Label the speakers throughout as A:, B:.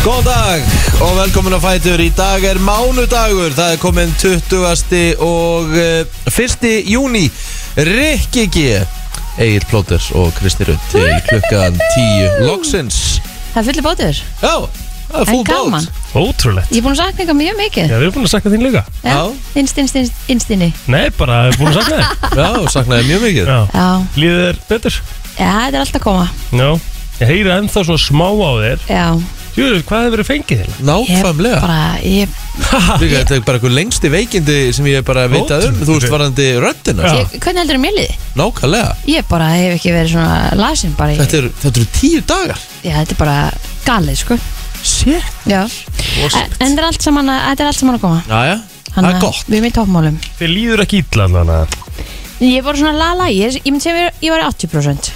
A: Góðan dag og velkomin að fætur Í dag er mánudagur Það er komin 20. og eh, 1. júni Rikki G Egil Plóters og Kristi Rutt Til klukkan 10 loksins
B: Það er fullir bátur
A: Já, það er
B: En
A: full
B: gaman.
A: bát
C: Ótrúlegt
B: Ég er búin að sakna eitthvað mjög mikið
C: Já, við erum búin að sakna þín líka
A: Já.
B: Innst, innst, innst, innstinni
C: Nei, bara við erum búin að sakna þér
A: Já, saknaði mjög mikið
C: Já
B: Já,
C: Líðið er betur
B: já þetta er alltaf að koma
C: Já Ég heyri ennþá svona smá á þér
B: Já,
C: Júli, hvað hefur verið fengið þér?
B: ég
A: Nákvæmlega
B: bara, ég,
A: Líka, Þetta er bara einhver lengsti veikindi sem ég hef bara vitað um Þú veist varandi röddina
C: Já.
B: ég, hvernig heldur mér liði?
A: Nákvæmlega
B: Ég bara hef ekki verið svona lasin bara, ég,
A: Þetta eru þetta eru tíu dagar
B: já, þetta er bara galið, sko
A: Shit
B: Já, en, en þetta er allt saman að, þetta er allt saman að koma
A: Jæja, það er
B: að
A: gott
B: við erum í toppmálum
C: Þið líður ekki illa allan að
B: Ég er bara svona lala, ég, er- ég myndi segja mér, ég var 80%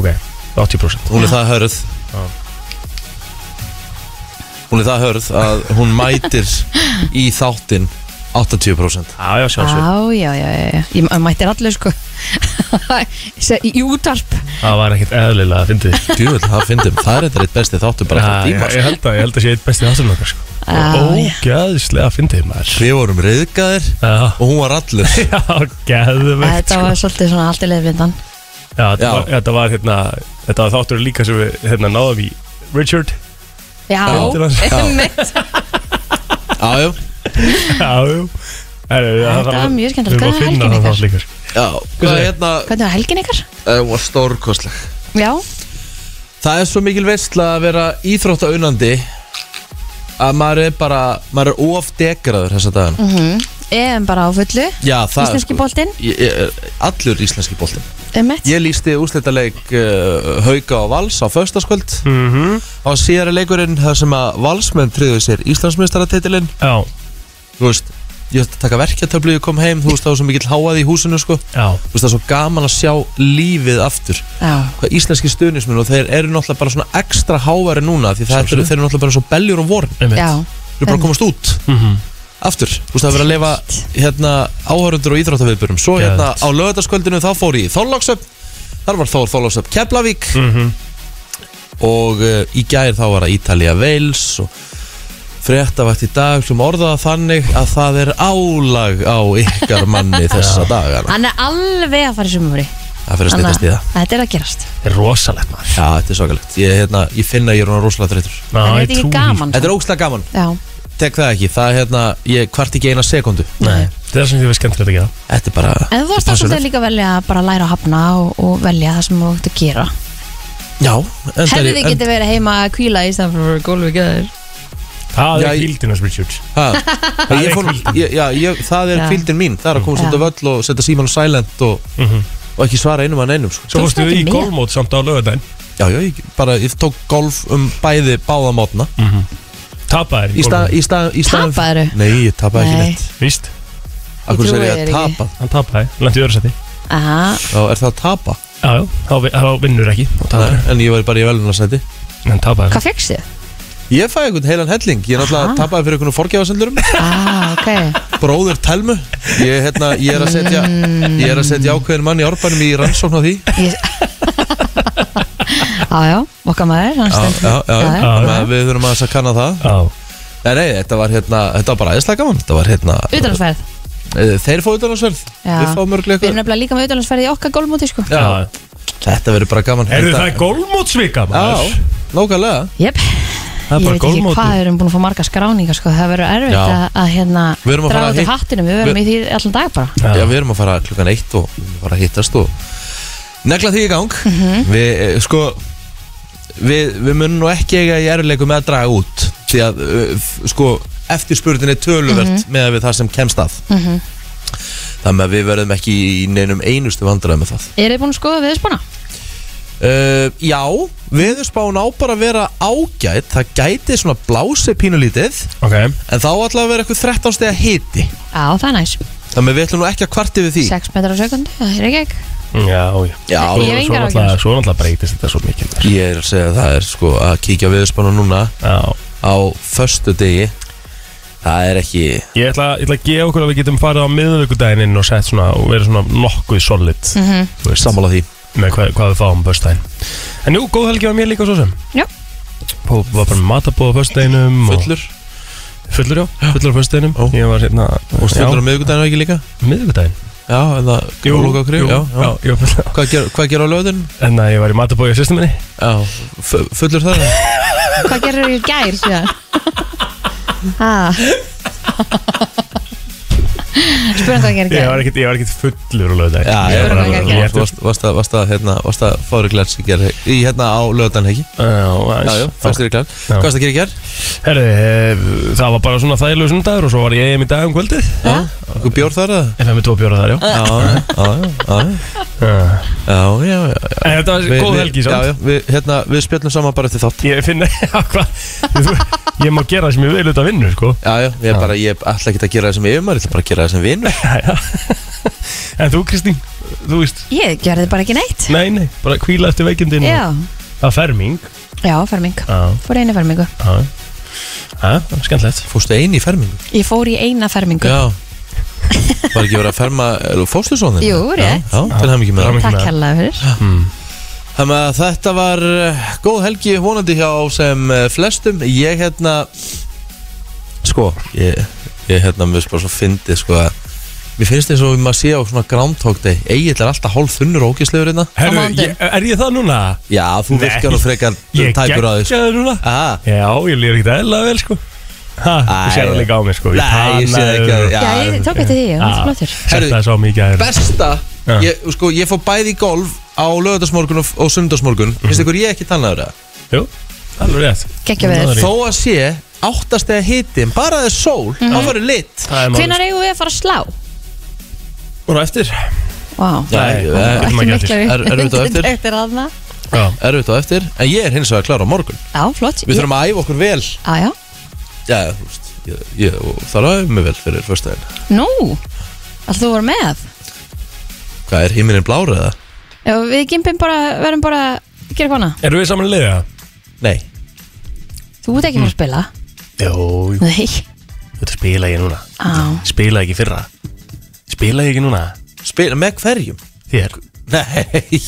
C: Ok, 80%
A: Hún er það hörð Hún er það hörð að hún mætir í þáttinn 80%
C: Já, já, sjá svo
B: Já, já, já, já, já, ég mættir allir, sko Se- Í útarp
C: Það var ekkert eðlilega að fyndi þér
A: Djúvel, það fyndum, það er þetta eitt besti þáttu bara allra tíma
C: Ég
A: sko.
C: held að, ég held að sé eitt bestið áttunum okkar sko.
B: Já, já.
C: Ógæðislega að fyndi þér maður
A: Við vorum reyðgæðir
C: Já
A: og hún var allur
C: Já, geðveikt
B: Þetta
C: sko.
B: var svolítið svona allt í leiðvindan
C: Já, þetta
A: Já.
C: var, þetta var hérna Þetta var þáttur líka sem við hérna náðum í Richard
B: Já,
C: Já.
B: einmitt
A: Jájú,
C: Já, jú Herru,
B: Þetta
C: það-
B: var mjög skemmtilegt.
C: Við erum
B: Hvað
C: að
B: er
C: finna
B: helgin
C: það
B: ykkar?
C: þátt líka sko.
A: já, hvað er hérna
B: Hvernig var helgin ykkar?
A: Eh, Hún var stórkostleg
B: Já,
A: Það er svo mikil veistla að vera íþróttaunandi að maður er bara, maður er of degraður þessa dagana
B: Mhm. EM bara á fullu
A: Já, það er
B: Íslenski boltinn?
A: Ég- ég- Allur íslenski boltinn
B: Emmett
A: Ég lísti úrslitaleik uh, Hauka og Vals á föstaskvöld mm
C: Mhm.
A: á síðara leikurinn þar sem að Valsmenn tryggðu sér Íslandsmeistaratitilinn
C: Já,
A: þú veist, ég ætti að taka verkjatöflu ég kom heim, þú veist það var svo mikill háað í húsinu sko. þú
C: já
A: veist það er svo gaman að sjá lífið aftur
B: Já,
A: hvað íslenski stuðnismin og þeir eru náttúrulega bara svona ekstra háværi núna því það
C: Sjálfsögðu.
A: eru, þeir eru náttúrulega bara svo beljur og vorn
C: einmitt.
B: já,
A: þeir eru bara að komast út
C: Mhm.
A: aftur, þú veist það er verið að lifa hérna áhörundur og íþróttaviðburum svo hérna
C: Geðveikt.
A: á lögðarskvöldinu þá fór ég í Þorlóksöp þar var Þór Þorlóksöp Keflavík
C: Mhm.
A: og uh, í gær þá var það Ítalía Wales og fréttavægt í dag sem orðaða þannig að það er álag á ykkar manni þessa dagana
B: hann er alveg að fara í sumumveri
A: það fyrir að stýtast í það
B: þetta er að gerast
C: Þetta er rosalegt maður
A: Já, þetta er svakalegt. Ég, hérna, ég finna að ég er hún rosalega þreytur.
C: Ná,
B: Það
C: ég
B: er
C: trúi
B: ekki
C: því. sko.
B: gaman
A: Þetta er ógslag gaman.
B: Já,
A: Tek það ekki. Það er hérna, ég kvart ekki eina sekundu.
C: Nei, þetta er sem því við skemmtilegt að gera
A: Þetta er bara...
B: en þú varst alltaf
A: þetta er passionate.
B: líka að velja að bara læra að hafna og, og velja það sem þú ætti að gera
A: Já.
B: Hefði þið getið verið heima að kvíla í staðan fyrir að vera gólfi gæður
C: Það
A: Já,
C: er
A: ég-
C: hildinars Richard
A: Það er
C: er hvíldin.
A: kvíldin. Já, ég, það er
B: Já.
A: kvíldin mín. Það er að koma
B: Já.
A: svolítið á völl og setja síman á silent og, og ekki svara einum að neinum. Sko.
C: Mhm. Svo
B: Tókstu
C: fórstu
B: ekki
C: í
B: með?
C: golfmót samt á lögadaginn
A: Já, já, ég bara, ég tók golf um bæði báðamátna.
C: Mhm. Tapaðir
A: Í stað, í stað, í stað...
B: Tapaðirðu?
A: Nei, ég tapaði ekki
B: Nei.
A: neitt.
C: Víst,
A: Akkur sér ég
B: trúi þér ekki.
A: að tapa.
C: hann tapaði, lendi í öðru seti
B: Aha,
A: Já, er það að tapa?
C: Já, já, þá vi- þá vinnur ekki og
A: Nei,
C: tapar.
A: en ég var bara í velunarsæti.
C: En tapaði
B: hvað fegst þið?
A: Ég fæði einhvern heilan helling. Ég náttúrulega tapaði fyrir einhvern forgjafasendurum.
B: Ah, ok
A: bróður Telmu ég, hérna, ég er að setja ég er að setja ákveðin mann í árbænum í rannsókn á því
B: Ég- Já, já, okkar maður hann ah,
A: já,
B: stendur-
A: já, já,
B: já,
A: já,
B: já.
A: við þurfum aðeins að kanna það
C: Já,
A: nei, nei, þetta var hérna, þetta var bara aðeinslega gaman þetta var hérna,
B: Utanlandsferð
A: eh, þeir fóðu utanlandsverð
B: Já.
A: við fáum
B: Við
A: örglega
B: erum
A: eitthvað
B: nefnilega líka með utanlandsferð í okkar gólmóti sko
C: já
A: þetta verður bara gaman
C: Erðu það
A: Þetta-
C: er golfmótsvika maður?
A: já, nákvæmlega
B: Jep, ég
C: Það er bara
B: veit ekki hvað
C: golfmót
B: við erum búin að fá marga skráningar sko. það verður erfitt
A: Já.
B: að, að hérna
A: Við erum að fara
B: draga
A: að
B: til
A: hitt-
B: hattinum, við verðum í því allan dag bara
C: Já.
A: já, við erum að fara klukkan eitt og við erum að fara að hittast og negla því í gang
B: Mhm.
A: við, eh, sko við, við munum nú ekki eiga í erfileikum með að draga út því að, eh, f- sko eftirspurðin er töluvert
B: Mhm.
A: mm með við það sem kemst að þannig að við verðum ekki í neinum einustu vandræðum með það
B: Er þið búin að skoða viðspuna?
A: uh, já, viðurspán á bara að vera ágætt það gæti svona blási pínulítið
C: Ok,
A: en þá ætla að vera eitthvað 13 steg að hiti
B: Já, það er næs,
A: þannig að við ætlum nú ekki að kvarti við því
B: 6 metrar á sekundu, það er ekki ekki
C: já, já
A: já,
B: Ég hef
C: Svo
B: engar
C: náttúrulega-
B: áhyggjur.
C: Svo náttúrulega breytist þetta svo mikið maður.
A: ég er að segja að það er sko að kíkja viðurspánu núna
C: Já
A: á förstu degi það er ekki
C: Ég ætla, ég ætla að gefa okkur að við getum farið á miðvikudaginn inn og sett svona og verið svona nokkuð solid mm -hmm.
A: sammála því
C: með hva, hvað við fáum börstæðin En jú, góð helgi á mér líka svo sem
B: Já,
C: Pó- var bara með matabóð á föstudeginum og-
A: fullur
C: Fullur, já, fullur á föstudeginum
A: Já.
C: Ég var hérna
A: og stjórnur á miðvikudaginu ekki líka
C: miðvikudaginn
A: já, en það lóka á krif já, já.
C: já, já fullur.
A: Hvað, ger, hvað gerir á löðin?
C: En að ég var í matabóð í sýstum minni
A: já, fu- fullur það
B: Hvað gerir þú í gær síðan? Ah. Ha. Spurðum um hvað gerir í
C: Ég
B: gær
C: var ekkit, ég var ekkit fullur á lögudaginn
A: Já,
B: Ég
A: ég
B: var ekki
A: var
B: að
A: alveg
B: gera.
A: Varst- varst- Varst að- varst að, hérna, varst að fóru glærs í gerð Í hérna á löðan ekki Já, já,
C: var
A: fannst þér í glærs
C: Já.
A: Hvað varst að gera í gerð?
C: Herri, eh, það var bara svona þægilegu sundagur og svo var ég í dag um kvöldið
A: Já Hvað bjór þar að?
C: Ef ég með tvo bjóra þar, já
B: Eh.
A: Já, já, já, já Já,
C: En
A: já, já
C: þetta var
A: Við-
C: góð
A: við-
C: helgi,
A: Já,
C: samt
A: já, við, hérna, við spjöllum saman bara eftir þátt
C: Ég finn, já, hvað þú- Ég má gera það sem ég vil auðvitað vinnu, sko
A: Já, já, ég er bara, ég ætla ekki að gera það sem yfirmaður, ég um, ætla bara að gera það sem vinur
C: En þú, Kristín, þú veist
B: Ég gerði bara ekki neitt
C: Nei, nei, bara hvíla eftir veikindin og-
B: Já,
C: Það er ferming
B: já, ferming
C: Já,
B: Fór í eina fermingu
C: já Já, það er skemmtilegt
A: Fórstu eini í fermingu?
B: Ég fór í eina fermingu
A: Já Var ekki verið að ferma, eh, fórstu svona þinn?
B: Jú,
A: Já,
B: rétt.
A: já, til hæmi ekki með það
C: Hamingju
B: Takk
C: með það.
B: hérlega fyrir
A: Þannig að þetta var eh, góð helgi vonandi hjá sem eh, flestum Ég hérna Sko Ég, ég hérna mér finnst bara svo fyndið sko að Mér finnst eins og maður sé á svona Groundhog Day Egil er alltaf hálf þunnur ógislegur hérna
C: Herru,
B: mánudaginn.
C: ég- er ég það núna?
A: Já, þú
C: Nei.
A: virkar nú frekar um
C: Ég
A: tæpur sko. að þess
C: geggja það núna
A: Aha,
C: Já, ég lýr ekkert eðla vel, sko Ha,
A: Æ,
C: þú sér það líka á mér, sko Ég um-
A: Nei, ég sé það
C: tanaði
A: ekki að-
C: og-
A: Já,
B: Já, ég tók eftir því, hann er
C: Já.
B: flottur
A: Herru,
C: Sett það svo mikið að
A: Besta,
C: Já.
A: ég, sko, ég fór bæði í golf á lögðarsmorgun og, og sundarsmorgun Finnst ykkur ég ekki tannaður það?
C: Mhm. Jú, alveg rétt
B: Gekkja við
C: Náður
B: þér
C: í.
A: Þó að sé áttast eða hiti, en bara það er sól, mm -hmm. þá farið lit
C: Það er málið
B: Mhm. Hvenær eigum við að fara að slá?
C: Bara eftir
B: Vá,
A: Nei, eh,
C: getum
B: ekki
C: ekki
B: mikla
A: eftir. Er- erum við þetta á eftir?
B: eftir aðna
C: Já,
A: erfitt á eftir En ég er hins vegar klar á morgun
B: Já, flott
A: Við þurfum að æfa okkur vel
B: Já, já
A: Já, þú veist Ég, ég og þarf að æfa mig vel fyrir fyrstæðin
B: Nú, alltaf þú voru með
A: Hvað er himinin blár eða?
B: Já, við gimpum bara, verðum bara að gera kona
C: erum við saman að liða?
A: Nei
B: Þú ert ekki fyrir að spila
A: Mm.
C: Jó, jú,
B: Nei,
C: þetta spila ég núna
B: á,
C: Spila ekki fyrra Spila ég ekki núna
A: Spila með hverjum?
C: Þér
A: Nei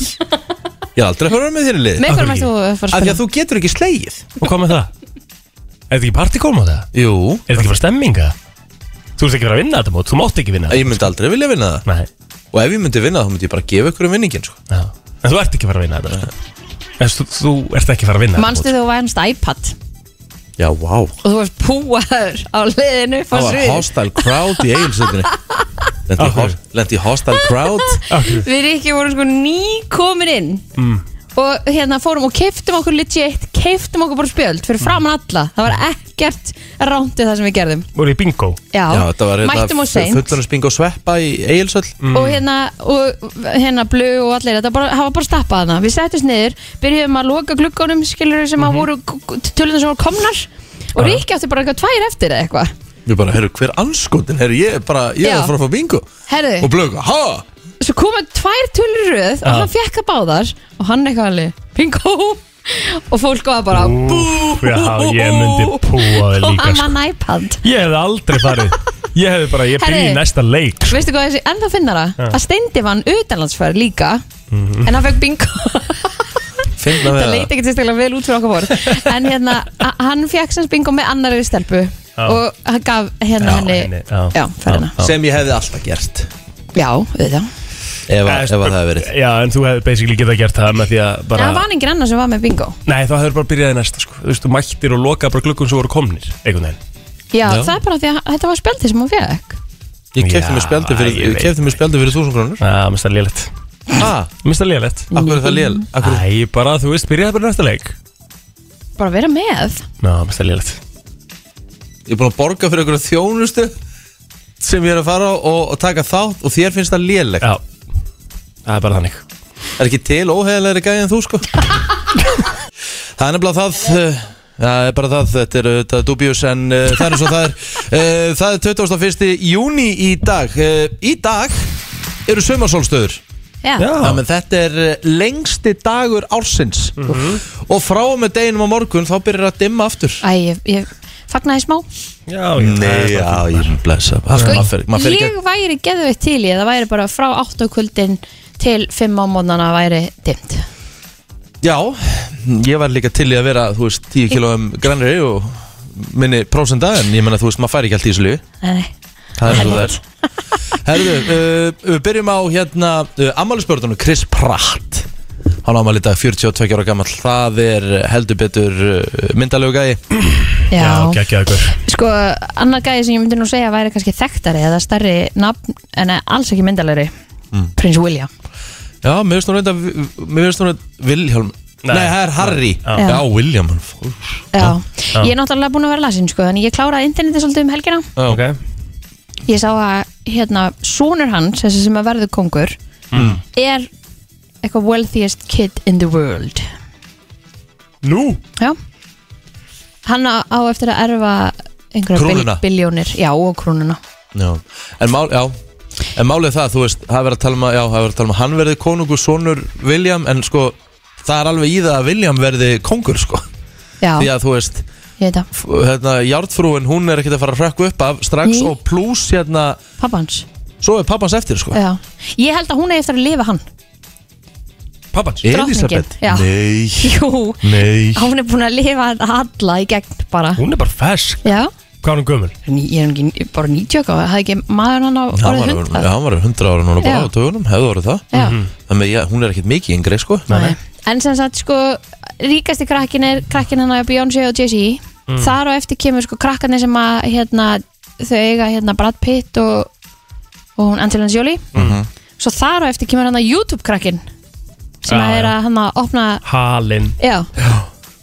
A: Ég er aldrei að höra með þínu lið
B: með
C: Af
B: hverjum
C: hverju
B: ert þú eh, að fara að
A: Af því að
B: spila?
A: þú getur ekki slegið
C: Og hvað með það? Er þetta ekki partykóm á það?
A: Jú
C: Er þetta ekki bara stemminga? Þú ert ekki bara að vinna þetta mót Þú mátt ekki vinna
A: Ég myndi aldrei vilja vinna það
C: Nei,
A: Og ef ég myndi vinna það, þá myndi ég bara gefa ykkur um vinningin sko.
C: já En þú ert ekki bara að vinna þetta sko. En þú, þú ert ekki bara að vinna
B: Manstu
C: þetta
B: þú vænst iPad
A: Já, vá wow.
B: og þú varst púaður á liðinu
A: Það
B: fannst
A: var
B: við
A: hostile crowd í eigilsöndinni Lendi,
C: Af hverju?
A: host, lendi hostile crowd
C: Akkur
B: Við Rikki vorum sko ný komin inn
C: Mm.
B: og hérna fórum og keiftum okkur legit, keiftum okkur bara spjöld fyrir framann alla, það var ekkert rántið það sem við gerðum
C: Voru í bingo
B: Já,
A: Já, þetta var hérna
B: mættum og seint
A: fullunarsping og sveppa í eigilsöld
C: Mm.
B: og hérna, og hérna blu og allir, þetta bara, hafa bara stappað hana við settumst niður, byrjuðum að loka gluggunum skilur sem
C: Mhm.
B: að voru tölunar sem voru komnar og Ríkki átti bara eitthvað tvær eftir eða eitthvað,
A: Ég bara, herru, hver anskotin, herru, ég er bara, ég er
B: Já.
A: að fara að fá bingo
B: herðu
A: Og blöku, ha?
B: svo koma tvær tölur í röð og
C: Já.
B: hann fekk að báðar og hann eitthvað alveg bingo og fólk var bara
C: Ú, Já, ég myndi púa þig líka
B: hann
C: sko.
B: vann iPad
C: Ég hefði aldrei farið Ég hefði bara, ég byrði
B: Herri.
C: í næsta leik
B: veistu hvað þessi ennþá finnara
C: Já.
B: að steindi vann utanlandsfær líka en hann fekk bingo
A: Finna við
B: það leit ekkert sérstaklega vel út fyrir okkar bor en hérna, a- hann fekk sem bingo með annari stelpu
C: Já.
B: og hann gaf hérna
C: Já,
B: henni
C: henni, já.
B: já, ferðina
C: Já.
A: Sem ég hefði alltaf gert
B: já, auðvitað
A: Ef, að- ef að það hefði verið
C: sko, Já, en þú hefði basically getað gert það með því að
B: en
C: bara
B: hann vann engin annar sem var með bingo
C: Nei, þá hefur bara byrjaði næsta sko Þú veist, þú mættir og lokaði bara glukkum sem voru komnir Einhvern veginn
B: já,
A: Já.
B: það er bara því að þetta var spjaldið sem hann fekk
A: Ég kefti mér
C: Já,
A: spjaldi fyrir,
C: ég
A: ég
C: veit
A: kefti mér spjaldi fyrir 1000 krónur
C: Já, ah, mista lélætt
A: Ha,
C: Mista lélætt
A: akkur er það lél Akkur,
C: Æ, bara, þú veist, byrjaði bara í næsta leik
B: bara vera með
C: Ná, mista lélætt
A: ég er búin að borga fyrir einhverja þjónustu Sem ég er að fara á og, og taka þátt Og þér finnst það lélegt
C: Já, það er bara þannig
A: Er ekki til óheðalegri gæði en þú sko Það er nefnilega það uh, Það er bara það, þetta er uh, dubjus en uh, það er eins og það er uh, Það er 21. júni í dag uh, Í dag eru sömarsólstöður
B: já,
C: Já,
A: Já, menn þetta er uh, lengsti dagur ársins
C: Mhm.
A: Og frá og með deginum á morgun þá byrjar að dimma aftur
B: Æ, ég, ég fagnaði smá
C: já, já það er bara-
A: ég er blessa Sko, maður fer, maður fer ekki
B: Ég væri geðveitt til ég Það væri bara frá 8 kvöldin til 5 á mótnana væri dimmt
A: Já, ég var líka til í að vera, þú veist, 10 kílóum grannri og minni prósenda en ég menna, þú veist, maður fær ekki allt í þessu lífi
B: Nei,
A: Það er eins og það er Herðu, uh, við byrjum á hérna uh, Ammálisbörðunum Chris Pratt Hann ámæli dag 42 ára gammal Það er uh, heldur betur uh, myndalegu gæi
B: já,
C: geggjaður
B: Sko, annar gæði sem ég myndi nú segja væri kannski þekktari eða stærri nafn en alls ekki myndalegri
A: Mm.
B: Prins William
A: Já, mér finnst hún reynda Mér finnst hún að Vilhjálm Nei,
C: Nei.
A: það er Harry
C: Já.
A: Já, William hann fór.
B: Já, ég er náttúrulega búin að vera lasin sko, en ég kláraði internetið svolítið um helgina
A: Já,
C: Ok,
B: Ég sá að, hérna, sonur hans þessi sem að verður kongur
A: Mm.
C: Mm.
B: er eitthvað wealthiest kid in the world
C: nú
B: Já Hann á, á eftir að erfa einhverja bil,
A: Krúnuna.
B: biljónir Já, og krúnuna
A: já. En, mál, já. en málið er það, þú veist Það er verið að tala um að, já, það er verið að tala um að hann verði konungur Sonur William, en sko Það er alveg í það að William verði kongur, sko
B: Já,
A: Því að þú veist,
B: ég veit að
A: f- hérna, járnfrúin Hún er ekkert að fara að hrökk upp af strax
B: Ný.
A: Og pluss, hérna,
B: pappans
A: svo er pappans eftir, sko
B: Já, ég held að hún er eftir að lifa hann
C: Pappans
A: Elisabeth
B: já.
A: Nei,
B: Jú,
A: nei
B: hún er búin að lifa þetta alla í gegn bara
C: Hún er bara fersk
B: Já,
C: Hvað er hún gömul?
B: Ný- ég er ekki bara 90 og það ekki maður hann á
A: Hann
B: orðið
A: var,
B: hundra
A: já, hann var 100 ára núna
B: Já.
A: bara á tögunum, hefðu orðið það Mhm.
B: Já.
A: Þannig að ég- hún er ekkert mikið yngri, sko
B: Nei. En sem sagt sko ríkasti krakkin er krakkin hann á Beyoncé og Jay-Z
C: Mm.
B: Þar og eftir kemur sko krakkarnir sem að hérna, þau eiga hérna Brad Pitt og, og hún Angelina Jolie
A: Mhm.
B: Svo þar og eftir kemur hann að YouTube krakkin sem
C: Já,
B: að er
C: já.
B: að hann að opna
C: Halinn
B: Já,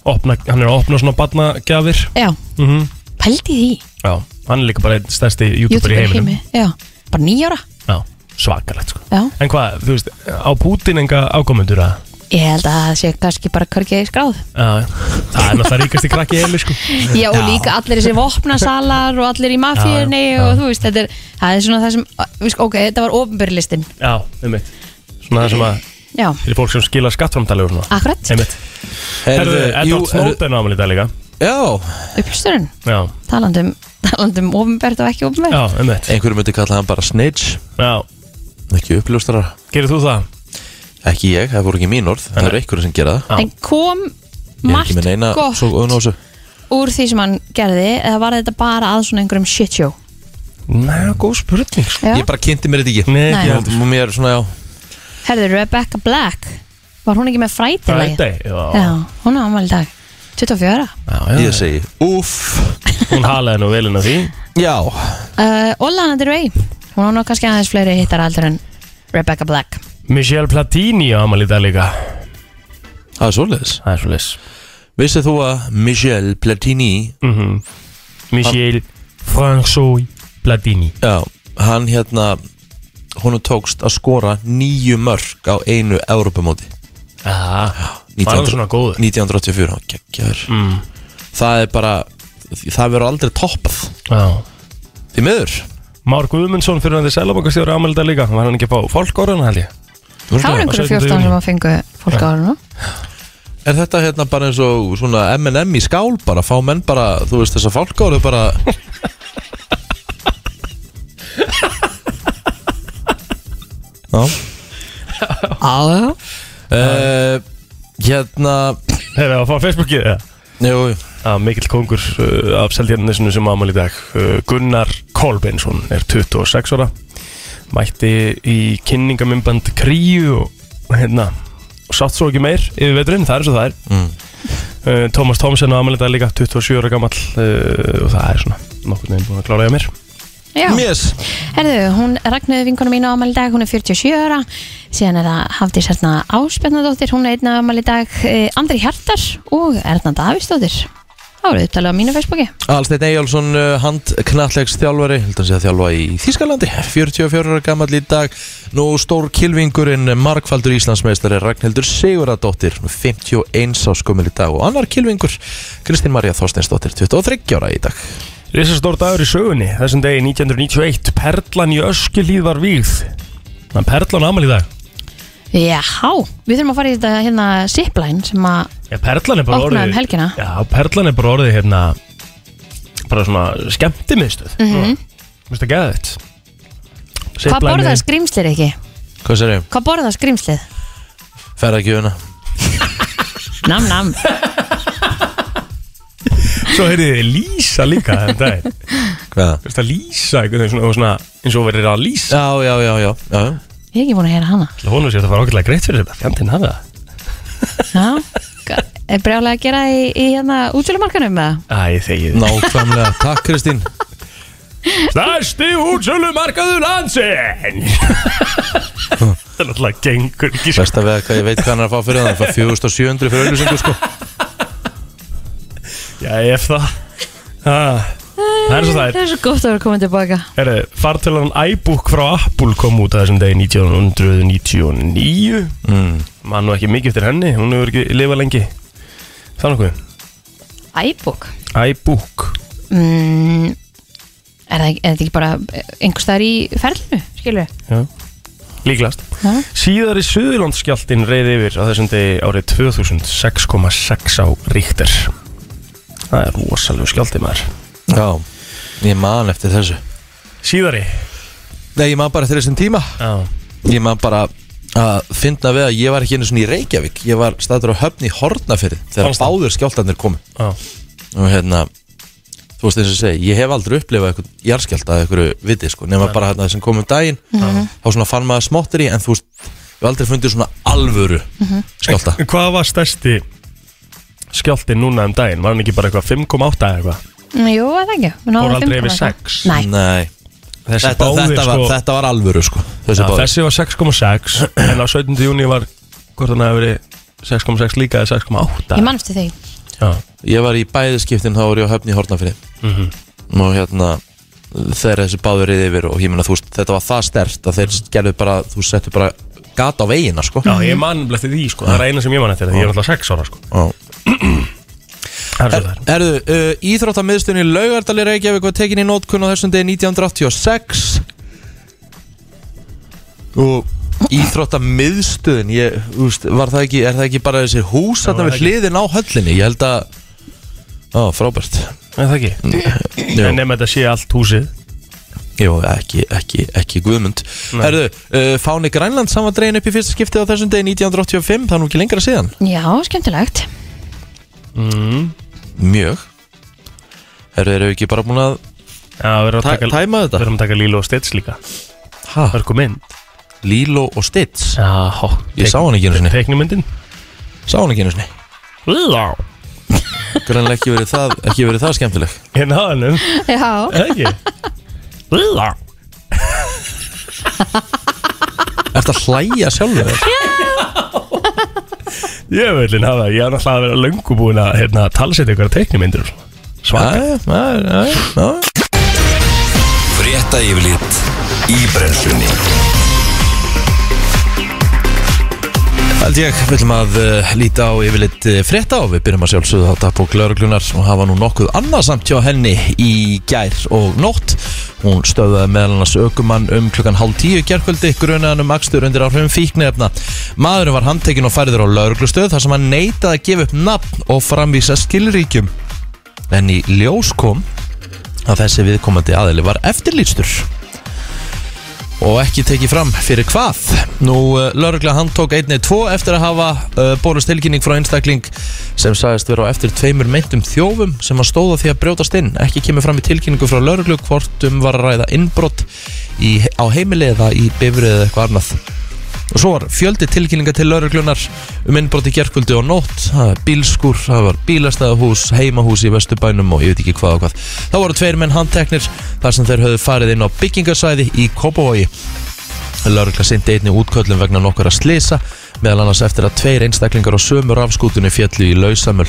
C: opna, Hann er að opna svona barnagjafir
B: já,
C: mm
B: pældi því
C: Já, hann er líka bara einn stærsti YouTuber
B: YouTube
C: í heiminum
B: heimi, já, bara nýjára
C: Já, svakalegt sko
B: Já,
C: En hvað, þú veist, á Putin enga ákomendur að
B: ég held að það sé kannski bara hvergi skráð
C: Já, það er náttúrulega ríkasti krakki í heimi sko
B: Já, og líka allir þessi vopnasalar og allir í mafíunni
C: Já, já, já.
B: og þú veist, þetta er, það er svona það sem, við sk- ok, þetta var ofnbyrlistin,
C: Já, einmitt Svona það sem að,
B: já,
C: fyrir fólk sem skila skattframtali og svona
B: akkurat,
C: Einmitt Herðu, Edward Snowden ámæli þetta líka
A: Já,
B: uppstörun,
C: Já,
B: talandum, talandum ofnbært um og ekki ofnbært.
C: já, einmitt
A: einhverju myndi kalla hann bara snitch
C: Já,
A: Ekki uppljóstara
C: gerir þú það?
A: Ekki ég, það voru ekki mín orð Það eru einhverju sem gera það
C: Já.
B: En kom
A: Ég er ekki
B: margt
A: með neina
B: gott
A: svo ofan á þessu.
B: úr því sem hann gerði, eða var þetta bara að svona einhverjum shit show?
C: Nei, góð spurning sko
B: Já,
A: Ég bara kynnti mér þetta ekki
C: Nei,
B: Nei.
C: ekki
A: Já,
C: heldur
A: Mér er svona, já
B: herðu, Rebecca Black, var hún ekki með frætilegi?
C: Friday, já
B: Já, hún á ammæli í dag, 24.
C: Já, já,
A: Ég segi, uff
C: hún halaði nú velin af því
A: Já,
B: Uh, Olana Del Rey, hún á nú kannski aðeins fleiri hittar aldur en Rebecca Black.
C: Michelle Platini ámæli þetta líka
A: það er svoleiðis
C: Það er svo leys
A: Vissið þú að Michel Platini
C: Mhm. Michelle François Platini
A: Já, hann hérna Hún tókst að skora nýju mörg á einu Evrópumóti
C: Já, var hann
A: 1900
C: svona góður
A: 1984, hann geggjaður mm. Það er bara, það verður aldrei toppað
C: Já
A: Því miður
C: Már Guðmundsson fyrir hann þið selabankastjóri ámæli þetta líka Var hann ekki að fá fólkorðan held ég
B: Það var einhverju 14 sem að um fengu fólk á hann
A: Er þetta hérna bara eins og svona M&M í skál bara, fá menn bara, þú veist þessa fálkáru bara Já
B: Já,
A: uh, Hérna
C: Hefur það að fá Facebookið eða?
A: Jú, jú.
C: að mikill kongur uh, af seldjarnisinu sem ámæli í dag uh, Gunnar Kolbeinsson er 26 ára mætti í kynningamömband Kríu og hérna og sátt svo ekki meir yfir veturinn, það er svo það er
A: Mm.
C: uh, Tómas Tómsen á ámæli í dag líka 27 ára gamall uh, og það er svona nokkur nefn búin að klára ég mér
B: já.
A: Yes
B: Herðu, hún Ragnöðu vinkonu mín á amal í dag, hún er 47 ára síðan er það Hafdís Erna Áspennadóttir hún er einna amal í dag eh, Andri Hjartar og Erna Davísdóttir Það voru upptalið á mínu Facebooki
A: Alsteinn Eyjálsson, uh, handknallegs þjálfari, held að sé að þjálfa í Þískalandi, 44 ára gammal í dag, nú stór kilvingurinn Markfaldur Íslandsmeistari Ragnhildur Siguradóttir, 51 á skumil í dag og annar kilvingur, Kristín Marja Þorsteinsdóttir, 23 ára í dag.
C: Rísastór dagur í sögunni, þessum degi 1991 Perlan í Öskilíð var vígð Þannig Perlan ámæli í dag
B: Jáhá, við þurfum að fara í þetta hérna zipline sem að
C: Já, Perlan er bara
B: Opnaði
C: orðið
B: um helgina.
C: Já, Perlan er bara orðið hérna bara svona skemmtimiðstöð mm
B: Mhm.
C: -hmm. Þú veist að geða þetta
B: Hvað borðar skrýmslir ekki?
A: Hvað sér ég?
B: Hvað borðar skrýmslið?
A: Ferðargjöfuna.
B: Nam, nam
C: Svo heyrið þið Lísa líka þenn dag
A: Hvaða?
C: Þú veist að Lísa einhvern veginn svona, og svona eins og verið að Lísa
A: Já, já, já, já, já, já.
B: Ég er ekki búin að heyra hana
C: Hún sér það var ákveðlega greitt fyrir þetta Fjandinn hafa það
B: Já, ga- er brjálega að gera í, í hérna útsölumarkanum eða?
C: Æ, þegið
A: Nákvæmlega, takk Kristín
C: Stærsti útsölu markaður landsin Það er náttúrulega gengur ekki sko.
A: Besta við að hvað ég veit hvað hann er að fá fyrir það Það er 4700 fyrir auðlýsingu sko
C: Já, ef það ah, Það er svo það er
B: Það er svo gott að vera komin tilbaka
C: Herru, fartölan iBook frá Apple kom út að þessum degi 1999 mm. Man nú ekki mikið eftir henni, hún hefur ekki lifað lengi Það nokkuð,
B: Æbúk
C: iBook
B: mm, er, það, ekki- er þetta ekki bara einhver staðar í ferlinu, skilur
C: Já. Líklast
B: Já.
C: Síðari Suðurlandsskjáltin reyði yfir á þessum degi árið 2000 6,6 á ríktir Það er rosalegu skjálti maður
A: Já, ég man eftir þessu
C: Síðari
A: Nei, ég man bara eftir þessum tíma
C: Já,
A: Ég man bara að finna við að ég var ekki einu svona í Reykjavík Ég var staður á höfn í Hornafyrði Þegar
C: Fannst það?
A: báður skjáltarnir komu
C: já,
A: Og hérna, þú veist eins og ég segi Ég hef aldrei upplifað eitthvað jarðskjálta að einhverju viti sko Nefna bara hérna þessum komum daginn Þá svona fann maður smáttir í En þú veist, ég hef aldrei fundið svona
C: Mhm.
A: alvöru skjálta
C: En Hvað var stærsti skjálti núna um daginn? Var hann ekki bara eitthvað 5,8 eða eitthvað?
B: Jú, er það ekki Við náðum
C: Fór aldrei
B: 5,8.
C: yfir sex.
B: Nei,
A: Nei,
C: Þessi
A: þetta,
C: báðir,
A: þetta, var,
C: sko-
A: þetta var alvöru sko Þessi
C: Já,
A: báðir
C: þessi var 6,6 en á 17. júni var hvort hann hefði verið 6,6 líka eða 6,8
B: ég mannstu þig
C: Já, Mhm.
A: Ég var í bæðiskiptin, þá var ég á höfni í Hortnafri Og hérna Þegar þessi báður reyði yfir og ég meina þú veist Þetta var það stert að þeir gerðu bara Þú settu bara gata á veginna sko
C: Já ég mann blefti því sko, það er eina sem ég mann eftir því ég er alltaf 6 ára sko
A: Já.
C: Það er svo það er.
A: Erðu, uh, Íþróttamiðstunni Laugardali Reykjavík var tekin í nótkunn á þessum degi 1986 Og Íþróttamiðstöðin ég, úst, Var það ekki, er það ekki bara þessi hús Þarna við
C: var það ekki.
A: hliðin á höllinni Ég held að Ó, frábært
C: Er það ekki?
A: Jú.
C: En nema þetta sé allt húsið
A: Jó, ekki, ekki, ekki guðmund
C: Nei.
A: Herðu, uh, fáni Grænland saman dregin upp í fyrsta skiptið á þessum degi 1985 Það er nú ekki lengra síðan
B: Já, skemmtilegt
C: mm.
A: Mhm. Mjög Herðu, erum við ekki bara búin að
C: Já, við erum að
A: tæ
C: taka,
A: tæma
C: við
A: þetta?
C: erum að taka Lilo og Stitch líka
A: Ha,
C: Hörku mynd
A: Lilo og Stitz
C: Já, hó
A: Ég sá hann ekki einu sinni
C: Teknumyndin
A: Sá hann ekki einu sinni
C: Lilo
A: Grænlega ekki verið það, ekki verið það skemmtileg
C: Ég náði hennum
B: Já,
C: Er það ekki? Lilo
A: Ertu að hlæja sjálfur þér?
C: Ég vil hérna hafa, ég er náttúrulega að vera löngu búin að hérna, talsetja ykkur teknumyndir og svona. Svaka
A: Jæja, jæja, jæja, já.
D: Frétta yfirlit í brennslunni
A: Held ég, við ætlum að uh, líta á yfirleitt uh, frétta og við byrjum að sjálfsögðu á dagbók lauruglunar og hafa nú nokkuð annað samt hjá henni í gær og nótt. Hún stöðaði meðal annars aukumann um klukkan hálf tíu gærkvöldi grunaðan um akstur undir áhrifum fíknefna. Maðurinn var handtekinn og færður á lauruglustöð þar sem hann neitaði að gefa upp nafn og framvísa skilríkjum. En í ljós kom að þessi viðkomandi aðili var eftirlýstur og ekki tekið fram fyrir hvað. Nú, laurugla handtók einni tvo eftir að hafa uh, bórust tilkynning frá einstakling sem sagðist vera á eftir tveimur meintum þjófum sem að stóða því að brjótast inn. Ekki kemur fram í tilkynningu frá lauruglu hvort um var að ræða innbrott í, á heimili eða í bifrið eða eitthvað annað. Og svo var fjöldi tilkynninga til lauruglunar um innbrot í gerkvöldi og nótt, það var bílskur, það var bílastæðahús, heimahús í Vesturbænum og ég veit ekki hvað og hvað. Þá voru tveir menn handteknir þar sem þeir höfðu farið inn á byggingasæði í Kópavogi. Laurugla sindi einni útköllum vegna nokkara slisa meðal annars eftir að tveir einstaklingar á sömu rafskútunni fjallu í lausamöl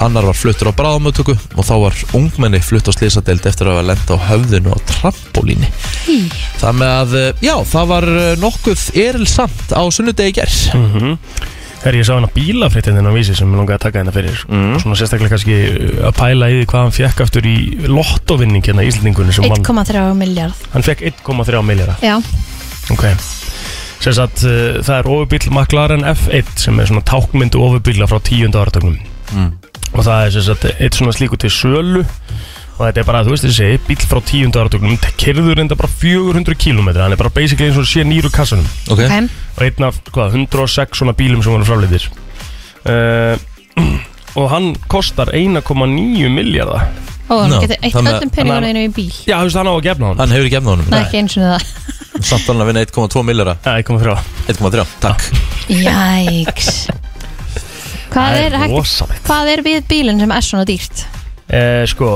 A: annar var fluttur á bráðamötöku og þá var ungmenni flutt á slisadeild eftir að hafa lenda á höfðinu á trampolíni Það með að, eh, já, það var eh, nokkuð erilsamt á sunnudegi ger mm.
C: Þegar Mhm. ég sá hann að bílafréttin á vísi sem ég langaði að taka hérna fyrir
A: Mhm.
C: mm. Svona sérstaklega kannski uh, að pæla í því hvað hann fekk aftur í lottovinning hérna í Íslandingunni sem vann
B: 1,3 miljard
C: Hann fekk 1,3 miljara
B: Já,
C: Ok Sess að uh, það er ofurbíl McLaren F1 sem er svona tákmyndu ofurbíla frá tíundu áratögnum
A: Mm.
C: Og það er sess að eitt svona slíku til sölu Og þetta er bara, þú veist þessi, bíl frá tíundu áratögnum Kerður enda bara 400 km Hann er bara basically eins og sé nýru kassanum
A: Ok,
B: ok
C: og einn af hvað, 106 svona bílum sem voru fráleitir uh, og hann kostar 1,9 miljardar
B: og hann
A: Ná,
B: getur eitt
A: þannig að-
B: öllum
C: þannig að-
B: peningunum í bíl
C: Já, þú veist, hann á að gefna hann
A: Hann hefur ekki efna honum
B: Nei, ekki eins og það
A: Samt alveg að vinna 1,2 milljara
C: Það er komið frá
A: 1,3 Takk
B: Jæks Hvað
C: Það
B: er,
C: er
B: hægt,
C: rosalegt
B: hvað er við bílinn sem er svona dýrt?
C: eh, Sko,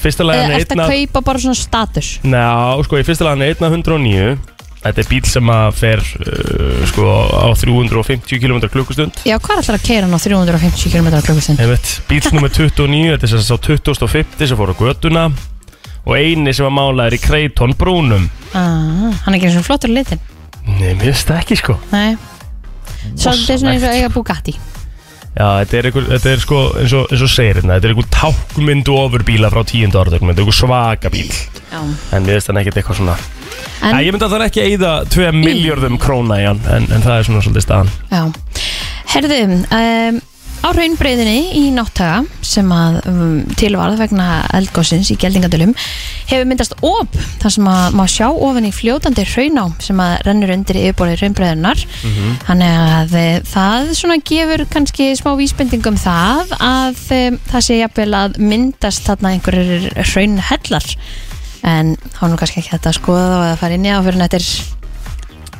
C: fyrsta
B: Eða
C: lagin er
B: eftir
C: einna
B: Eh, að kaupa bara svona status
C: Ná, sko, í fyrsta lagin er einna 109 Þetta er bíl sem að fer uh, sko, á 350 km klukkustund
B: Já, hvað er alltaf að keira hann á 350 km klukkustund?
C: Einmitt, bíl nummer 29, þetta er þess að sá 2050 sem fór á göduna og eini sem að mála er í Kreiton brúnum
B: Ah, hann er ekki eins og flottur í litin
C: Nei, mér finnst það ekki sko
B: Nei Svolítið svona eins og
C: Rosalegt.
B: eiga Bugatti
C: Já, þetta er, einhver, þetta er sko, eins og, eins og segir hérna, þetta er einhver tákmyndu ofur frá tíundu áratökum, þetta er einhver svaka bíl
B: Já
C: en mér finnst þannig ekkert eitthvað svona
B: En,
C: en, Ég myndi að það er ekki að eyða 2 miljörðum króna í hann, en, en það er svona svolítið staðan
B: já Herðu, um, á raunbreyðinni í náttaga sem að um, tilvarð vegna eldgossins í geldingadölum hefur myndast op þar sem að má sjá ofan í fljótandi rauná sem að rennur undir yfirborði raunbreyðinar
C: Mhm.
B: Þannig að eh, það svona gefur kannski smá vísbending um það að um, það sé jafnvel að myndast þarna einhverjir hraunhellar en þá er nú kannski ekki þetta að skoða þá eða fara inn í á fyrir en þetta er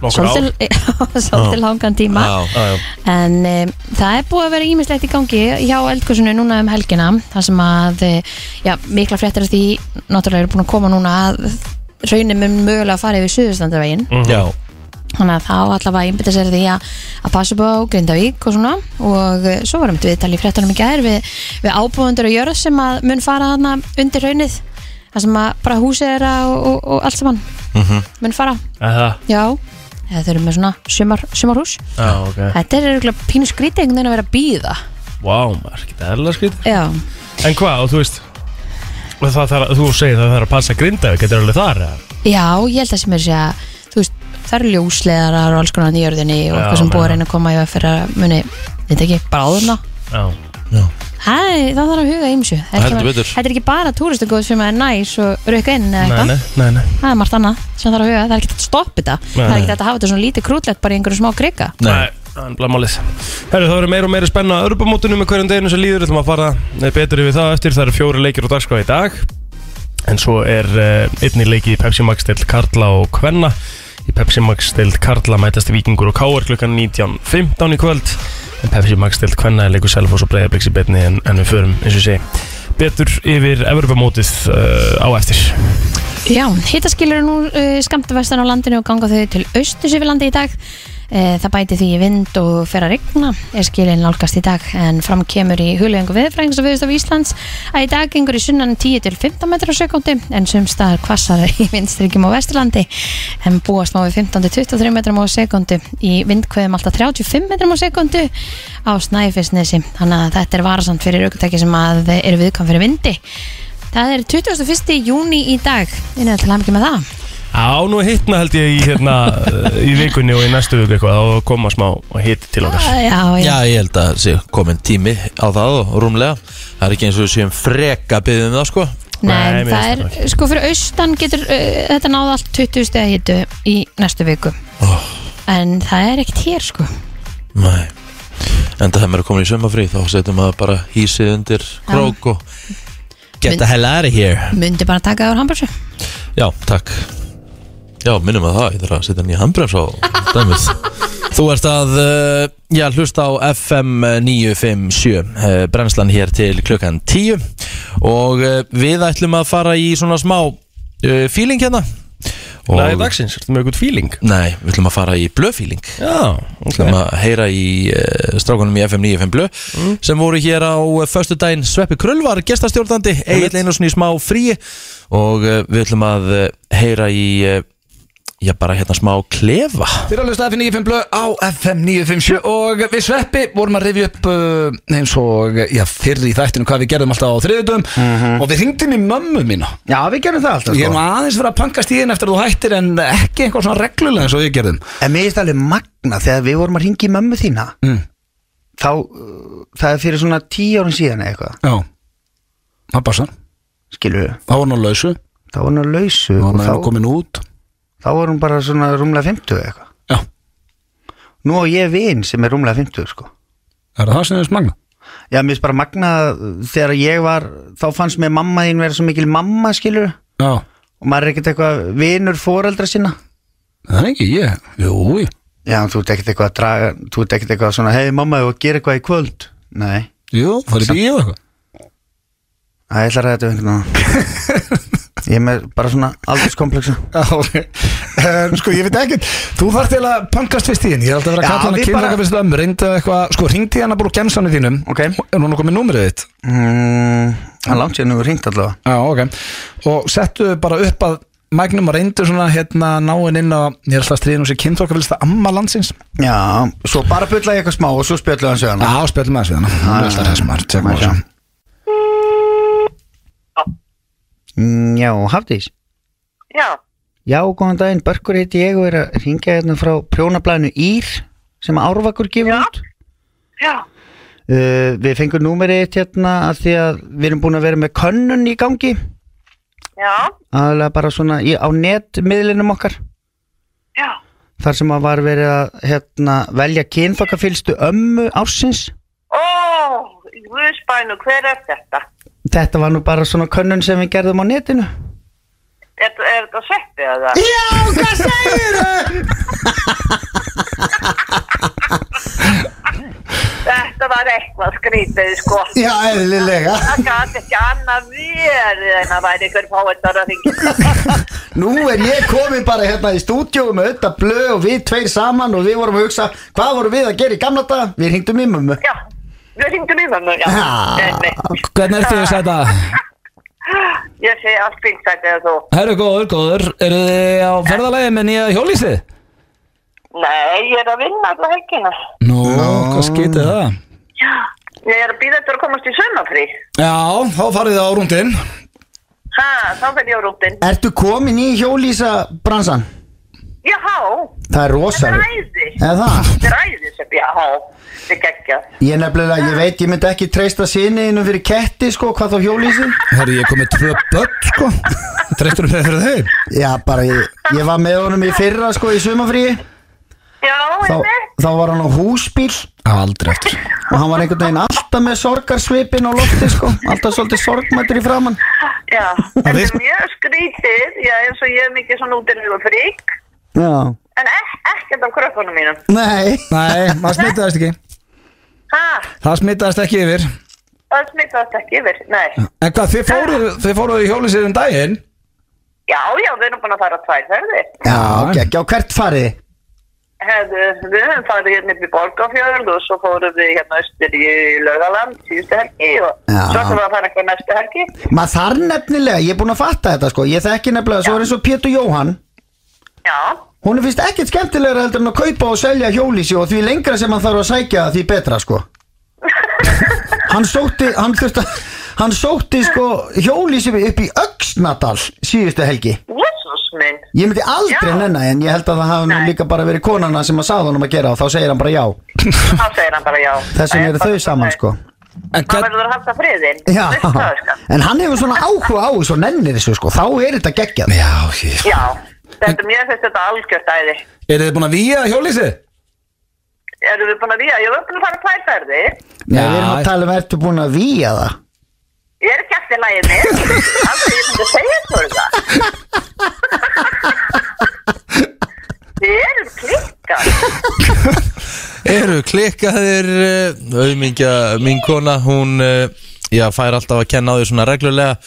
C: Nokkur ár
B: svolítil, svolítil langan tíma
A: Já
C: Já, já.
B: en um, það er búið að vera ímislegt í gangi hjá eldkursinu núna um helgina þar sem að eh, já, mikla fréttir af því náttúrulega eru búin að koma núna að raunin mun mögulega að fara yfir suðustandavegin
C: Mhm.
A: Já
B: þannig að þá allavega einbytta sér því að, að passa upp á Grindavík og svona og eh, svo varum við talið fréttunum í gær við, við ábúðundur og jörð sem að mun fara þarna undir raunnið það sem að bara húsið er að og, og, og allt saman
C: Mhm.
B: mun fara,
C: Aha.
B: já eða þau eru með svona sumar, sumarhús
C: Já, ok
B: þetta er eiginlega pínu skrítið einhvern veginn að vera að býða
C: Vá, maður, ekki það erlega skrið
B: já,
C: En hvað, og þú veist og það, þarf að- Þú segir það þarf að passa grindaðu, getur alveg þar eða?
B: já, ég held að sem er sér að þú veist, það eru ljósleðarar og alls konar í jörðinni og
C: Já,
B: eitthvað sem búið að
C: meina.
B: reyna að koma í að fyrir að muni, þetta ekki, bara áðurna
C: Já,
B: Hæ, það þarf að huga ýmsu Það er ekki-
A: Heldur betur.
B: Þetta er ekki bara túristagóð sem er næs og rauka inn eða
C: nei,
B: eitthvað
C: nei, nei, nei.
B: Það er margt annað sem þarf að huga, það er ekki hægt að stoppa þetta Það er
C: nei.
B: ekki hægt að hafa þetta svona lítið krútlegt bara í einhverju smá krika
A: Nei
C: það er blamálið Herru, það verður meira og meira spenna að örpamótunum með hverjum deginu sem líður, ætlum að fara eh, betur yfir það eftir, það eru fjóri leikir og dagskrá í dag en svo er uh, einni leiki í Pepsi Max til Karla og Kvenna í Pepsi Max til Karla mætast Víkingur og Káar klukkan 19.15 í kvöld en Pepsi Max til Kvenna er leikur Selfoss og Breiðabliks í betni en, en við förum, eins og sé betur yfir Evropamótið uh, á eftir
B: Já, hittaskilur nú uh, skamt vestan á landinu og ganga þau til austus yfir landi í dag Eh, Það bæti því í vind og fer að rigna er skilin nálgast í dag en fram kemur í hulöðingu viðfræðings og viðstof Íslands að í dag gengur í sunnan 10-15 metrar á sekundi en sumstaðar kvassar í vindstrykjum á Vesturlandi en búast má við 15-23 metrum á sekundu í vindkveðum alltaf 35 metrum á sekundu á Snæfisnesi þannig að þetta er varasamt fyrir aukutæki sem að eru viðkvæm fyrir vindi Það er 21. júni í dag innan til hamingju með það
C: Á, nú hittna held ég í, hérna, eh, í vikunni og í næstu viku eitthvað og koma smá og hitt til okkar
B: Ah, Já, já,
A: Já, ég held að sé komin tími á það og rúmlega Það er ekki eins og við séum freka byggðum það sko
B: Nei,
C: Nei, mér
B: það
C: finnst
B: er,
C: það
B: sko fyrir austan getur uh, þetta náða allt 20 steg hittu í næstu viku en það er ekkert hér sko
A: Nei Enda þegar maður er komin í sömafrí þá setjum maður bara hísið undir krók og Get the hell out of here
B: myndi bara taka það úr hambúrsu
A: Já, takk Já, minnum að það, ég þarf að setja nýja handbrems á dæmið Þú ert að, uh, já, hlusta á FM 957 uh, Brennslan hér til klukkan 10 Og uh, við ætlum að fara í svona smá uh, feeling hérna Og-
C: Lagi dagsins, ertu með eitthvað feeling?
A: Nei, við ætlum að fara í blöfíling
C: Já, ok
A: ætlum að heyra í uh, strákunum í FM 95 Blö
C: Mm.
A: sem voru hér á uh, föstu daginn Sveppi Krull var gestastjórnandi Egil Einarsson í smá fríi og uh, við ætlum að uh, heyra í uh, já bara hérna smá klefa
E: Þeir eru að hlusta FM 95 blöð á FM 957 og við sveppi vorum að rifja upp uh, eins og já, fyrr í þættinu hvað við gerðum alltaf á þriðutum og við hringdum í mömmu mína
F: Mhm. Já, við gerum það alltaf
E: Ég er nú
F: sko.
E: aðeins verið að pankast í þinn eftir að þú hættir en ekki eitthvað svona reglulega eins og við gerðum
F: En mér finnst alveg magna þegar við vorum að ringi mömmu þína
E: mm.
F: þá, uh, það er fyrir svona tíu árum síðan eða eitthvað,
E: Já, það bara sann
F: skilur við
E: Það var nú lausu,
F: þá var hún að lausu
E: það
F: og
E: var nú
F: þá,
E: komin út
F: þá var hún bara svona rúmlega 50 eða eitthvað
E: Já,
F: Nú á ég vin sem er rúmlega 50 sko
E: er það sem þess magna?
F: Já, mér finnst bara magna þegar ég var, þá fannst mér mamma þín vera svo mikil mamma, skilur
E: Já,
F: og maður er ekkert eitthvað vinur foreldra sinna
E: það er ekki ég Jú, jú.
F: Já, þú ert ekkert eitthvað að draga, þú ert ekkert eitthvað svona hei mamma, ég var að gera eitthvað í kvöld Nei,
E: jú, farið bíó eitthvað
F: það ætlar að þetta einhvern veginn Ég er með bara svona aldurskompleksa
E: Já, ok. um, sko, ég veit ekkert Þú þarf til að pankast við stíðin Ég er alltaf að vera að
F: Já,
E: kalla hana
F: við
E: kynleika
F: bara-
E: við stöðum Reyndu eitthvað, sko, ringdi hana bara úr gemsanu þínum
F: Ok.
E: Er hún okkur með númerið þitt?
F: mm, Hann langt sér nú hringt allavega
E: Já, ok Og settu bara upp að Magnum og reyndu svona hérna náinn inn á Ég er alltaf að stríðin og sé kynþokkafélsta amma landsins
F: Já, svo bara bulla ég eitthvað smá og svo spjallu hann sér hann
E: Já, spjöldum aðeins við hana Hún
F: Ah.
E: er alltaf þessum að tjekka á þessu.
F: Mm, Já, Hafdís
G: Já,
F: Já, góðan daginn, Börkur heiti ég og er að ringja hérna frá prjónablæðinu Ír sem að Árvakur gefur út
G: já,
F: uh, Við fengum númerið eitt hérna af því að við erum búin að vera með könnun í gangi
G: já,
F: aðalega bara svona í, á netmiðlinum okkar
G: já,
F: þar sem að var verið að hérna, velja kynþokkafylstu ömmu ársins
G: ó, í Guðsbænu, hver er þetta?
F: þetta var nú bara svona könnun sem við gerðum á netinu
G: Er, er þetta sveppið eða? Já, hvað segir þau? þetta var eitthvað skrítið, sko.
F: Já, eðlilega
G: Það gæti ekki annað verið en að væri ykkur fáettar að ringja.
F: Nú er ég komin bara hérna í stúdíó með auðvitað blöð og við tveir saman og við vorum að hugsa hvað vorum við að gera í gamla dag Við hringdum í mömmu
G: Já, við ringdum í mömmu, já. Einmitt.
E: Hvernig er þið þetta?
G: Ég sé allt fínt þetta eða þú.
E: Herru góður, góður Eru þið á ferðalagi með nýja hjólísið?
G: Nei, ég er að vinna alla helgina.
E: Nú, hvað skytið það?
G: Já. Ég er að býða eftir að komast í sömafrí.
E: Já, þá farið þið á rúndin
G: Ha, þá fer ég á rútin.
F: Ertu komin í hjólísa bransan?
G: Jáhá,
F: Það er
G: þetta er
F: rosalega
G: æði.
F: Eða það?
G: Þetta er æði sem ég á. Þetta er geggjað.
F: Ég nefnilega, ég veit, ég myndi ekki treysta sinniðinu fyrir ketti, sko, hvað þá hjólísi
E: Herru, ég kom með tvö börn, sko Treystur um þeir fyrir þeim?
F: Já, bara, ég, ég var með honum í fyrra, sko, í sumafríi
G: Já,
F: þá,
G: einmitt.
F: þá var hann á húsbíl
E: Aldrei eftir
F: og hann var einhvern veginn alltaf með sorgarsvipin á lofti, sko Alltaf svolítið sorgmættur í framann
G: Já, þetta
E: við-
G: er mjög skrítið. Já, eins og ég er mikið svona útinnum og frík.
F: Já
G: En e ekkert af krökkunum mínum.
F: Nei
E: Nei, það smitaðist ekki
G: Ha,
E: Það smitaðist ekki yfir
G: það smittast ekki yfir. Nei.
E: En hvað, þið fóruð, þið fóruð í hjólísið um daginn?
G: Já, já, við erum búin að fara tvær ferðir.
F: Já, ekki á hvert farið
G: Hefðu, við höfum farið hérna upp í Borgafjörð og svo fórum við hérna austur í Laugaland síðustu helgi og
F: Já.
G: svo ætlum við að fara eitthvað næstu helgi.
F: Maður þar nefnilega, ég er búin að fatta þetta sko Ég þekki nefnilega, svo er eins og Pétur Jóhann
G: Já,
F: Hún er finnst ekkert skemmtilegra heldur en að kaupa og selja hjólísi og því lengra sem hann þarf að sækja því betra sko Hann sótti, hann þurfti að Hann sótti sko hjólísi upp í Öxnadal síðustu helgi
G: jésús minn.
F: Ég myndi aldrei
G: Já.
F: nenni en ég held að það hafi nú
G: Nei.
F: líka bara verið konana sem að sagði honum að gera og þá segir hann bara já
G: Þá segir hann bara já.
F: Þess vegna
G: Það er
F: eru
G: bara
F: þau saman
G: þannig.
F: sko
E: En
G: Það
E: hvern,
G: verður að halda friðin.
F: Já,
G: Veistu það, sko?
F: en hann hefur svona áhuga á þessu og nennir þessu sko, þá er þetta geggjað
E: Já, ég
G: Já, þetta mér finnst þetta algjört æði.
E: Eru þið búin að víja hjólísið?
G: Erum við búin að ríða? Ég er búin að fara tvær ferðir.
F: Nei, við erum
E: Já.
F: að tala um ertu búin að víja það
G: Ég er ekki eftir lægið mér. Alltaf ég myndi segja þú það. Þið erum klikkað.
A: Eru klikkaðir uh, auðmingja mín kona hún uh, já, fær alltaf að kenna á því svona reglulega uh,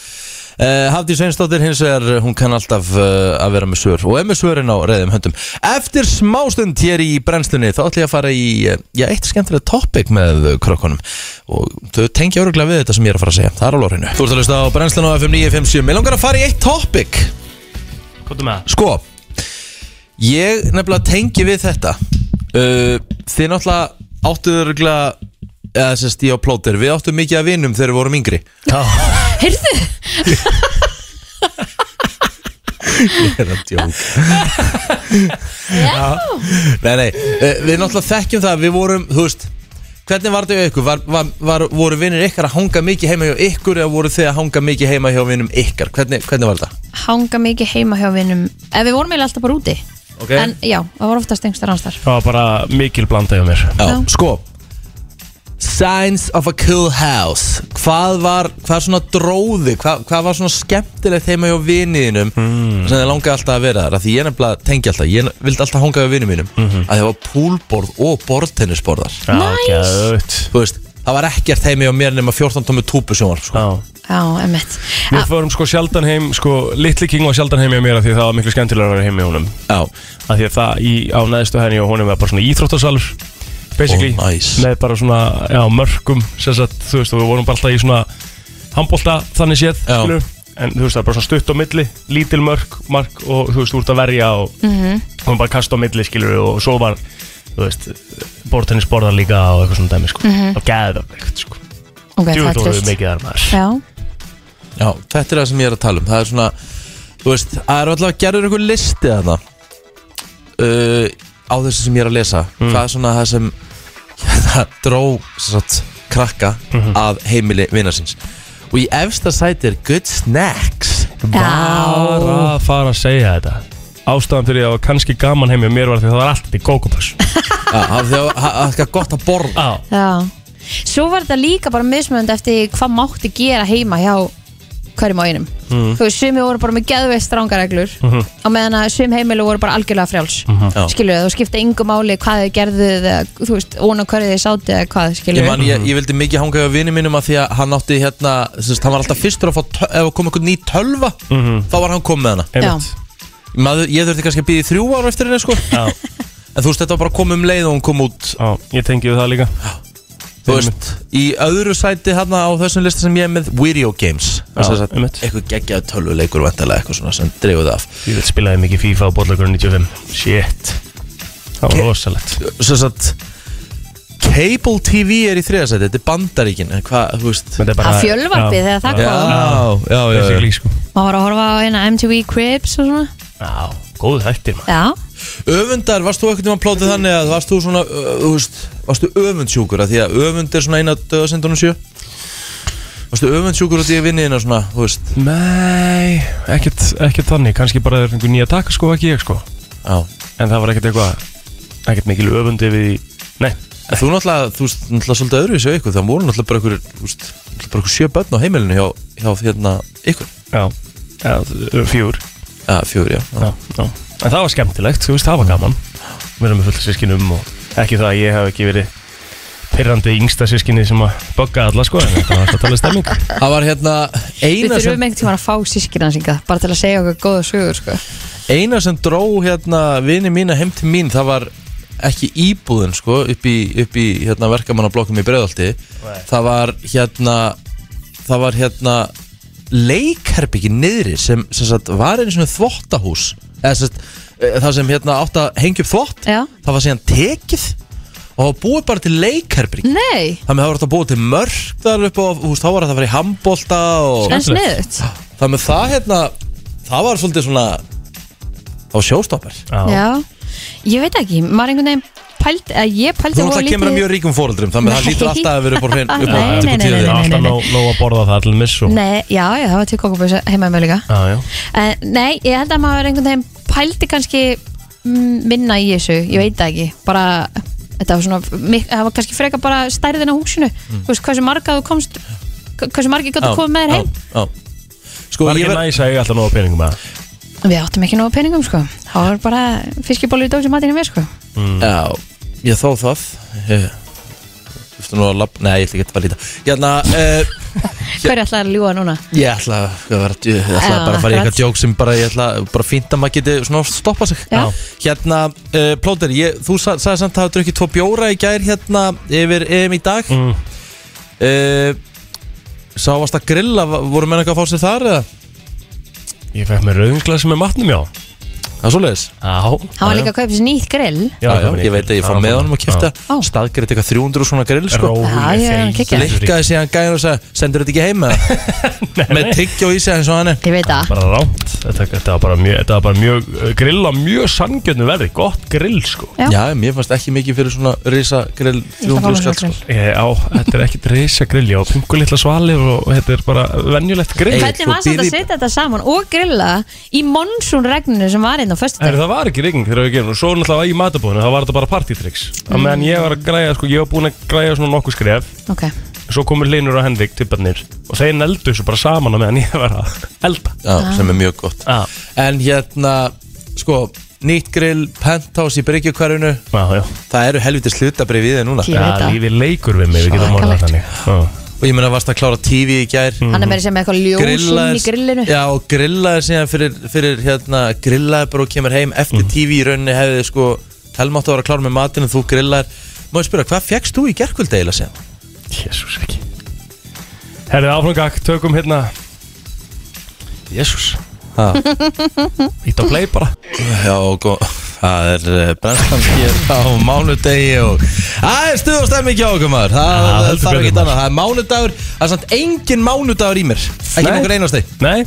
A: Hafdís Sveinsdóttir hins vegar eh, hún kann alltaf uh, að vera með svör og er með svörin á reyðum höndum Eftir smástund hér í brennstunni þá ætla ég að fara í eh, já, eitt skemmtilega topic með eh, krökkunum og þau tengja öruglega við þetta sem ég er að fara að segja það er á lórinu Þú ert að hlusta á brennslun á FM 957 Mér langar að fara í eitt topic
C: Hvað er með það?
A: Sko Ég nefnilega tengi við þetta uh, Þið náttúrulega áttuðu örgulega eða sérst ég á plóter, við áttum mikið að vinum þegar við vorum yngri
B: Heyrðu,
A: Ég er að djók Nei, nei, uh, við náttúrulega þekkjum það við vorum, þú veist hvernig var þetta hjá ykkur, var, var, var, voru vinir ykkar að hanga mikið heima hjá ykkur eða voru þið að hanga mikið heima hjá vinum ykkar hvernig, hvernig var þetta?
B: hanga mikið heima hjá vinnum Ef við vorum eiginlega alltaf bara úti
A: Ok.
B: En já, það var oftast einhversta rannstar
C: Það var bara mikil blandaðið mér.
A: Já,
B: Já.
A: sko Signs of a Cool House Hvað var, hvað svona dróði hvað, hvað var svona skemmtilegt heima hjá viniðinum
B: Hmm.
A: sem þið langaði alltaf að vera þar af því ég nefnilega tengi alltaf, ég vildi alltaf hanga hjá vinið mínum
B: Mhm.
A: að það var púlborð og borðtennisborðar
B: Nice.
C: Ágæðut
A: þú veist, það var ekkert heimi hjá mér nema 14 tómi túpusjónvarp sko.
C: Já
B: Já, emmitt
C: Við fórum sko sjaldan heim, sko, Little King var sjaldan heim hjá mér af því að það var miklu skemmtilega að vera heim hjá honum
A: Já,
C: af því að það í, á neðstu henni og honum var bara svona íþróttasalur basically,
A: Ó, Oh, nice.
C: með bara svona já, mörkum, sem sagt, þú veist og við vorum bara alltaf í svona handbólta þannig séð,
A: Já.
C: skilur en þú veist það er bara svona stutt á milli, lítil mörk mark og þú veist, þú ert að verja og mm hún bara kasta á milli, skilur og svo var, þú veist bortennisborðar líka og eitthvað svona dæmi, sko og geðvegt, sko,
B: Ok, það
C: djúið
B: er
C: þú við
B: trist
C: mikið þar maður
B: Já,
A: já, þetta er það sem ég er að tala um Það er svona, þú veist, það er alltaf gerður einhver listi þarna uh, á þessu sem ég er að lesa Hvað er svona það sem það dró satt, krakka að heimili vinnarsins Og í efsta sæti er Good Snacks
C: var
B: Já.
C: að fara að segja þetta ástæðan fyrir að það var kannski gaman heim hjá mér var því að það var allt í kókupass
A: Já, það það- það er gott að borða
C: á,
B: já Svo var þetta líka bara mismönd eftir hvað mátti gera heima hjá hverjum á einum
A: Mhm.
B: Þú veist, sumi voru bara með geðveist strangareglur mm -hmm. á meðan að sum heimilu voru bara algjörlega frjáls mm
A: Mhm. Já.
B: -hmm. Skilur þú skipta yngu máli hvað þau gerðu eða, þú veist, ón og hverju þau sátu eða hvað, skilur
A: Ég, man, ég, ég vildi mikið hanga hjá vini mínum að því að hann átti hérna, þess, hann var alltaf fyrstur að fá, töl- ef kom einhvern ný tölva þá var hann komið með hana
C: einmitt
A: Maður, Ég þurfti kannski að býði þrjú ára eftir henni sko
C: Já.
A: En þú veist, þetta var bara að koma um leið og hún kom út
C: á, ég tengi við það líka
A: Þú veist, í öðru sæti hérna á þessum lista sem ég er með Video Games
C: Já,
A: Þess að-
C: einmitt.
A: Eitthvað geggjaðu tölvuleikur vantarlega eitthvað svona sem dreifu það af
C: ég veit spilaði mikið FIFA á bollagur 95 shit, það var rosalegt
A: Þess að Cable TV er í þriða sæti, þetta er bandaríkin En hvað, þú veist
C: Þetta er bara-
B: Að fjölvarpið
C: Já.
B: þegar það
A: Já,
B: kom
A: já, já, já.
C: Basically, sko.
B: Má var að horfa á hérna eina MTV Cribs og svona
C: já, góð hættir maður
B: Já,
A: Öfundar, varst þú ekkert um að plótið þannig að varst þú svona, ö- þú veist, varstu öfundsjúkur að því að öfund er svona eina döðasendunum sjö? Varstu öfundsjúkur að því að vinni hérna svona, þú veist,
C: nei, ekkert, ekkert þannig kannski bara þeir fengur nýja taka sko, ekki ég sko
A: já.
C: en það var ekkert eitthvað ekkert mikil öfundi við í- nei,
A: En þú náttúrulega, þú veist, náttúrulega svolítið öðru í sig ykkur, það voru náttúrulega bara ykkur, þú veist, náttúrulega bara ykkur sjö börn á heimilinu hjá, hjá hérna ykkur.
C: já, já fjúr
A: Já, fjögur, já. já.
C: já, já. En það var skemmtilegt, þú veist, það var gaman Við erum með fullt sískinum og ekki það að ég hef ekki verið pyrrandi yngsta sískinni sem að bögga alla sko en þetta var alltaf talað stemming
A: Það var hérna
B: við
A: eina
B: þurfum
A: sem,
B: einhvern tímann að fá sískinansingað bara til að segja okkur góða sögur sko.
A: eina sem dró hérna vini mína heim til mín, það var ekki íbúðin, sko, upp í, upp í hérna verkamannablokkum í Breiðolti. Það var hérna það var hérna leikherbyggi niðri sem, sem sagt, var einu svona þvottahús eða sem sagt, e, það sem hérna átt að hengja upp þvott
B: Já.
A: það var síðan tekið og það var búið bara til leikherbyggi
B: Nei,
A: þannig að það var þetta búið til mörg þar upp og þú veist, þá var þetta að fara í handbolta og
B: en sniðut
A: þannig að það hérna það var svolítið svona það var sjóstoppar
C: Já,
B: Já, ég veit ekki, maður einhvern veginn pælt, að ég pælti
A: þú náttúrulega kemur að mjög ríkum fóreldrum þannig að það
B: Nei.
A: lítur alltaf að vera upp á hrein upp á
B: Nei,
A: upp á
B: nei, nei,
A: tíu
B: nei,
A: þeirra.
B: nei.
C: alltaf nóg, nóg að borða það allir miss og
B: Nei, já, já, það var til kokkabösa heima með líka
C: Já, já,
B: en, Nei, ég held að maður einhvern veginn pælti kannski mm, minna í þessu, ég veit það ekki bara, þetta var svona mik- það var kannski frekar bara stærðin á húsinu þú veist, hversu marga þú komst hversu margi gott
A: Já,
B: að koma með þér heim
A: já, já. sko
C: var
A: ég
C: ekki
A: verð
C: næs að ég alltaf nóg að um peningum að
B: Við áttum ekki nógu peningum, sko það var bara fiskibólur í dósi matinn við, sko
A: Já, ég þó það Ég Þú veist nú að lapp Nei, ég ætla ekki að fara að líta Hérna, uh,
B: Hverju ætlaði að ljúga núna?
A: ég ætla að vera Ég ætla
B: Já,
A: bara að fara í
B: akkurat.
A: eitthvað djók sem bara Ég ætla bara fínt að maður geti svona stoppað sig
B: Já.
A: Hérna, uh, Plóter, ég, þú sa, sagði samt að hafa drukkið tvo bjóra í gær Hérna yfir EM í dag mm. Sá varst að grilla va- Voru menn eitthvað að fá sér þar eða?
C: Ég fekk mér rauðingsglasi með matnum, já
A: Það er svoleiðis
C: Já,
B: Hann var líka að kaupa sér nýtt grill
A: Já, já, ég veit að ég fór með honum að kipta
B: Já.
A: Staðgrið eitthvað 300 svona grill sko.
B: Já, já,
C: Róleg
B: kekja.
C: þeir
A: Likkaði síðan gæðin og sagði Sendur þetta ekki heim með það Með tyggja í sig eins og hann er
B: Ég veit það
C: Bara rámt Þetta, þetta var bara mjög, þetta var bara mjög eh, grill á mjög sangjöndum verði, gott grill sko
B: Já.
A: Já, mér fannst ekki mikið fyrir svona risa grill
B: Ég ætla að fá
A: 300
B: mér svona
A: skall sko.
B: grill.
C: Ég, á, þetta er ekkert reysa grill, já, pingu litla svalir og þetta er bara venjulegt grill
A: Hey,
B: Hvernig
A: sko,
B: var samt að
A: byrði-
B: setja þetta saman og grilla í monsunregninu sem var hérna á föstudag
C: Herri, það var ekki rigning þegar við gerum og svo náttúrulega í matabóðinu, það var þetta bara partytricks mm. meðan ég var að græja, sko, ég var búin að græja svona nokkuð skref,
B: Ok,
C: svo komur Linur og Henrik tipparnir og þeir neldu þessu bara saman á meðan ég var að elda
B: Ah.
A: Já, sem er mjög gott
C: Já.
A: En hérna, sko Nýtt grill, penthouse í Bryggjökvarfinu
C: Já, já,
A: Það eru helvitis hlutabrið við þeir núna
B: Ég
C: já
B: veit það.
C: lífið leikur við mig, við getum orðað
B: Svakalegt.
C: þannig Já.
A: Og ég meina varst að klára TV í gær
B: hann er meira sem eitthvað ljós inn í grillinu
A: Já, og grillaðir síðan fyrir, fyrir hérna, grillaðir bara og kemur heim eftir
C: Mm.
A: TV í rauninni hefði sko helmátt að vera klár með matinn en þú grillaðir Má ég spyrja, hvað fekkst þú í gerkvöld eiginlega síðan?
C: Jésús ekki Herrið áframgak, tökum hérna Jésús
A: Ha.
C: Ít á play bara
A: Já, og gó- það er eh, brennslan hér á mánudegi og það er stuð og stemming hjá okkur maður það,
C: Já,
A: það
C: heldur
A: þarf
C: betur,
A: ekki
C: maður.
A: annað, það er mánudagur það er samt engin mánudagur í mér ekki
C: Nei.
A: nokkur einasti
C: Nei,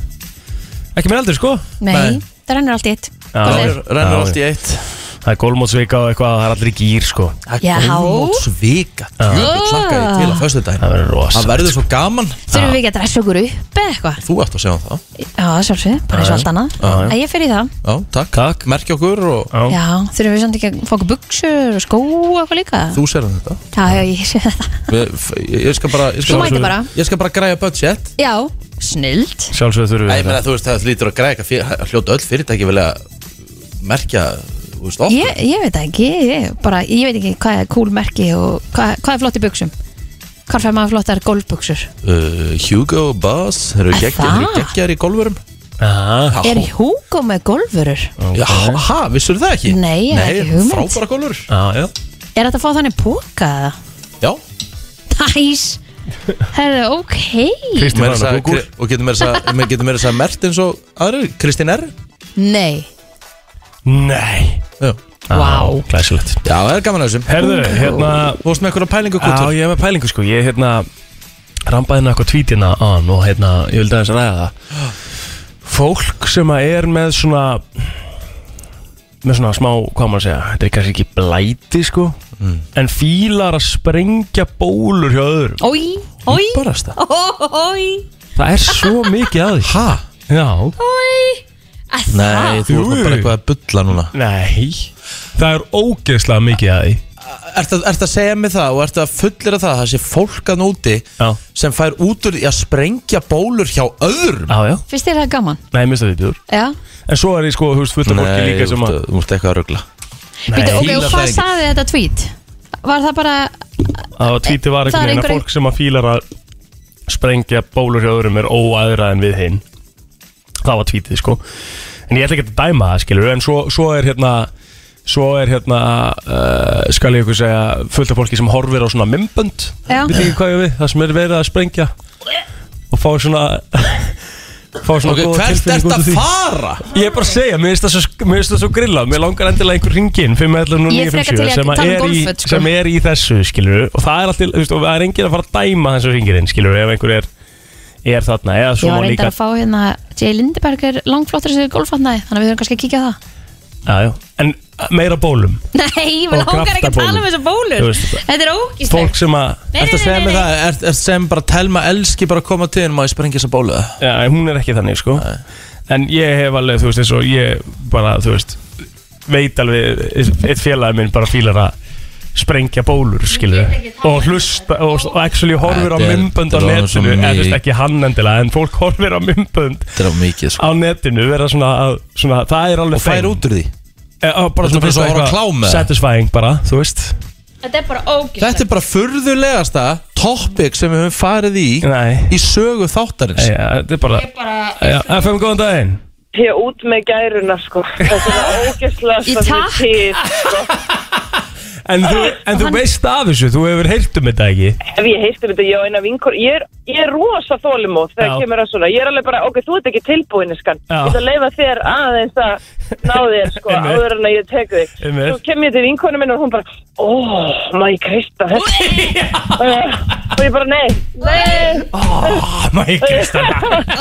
C: ekki mér heldur sko
B: Nei,
A: Nei.
B: það rennur allt í eitt
C: Já,
A: það
B: Gott er.
A: er- rennur
C: Já,
A: allt í eitt
C: Það er gólmótsvika og eitthvað, það er allir í gýr sko
A: það
B: Já.
A: er góðmótsvika djöfull hlakka ég til að föstu dag
C: Það verður rosa
A: það verður svo gaman
B: Þurfum við ekki að dressa okkur upp eða eitthvað?
A: þú ert að segja um það
B: Já, sjálfsög, bara eins og allt annað
C: Já, já.
B: Að ég fer í það
A: Já, takk. takk Merki okkur og
C: Já.
B: Já, þurfum við samt ekki að fá okkur buksur og skó og eitthvað líka
A: þú sér um þetta
B: Já, já, ég sé þetta
A: Við- f- ég ég skal bara ég
B: Þú
A: skal,
B: mætir bara.
A: ég skal bara græja budget
B: Já, snild
C: Sjálfsögðu þurfum
A: Nei, ég
C: við
A: meina
C: þetta
A: þú veist það lítur að græja eitthvað fyrir- hljóta öll fyrirtæki vilja merkja þú veist okkur
B: ég, ég veit það ekki, ég, bara, ég veit ekki hvað er cool merki og hvað, hvað er flott í buksum Hvar fær maður flottar golfbuksur?
A: uh, Hugo Boss Þeir eru
B: Er
A: geggjar- þeir
B: það?
A: eru geggjar í golfurum
C: Já,
A: Já,
B: Er Hugo með golfurur?
A: já, ha, vissur það ekki?
B: Nei, ég hef ekki hugmynd.
A: frábæra golfur
C: já, Ah, já
B: Er þetta að fá þannig póka eða?
A: Já,
B: Næs Herðu, ok
C: Kristi
A: meira að
C: var hann
A: segja-
C: að kúkur
A: og getur meira að segja- getur meira að segja mert eins og aðri, Kristín R
B: Nei,
C: Nei
A: Já,
B: Vá.
C: Glæsilegt
A: já það er gaman að þessum
C: Herðu, hérna
A: Þú veist með einhverja pælingu
C: Já,
A: kútur
C: ég er með pælingu sko Ég hérna rambaði hérna eitthvað tvítina á hann og hérna, ég vildi aðeins ræða það Fólk sem að er með svona með svona smá, hvað maður að segja þetta er kannski ekki blæti sko
A: Mm.
C: en fílar að sprengja bólur hjá öðrum
B: oi, oi
A: Barast það
B: Oi,
C: Það er svo mikið að því
A: Ha?
C: Já,
B: oi Að það?
A: Nei, þú
C: Jú,
A: ert nú
C: jú.
A: bara eitthvað að bulla núna
C: nei Það er ógeðslega mikið að því
A: Ertu að- ertu að segja mig það og ertu að fullera það að það sé fólk að núti
C: Já,
A: sem fær út úr í að sprengja bólur hjá öðrum
C: já, já,
B: Fyrst er það gaman
C: nei, mista við bjóður
B: Já
C: En svo er ég sko, þú veist, fullt af fólki líka
A: þú
C: sem að
A: ert- þú ert eitthvað að rugla
B: Býtu, ok,
A: fílar
B: og
A: það
B: hvað
A: ekki.
B: saði þetta tweet? Var það bara
C: Það var tvítið var
B: Það
C: einhvern
B: er
C: veginn að
B: einhver-
C: fólk sem að fílar að sprengja bólur hjá öðrum er óæðra en við hinn Það var tvítið sko En ég ætla ekki að dæma það skilur En svo, svo er hérna Svo er hérna uh, Skal ég ykkur segja fullt af fólki sem horfir á svona mymbönd
B: Já.
C: Við ekki hvað ég á við Það sem er verið að sprengja Og fá svona Fá svona
A: Ok,
C: góða
A: hvert
C: tilfinningu
A: ert
C: út úr
A: að
C: því.
A: fara?
C: Ég er bara að segja, mér finnst það svo, mér finnst það svo grilla Mér langar endilega einhver ringin
B: Ég er frekar til í að
C: 511 sem,
B: tala
C: að
B: um
C: er í-
B: golfföt, sko.
C: sem er í þessu skilur og það er, alltaf, veist, og það er engin að fara að dæma þessu ringirinn skilur ef einhver er, er þarna eða
B: Ég
C: svo
B: var
C: má
B: reyndar
C: líka
B: að fá hérna Jay Lindeberg er langflottur þessu golfatnaði Þannig að við höfum kannski að kíkja á það
C: já, já. En meira bólum
B: Nei, við
C: Og
B: langar ekki að
C: kraftabólur.
B: tala um þessar bólur
C: Þú veist þetta.
B: Þetta er ógíslega
C: Fólk sem að
B: Nei,
A: Ertu að
B: nei,
A: segja
B: nei,
A: mig
B: nei.
A: það? Ertu er sem bara telma elski bara að koma til en má ég sprengja þessa bólu?
C: já, Hún er ekki þannig sko En ég hef alveg, þú veist, eins og ég bara, þú veist Veit alveg, eitt félagi minn bara fílar að sprengja bólur, skilur og hlusta, og, og actually horfir á
A: Þetta er-
C: mymbönd á
A: þetta er orðið svo
C: netinu en þú veist,
A: mikið.
C: ekki hann endilega, en fólk horfir á mymbönd
A: Þetta er á mikið
C: á
A: sko
C: netinu vera svona, að, svona það er alveg
A: Og fær
C: fame.
A: út úr því
C: e, á, bara
A: Þetta er bara
C: fyrst
A: svo að horfa á
C: eitthvað
A: klám, eða?
C: satisfying bara, þú veist
B: Þetta er bara ógíslega
A: Þetta er bara furðulegasta topic sem við höfum farið í
C: nei,
A: í sögu þáttarins
C: ja, þetta er bara, bara ja, FM góðan daginn
G: Ég út með gæruna, sko. Þetta er ógeðslega
B: Í takk?
G: til.
C: en þú, en þú veist af þessu, þú hefur heyrt um þetta ekki
G: Ef ég heist um þetta, ég á eina vinkor. Ég er, ég er rosa þólimóð þegar
C: Já.
G: kemur að svona. Ég er alveg bara, ok, þú ert ekki tilbúin, skan.
C: Já.
G: Ég ætla að leifa þér aðeins að ná þér, sko,
C: Einmitt.
G: áður en að ég tek þig.
C: Einmitt.
G: Svo kem ég til vinkonu minn og hún bara, oh, my Krista, þetta. Eh, og ég bara, nei, nei.
C: oh my god,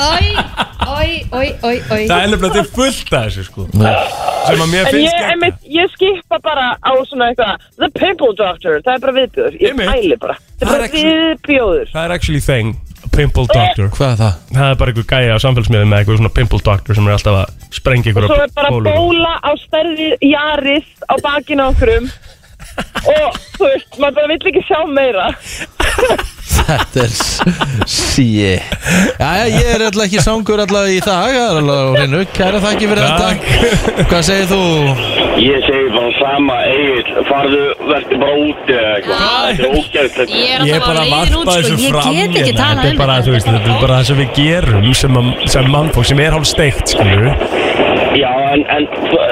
B: Oi, oi, oi, oi, oi
C: það er nefnilega til fullt af þessu sko sem að mér
G: En
C: finnst
G: ég,
C: gegn-
G: einmitt, ég skipa bara á svona eitthvað The Pimple Doctor, það er bara viðbjóður Ég
C: Einmitt.
G: pæli bara, það er
C: Það er
G: bara
C: ekki-
G: viðbjóður
C: það er actually thing, a pimple doctor
A: Hvað er það?
C: það er bara einhver gæja á samfélsmiðum með eitthvað svona pimple doctor sem er alltaf að sprengi ykkur
G: svo er bara bóla á stærði jaris á bakinu á okkurum og þú veist, maður bara vill ekki sjá meira
A: Þetta er síi Jæja, ég er alltaf ekki sangur alltaf í dag Það er alltaf á hreinu Kæra þakki fyrir þetta Hvað segir þú?
H: Ég segi bara sama, Egil, farðu, verður bara úti eða eitthvað. Þetta er ógæðslegt.
B: Ég er
C: Ég er
B: alltaf
C: bara
B: bara
C: að
B: leiðin út sko.
C: varpa þessu
B: Ég
C: fram
B: get ekki
C: hérna.
B: talað
C: Þetta er
B: um
C: bara, þú veist, þetta er bara það sem við gerum sem, að- sem mannfólk sem er hálf steikt, skilur
H: Já, en, en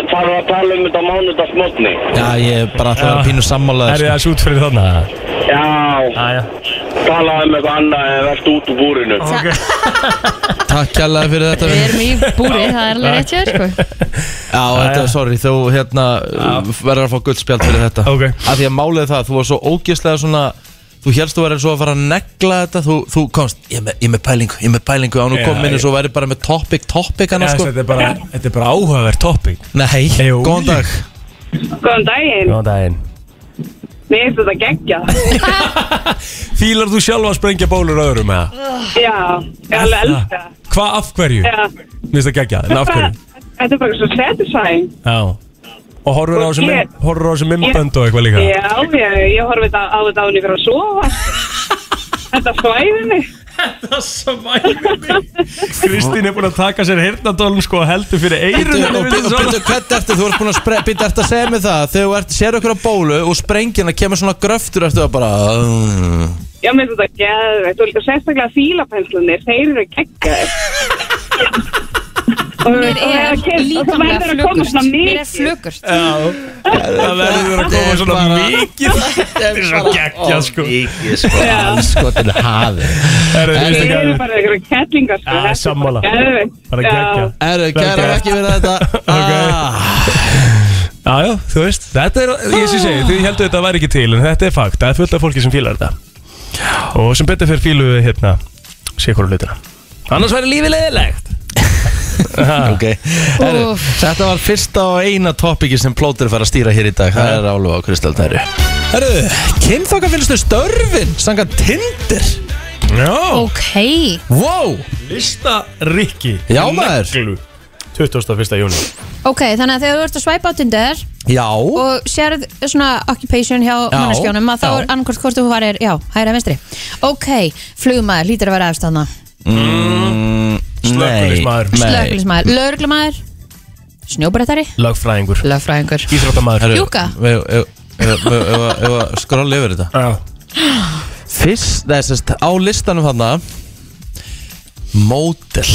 H: farðu að tala um þetta mánudagsmotni.
A: Já, ég er bara alltaf að vera pínu sko. sammála
C: Er
A: þér,
C: það þessu út fyrir þarna?
H: Já,
C: Æja
H: tala um eitthvað annað en verður út úr búrinu.
A: sko. Takk kærlega fyrir þetta
B: Við
A: vinur.
B: erum í búri, það er alveg rétt hjá þér, sko.
A: Já, þetta er sorry Þú hérna verður að fá guldspjald fyrir þetta
C: Ok.
A: Af því að málið er það Þú var svo ógeðslega svona Þú helst þú verður svo að fara að negla þetta Þú, þú komst, ég er með, ég er með pælingu, ég er með pælingu Án og
C: Já,
A: kom inn
C: ég-
A: og svo verður bara með topic, topic annars, sko.
C: Þetta er bara, þetta er bara áhugaverð topping
A: Nei,
C: Jú.
A: góðan dag
G: Góðan daginn,
C: Góðan daginn
G: mér finnst þetta geggja
C: Fílar þú sjálf að sprengja bólur öðrum eða?
G: Já, ég alveg elska það. Eh.
C: Hvað af hverju?
G: Já.
C: Mér finnst það geggja, en af hverju?
G: Þetta er bara svo satisfying
C: Já Og horfur á þessu
G: Ég-
C: mim- horfir á þessu mimbönd og eitthvað líka?
G: Já, ég, ég horfi þetta á þetta án ykkur að sofa Þetta svæði mig
C: Það svæði mig Kristín er búin að taka sér hirtadólum sko og heldur fyrir eyrun
A: Og byrju, hvernig ertu, þú ert búin að byrja eftir að segja mig það Þegar þú ert, sér okkur á bólu og sprengina kemur svona gröftur eftir að bara uh,
G: Já, mér finnst þetta geðveikt og líka sérstaklega fílapenslunir, þeir eru geggjaðir Og þú
B: Mér
G: veist, og það
B: er
G: að kynna- og það
B: líkamlega
G: verður að koma
B: flugurt
G: svona
B: Mér er
G: mikið
B: flugurt
C: Það verður að koma svona mikið Þetta er svo geggja sko
A: Skotin hafi
C: Það
G: Þeir
C: er
G: eru
C: ekki
G: bara einhverja kettlingar sko,
C: Já,
G: þetta er
C: sammála.
G: bara geðveikt.
C: Bara
G: Já.
C: geggja
A: Erðu, kæra
C: Ok.
A: ekki verið þetta
C: Ok.
A: Ah,
C: Jájá, þú veist Þetta er, ég sé segi, þið heldur þetta væri ekki til En þetta er fakt, það er fullt af fólki sem fílar þetta Og sem betur fyrir fílu hérna Sér hverju hlutina Annars væri lífið leðilegt
A: okay. Herru,
B: Úff.
A: Þetta var fyrsta og eina topiki sem plótur fær að stýra hér í dag Það er álfa á Kristaltæri Herru, kynþokka finnstu störfin Sanga Tinder
C: Já,
B: Ok,
A: Wow,
C: lista Rikki
A: Já, maður.
C: Neglu. 21. júni
B: ok, þannig að þegar þú ert að svæpa á Tinder
A: já
B: og sérð svona occupation hjá
A: Já,
B: manneskjónum að þá
A: já.
B: er annarkvort hvort þú varir, já, hæra vinstri Ok, flugmaður, lítur að vera efstæðna
C: Mm. Slökkulismæður
B: Slökulismæður, lögreglumæður Snjóbrettari,
C: Lögfræðingur
B: lögfræðingur
C: Íþróttamaður
B: Júka.
A: Skróli yfir þetta
C: Já
A: Fyrst, það er sérst á listanum þarna Módel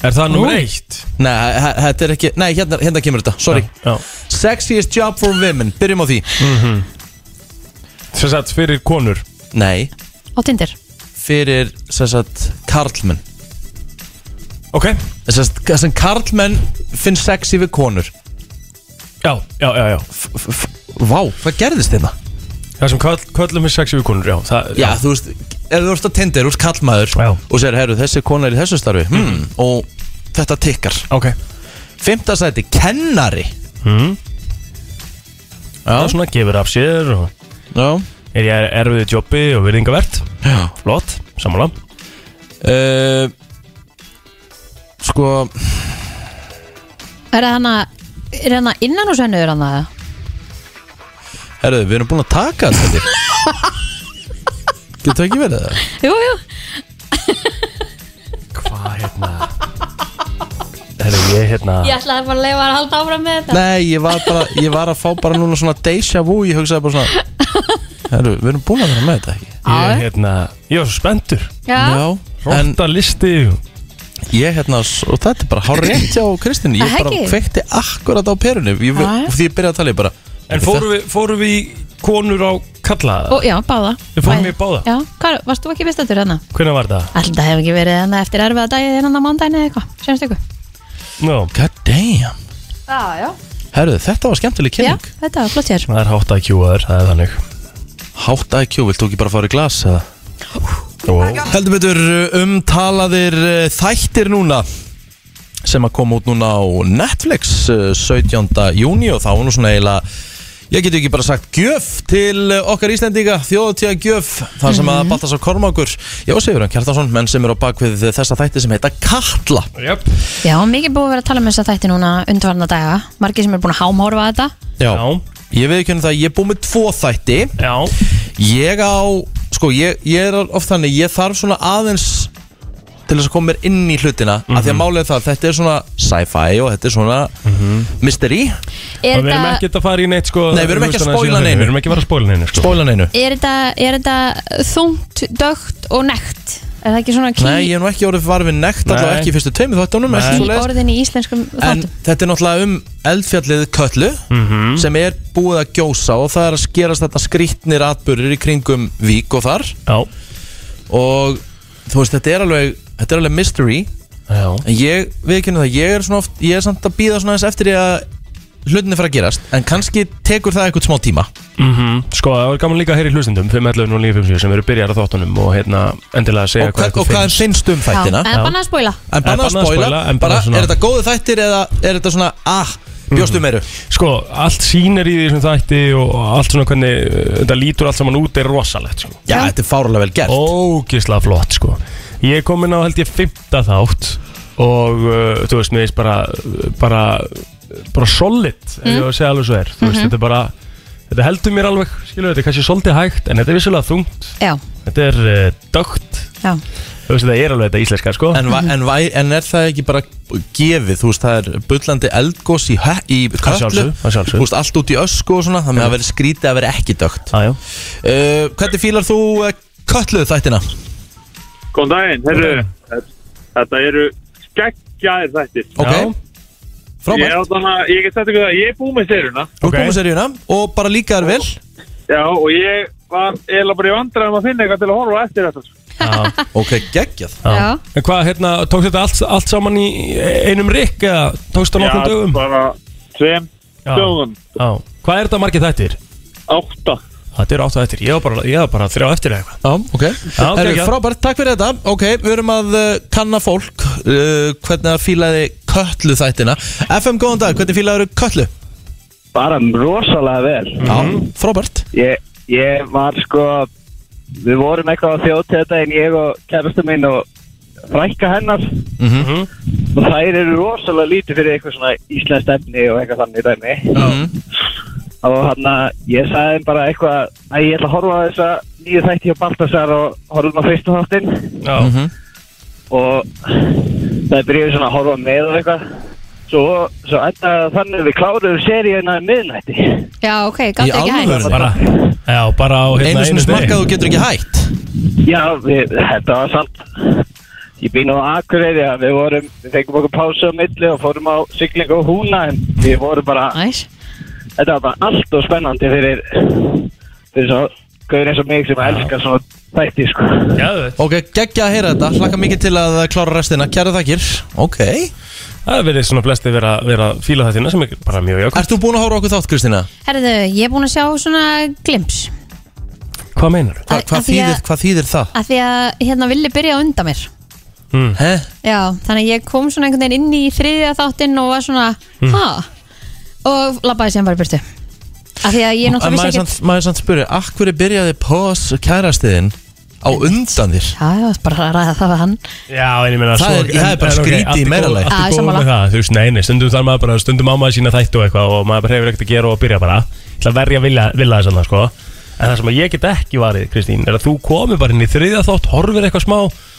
C: Er það nummer eitt?
A: Nei, h- þetta er ekki, nei, hérna, hérna kemur þetta, sorry
C: Já Mhm.
A: Sexiest job for women, byrjum á því
C: Sem sagt fyrir konur
A: Nei,
B: á Tinder
A: fyrir, sem sagt, karlmenn
C: Ok
A: Sem sagt, það sem karlmenn finn sexy við konur
C: Já, já, já, já
A: F- f- f- Vá, hvað gerðist þérna?
C: Það sem köll, köllum við sexi við konur, já það,
A: Já, þú veist, ef þú ert að tindir, þú ert karlmaður
C: Já. Mhm.
A: Og sér, herru, þessi kona er í þessu starfi hmm, Og þetta tikkar
C: Ok
A: Fymta sæti, kennari
C: Mhm. Það er svona gefur af sér og
A: Já,
C: er ég erfiði jobbi og virðingavert
A: já
C: Flott, sammála
A: Uh, sko
B: Er það hana, er hana innan hús hennu er hana það?
A: Herðu, við erum búin að taka allt þetta Getur ekki verið það?
B: Jú, jú,
C: Hvað hérna Herru, ég hérna
B: ég ætlaði bara að leifa að halda áfram með þetta
A: Nei, ég var, bara, ég var að fá bara núna svona deja vu Ég hugsaði bara svona Herðu, við erum búin að vera með þetta ekki
C: Ég hérna Ég var svo spenntur
B: Já,
A: en
C: Rónda listi
A: ég hérna Og þetta er bara hár rétt hjá Kristín Ég
B: Það
A: bara
B: ekki?
A: kveikti akkurat á perunni ég,
B: Já.
A: Því ég byrjaði að tala ég bara
C: En fórum við, fórum við í konur á kallaða
B: og já, báða
C: Við fórum í báða.
B: Já, hvað, varst þú ekki bestættur hana?
C: Hvernig var það?
B: Alltaf það hefur ekki verið hana eftir erfiða dagið innan á mándaginu eða eitthvað, semst ykkur
C: No.
A: God damn
B: Já, já
A: Herðu, þetta var skemmtileg
B: Já,
A: kynning
B: þetta var flott hér
C: Það er hátt IQ að þér, það er þannig
A: Hátt IQ, viltu ekki bara fara í glas eða?
C: wow.
A: Heldur betur eh, umtalaðir eh, þættir núna sem að koma út núna á Netflix eh, 17. júni og þá er nú svona eiginlega Ég geti ekki bara sagt gjöf til eh, okkar Íslendinga, þjóðtíða gjöf þar sem
B: Mhm.
A: að Baltasar Kormákur Já, segur hann Kjartason, menn sem eru á bakvið þessa þætti sem heita Katla
C: Jöp
B: Já, mikið búið að vera að tala um þess að þætti núna undvarna daga, margir sem er búin að hámhorfa að þetta
A: Já,
C: Já.
A: ég veið ekki henni það, ég er búið með tvo þætti
C: Já
A: Ég á, sko, ég, ég er oft þannig, ég þarf svona aðeins til þess að koma mér inn í hlutina af
C: Mhm.
A: því að málið er það, þetta er svona sci-fi og þetta er svona mystery
B: Er
C: Mhm. Og Við erum
B: þetta-
C: ekki að fara í neitt sko
A: Nei, við erum ekki að
C: hlustaðu
A: spoila
C: síðan
A: neinu.
C: Við erum ekki að fara að spoila neinu sko
A: Bólan einu
B: er þetta, er þetta þungt, dögt og nekt? Er það ekki svona ký
A: Nei, ég hef nú ekki orðið varfið nekt allavega
C: Nei.
A: ekki í fyrstu tveimur þáttunum
C: Nei.
A: ekki
B: í
A: svoleiðis.
B: orðin í íslenskum
A: En
B: þáttum?
A: þetta er náttúrulega um eldfjallið Köllu
C: Mhm.
A: sem er búið að gjósa og það er að skerast þetta skrýtnir atbyrðir í kringum Vík og þar
C: Já
A: og þú veist, þetta er alveg, þetta er alveg mystery
C: Já
A: en ég, við kynum það, ég er svona oft ég er samt að býða svona aðeins eftir því að hlutinni fara að gerast, en kannski tekur það eitthvað smá tíma
C: Mm
A: Mhm.
C: Sko, það var gaman líka að heyra í hlustendum 511 og 957 sem eru byrjar að þáttunum og hérna endilega að segja
A: og, hva,
C: ykkur
A: og hvað er finnst um
B: Já,
A: þættina
B: en bannað að spóla
A: en bannað að spoila,
C: en
A: bara
C: bannað svona-
A: er þetta góðu þættir eða er þetta svona, ah, bjóstu meiru
C: Sko, allt sýnir í því sem þætti og og allt svona hvernig uh, þetta lítur allt saman út er rosalegt sko.
A: Já, þetta er fárlega vel gert
C: Ógislega flott sko Ég er komin á held ég fymta þátt og uh, þú veist, mér veist bara bara, bara solid ef ég á að segja alveg svo er Þú veist, þetta er bara Þetta heldur mér alveg, skilur þetta er kannski svolítið hægt en þetta er vissulega þungt,
B: Já,
C: þetta er uh, dögt,
B: já
C: þú veist þetta er alveg þetta íslenska sko
A: En, va- en, væ- en er það ekki bara gefið, þú veist, það er bullandi eldgós í, hö- í köllu,
C: sjálfsögðu, að sjálfsögðu.
A: þú veist, allt út í ösku og svona, þannig að það verið skrítið að verið ekki dögt.
C: Aðjó
A: Uh, hvernig fílar þú uh, kölluð þættina?
I: Góðan daginn, herru, þetta eru skeggjaðir þættir.
A: Ok,
I: Ég,
A: frábært,
I: á þarna, ég get þetta ekki það, ég er búið með seruna
A: þú
C: ok.
A: komið seríuna og bara líkaðar vel,
I: já, og ég var eiginlega bara í vandræðum að finna eitthvað til að horfa á eftir þetta. sko.
A: ok, geggjað.
B: Já.
C: En hvað, hérna, tókst þetta allt, allt saman í einum rikk eða tókst þetta nokkrum dögum?
I: bara tveim
C: Já.
I: dögum,
C: Já, hvað er þetta margir þættir?
I: átta.
C: Þetta eru áttu þættir, ég var bara, ég var bara þrjá eftir eða eitthvað
A: Já, ok.
C: Já,
A: Herru,
C: geggjað.
A: frábært, takk fyrir þetta. Ok, við erum að uh, kanna fólk uh, hvernig það fílaði kölluð þættina. FM, góðan dag, hvernig fílaður köllu?
H: Bara rosalega vel
C: Mhm.
A: Já, frábært.
H: ég, ég var sko Við vorum eitthvað á þjóti þetta En ég og kærastu minn og frækka hennar
A: Mhm.
H: Og þær eru rosalega lítið fyrir eitthvað svona Íslenskt efni og eitthvað þannig dæmi
A: Mhm.
H: Og hann að ég sagði þeim bara eitthvað Að ég ætla að horfa á þessa nýju þætti hjá Baltasar Og horfum á fyrstu þáttinn
C: Já,
A: Mhm.
H: og það byrjuði svona að horfa með og eitthvað svo, svo enda þannig við kláruðum seríuna um miðnætti
B: Já, ok, gátt
A: Í
B: ekki
A: alvöru?
B: hægt
C: bara, já, bara á hérna
A: Einu sinni
C: degi.
A: smakkað og getur ekki hætt.
H: já, við, þetta var samt ég býn á Akureyri að við vorum við fengum okkur pásu á milli og fórum á siglingu og húna en við vorum bara
B: Næs
H: þetta var bara allt og spennandi fyrir fyrir svo gauður eins og mig sem elskar svona þætti sko
C: Já, þú veit.
A: Ok, geggja að heyra þetta, hlakka mikið til að uh, klára restina, kæra Hérna, þakkir Ok,
C: það er verið svona flesti vera, vera að fíla þættina sem er bara mjög jákvæmt
A: ert þú búin að horfa á okkur þátt Kristina?
B: Herðu, ég er búin að sjá svona glimps
C: Hvað meinar þú?
A: Hva,
B: Að-
A: hvað,
B: að því
A: þýðir,
B: að-
A: hvað þýðir það?
B: Af því að hérna villi byrja á undan mér
C: Hmm.
A: He?
B: Já, þannig að ég kom svona einhvern veginn inn í þriðja þáttinn og var svona,
A: Hmm.
B: ha? Og labbaði sem bara í burtu. Af því að ég
A: En
B: náttúrulega
A: Maður
B: vissi
A: samt,
B: ekkert...
A: maður samt spurði, akkur byrjaði pós kærastiðin á undan þér?
B: Já, ég var bara að ræða það við hann.
C: Já, en ég meina
A: Það
C: svo-
A: er- það er
C: en-
A: bara
C: en ok,
A: skrítið í
C: allt er
A: meira
C: góð-
A: lagi.
B: Já,
C: Allt er góð
B: sammála.
C: með það, þú veist, nei, nei, stundum þarf maður bara stundum á maður sína þættu og eitthvað og maður bara hefur ekkert að gera og byrja bara Ég ætla að verja vilja, vilja þess að sko En það sem að ég get ekki varið, Kristín, er að þú komir bara inn í þriðja þátt, horfir eitthvað smá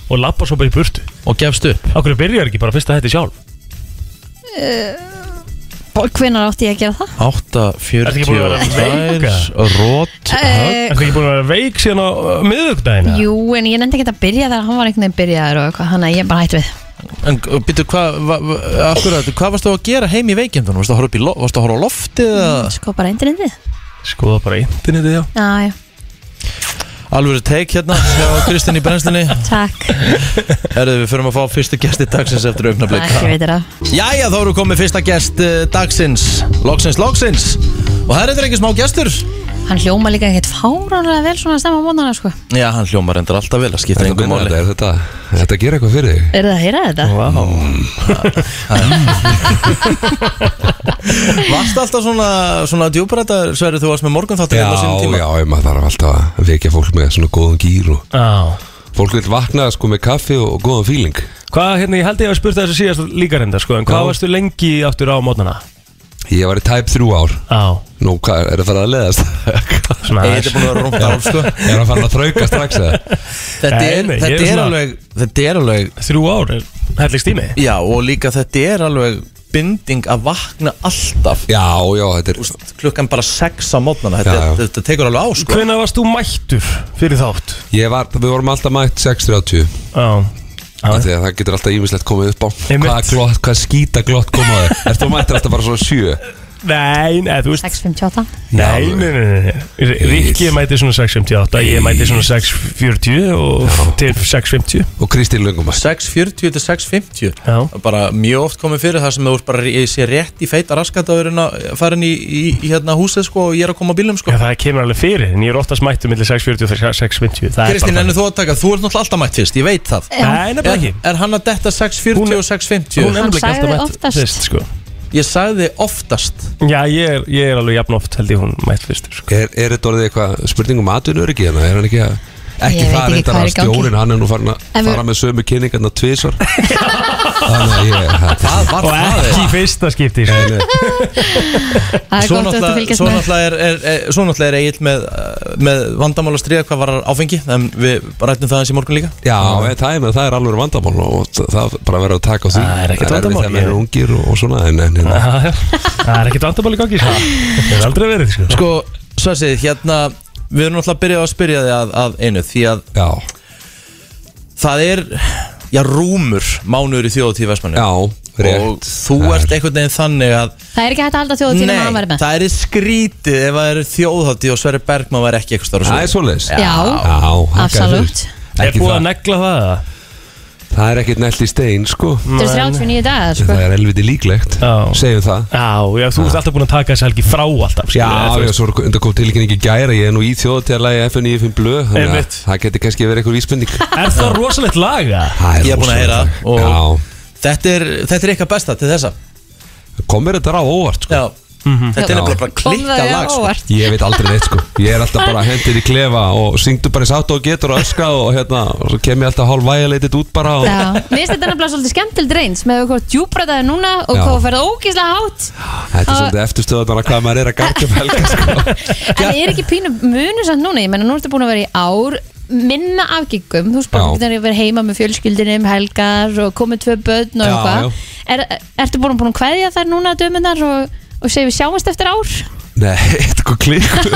C: og lappar svo bara í burtu
A: Og gefst upp
C: Akkur byrjar ekki bara fyrst að þetta sjálf
B: Hvenar Eh, átti ég að gera það?
C: Ertu ekki búin að
A: 8.42
C: vera veika?
A: Rót
B: Eh,
C: Er það ekki búin að vera veik síðan á uh, miðvikudaginn? eða?
B: Jú, en ég nefndi ekki að byrja þegar hann var einhvern veginn byrjaður og eitthvað, hann að ég bara hætti við.
A: En býttu, hvað hva, hva varst þú að gera heim í veikindunum? Varst þú að horfa, upp í lo- varstu að horfa á loftið? eða-
B: Sko bara internetið.
C: Skoða bara internetið, já
B: Já, já,
A: Alvöru teik hérna hjá Kristin í brennstinni
B: takk.
A: Erðu við förum að fá fyrstu gesti dagsins eftir
B: Það
A: augnablik
B: ekki veitir það.
A: Jæja, þá eh, erum við komið fyrsta gest uh, dagsins Loksins, loksins Og það er þetta ekki smá gestur
B: Hann hljóma líka ekkert fáránlega vel svona að stemma á mótana sko.
A: Já, hann hljómar endur alltaf vel að skipta
J: Þetta
A: engum
J: minna
A: máli
J: þetta, er þetta, er þetta að gera eitthvað fyrir þig?
B: Er það að heyra þetta?
C: Vá
A: Ah, Varst alltaf svona, svona djúbrættar Sverri, þú varst með hérna morgun þáttir
J: Já,
C: hérna
J: já, ég maður þarf alltaf að vekja fólk með svona góðan gýr og
C: Já
J: fólk vil vakna sko með kaffi og, og góðan fíling
C: Hvað, hérna, ég held ég að spurt þessu síðast líka reynda, sko, en hvað
J: Já.
C: varstu lengi áttur á mótnana?
J: Ég var í tæp þrjú ár
C: Á,
J: Nú, hvað, er það farið að leðast?
C: svona
A: Þetta er búin að vera rúmt ár, sko
J: er það farið að þrauka strax eða?
A: Þetta
C: Nei,
A: er,
C: nei, ég
A: þetta
C: er
A: er
C: svona-
A: alveg Þetta er alveg
C: Þrjú ár, er helligst tími
A: Já, og líka þetta er alveg binding að vakna alltaf
J: Já, já, þetta er
A: Úst, klukkan bara 6 á mótnana þetta,
J: Já, já.
A: þetta tekur alveg á sko
C: Hvenær varst þú mættur fyrir þátt?
J: Ég var, við vorum alltaf mætt 6.30
C: Já
J: af því að það getur alltaf ímislegt komið upp á
C: Einmitt.
J: Hvað glott, hvað skýta glott komaði Ertu þú mættir alltaf bara svona 7
C: Nei, nei, þú veist
B: 6.58
C: Nei, nei, nei, nei, nei. Rikki mæti svona 6.58 Ég mæti svona 6.40 og til 6.50
J: og Kristín Lungum
A: 6.40 til 6.50
C: Já.
A: bara mjög oft komið fyrir það sem þú ert bara í- sé rétt í feita raskatafurinn að farin í, í, í hérna húsið sko og ég er að koma á bílum sko
C: Já, það kemur alveg fyrir En ég er oftast mættur millir 6.40 og 6.50 Það er
A: Kristín,
C: bara
A: ennur
C: þannig.
A: þú að taka, þú ert náttúrulega alltaf mætt fyrst, ég veit það
C: Nei, nefnilega
A: Er,
C: ekki
A: er hann að detta 6.40
C: Hún er-
A: og 6.50?
C: Hún er
B: Hann
C: nefnilega ekki
B: sagði
C: alltaf mætt
B: oftast.
C: fyrst, sko.
A: Ég sagði oftast
C: Já, ég er, ég er alveg jafn oft held ég hún mætt fyrst sko.
J: Er, er þetta orðið eitthvað spurning um atvinnuröggi hérna? Er hann ekki að ekki
B: Ég veit
J: það
B: ekki
J: reyndar
B: hvað
J: að
B: er í gangi.
J: stjórin hann er nú farin að
B: En við-
J: fara með sömu kynningarna tvisvar Þannig að ég þetta er-
A: Var
C: Og
A: það
C: ekki í fyrsta skipti sko.
J: Nei, nei.
B: Það er
A: Svo
B: gott að þetta
A: náttúrulega
B: fylgjast
A: svo
B: með
A: náttúrulega er, er, er, svo náttúrulega er Egil með, uh, með vandamál að stríða hvað var áfengi en við rættum það eins í morgun líka
J: Já, en það er, með- það er alveg vandamál og það bara verður að taka á því
C: Það er
J: erfitt
C: ekkert vandamál,
J: þegar maður
C: ég-
J: er ungir og, og svona en, hérna- en, en,
C: Já, já. Það er ekkert vandamál í gangi sko. Það er aldrei verið sko.
A: Sko, Svessi, hérna við erum náttúrulega að byrja að spyrja þig að, að einu því að
J: Já,
A: það er já, rúmur mánuður í þjóðatíð Vestmanni
J: já, rétt
A: og þú
J: Það er-
A: ert einhvern veginn þannig að
B: Það er ekki hægt að halda þjóðutíðum að hann verið með
A: það er skrítið ef það er þjóðhátti og Sverri Bergman var ekki
J: Það
A: eitthvað
J: er
A: starf
J: svoleiðis
B: Já, absolutt
C: Er
J: Ekki
C: búið að
J: það,
C: negla það? eða?
J: það er ekkert nelt í stein sko
B: Þetta er 39 dagar sko
J: Það er elviti líklegt,
C: Já.
J: segjum það
C: Já, já, þú ert alltaf búin að taka þessi helgi frá
J: Já,
C: alltaf skilur,
J: já,
C: þú veist.
J: svo er- undan kom tilkynning í gæra Ég er nú í þjóðatélagi FN95 blöð Þannig að
C: Einmitt.
J: það geti kannski verið eitthvað vísbending
C: Er það rosalegt laga?
J: Það
A: Ég er búin að heyra
J: rosalegt.
A: og- þetta er, þetta er eitthvað besta til þessa
J: Já, kom mér þetta ráð óvart sko.
A: já,
C: Mhm.
A: þetta er
J: Já.
A: nefnilega bara klikka lag sko.
J: Ég veit aldrei neitt sko Ég er alltaf bara hendir í klefa Og syngdu bara eins átt og getur og öskra Og hérna, og svo kem ég alltaf hálf vægileitit út bara og...
B: Já, mér finnst þetta nefnilega svolítið skemmtild reyns með hvort djúbrataði núna og
J: Já.
B: hvað þú ferði ógeðslega hátt
J: Þetta er svolítið eftirstöðan Hvað maður er að garga um helga sko.
B: en það er ekki pínu munu samt núna ég menna nú ertu búin að vera í ár minna afgengum, þú
J: Já.
B: spurningar að vera heima með fjölskyldinni um helgar og komið tvö börn og
J: Já, já.
B: eitthvað er, ertu búin búin að kveðja þær núna dömunar og, og segja við sjáumst eftir ár
J: Nei, þetta er eitthvað klikku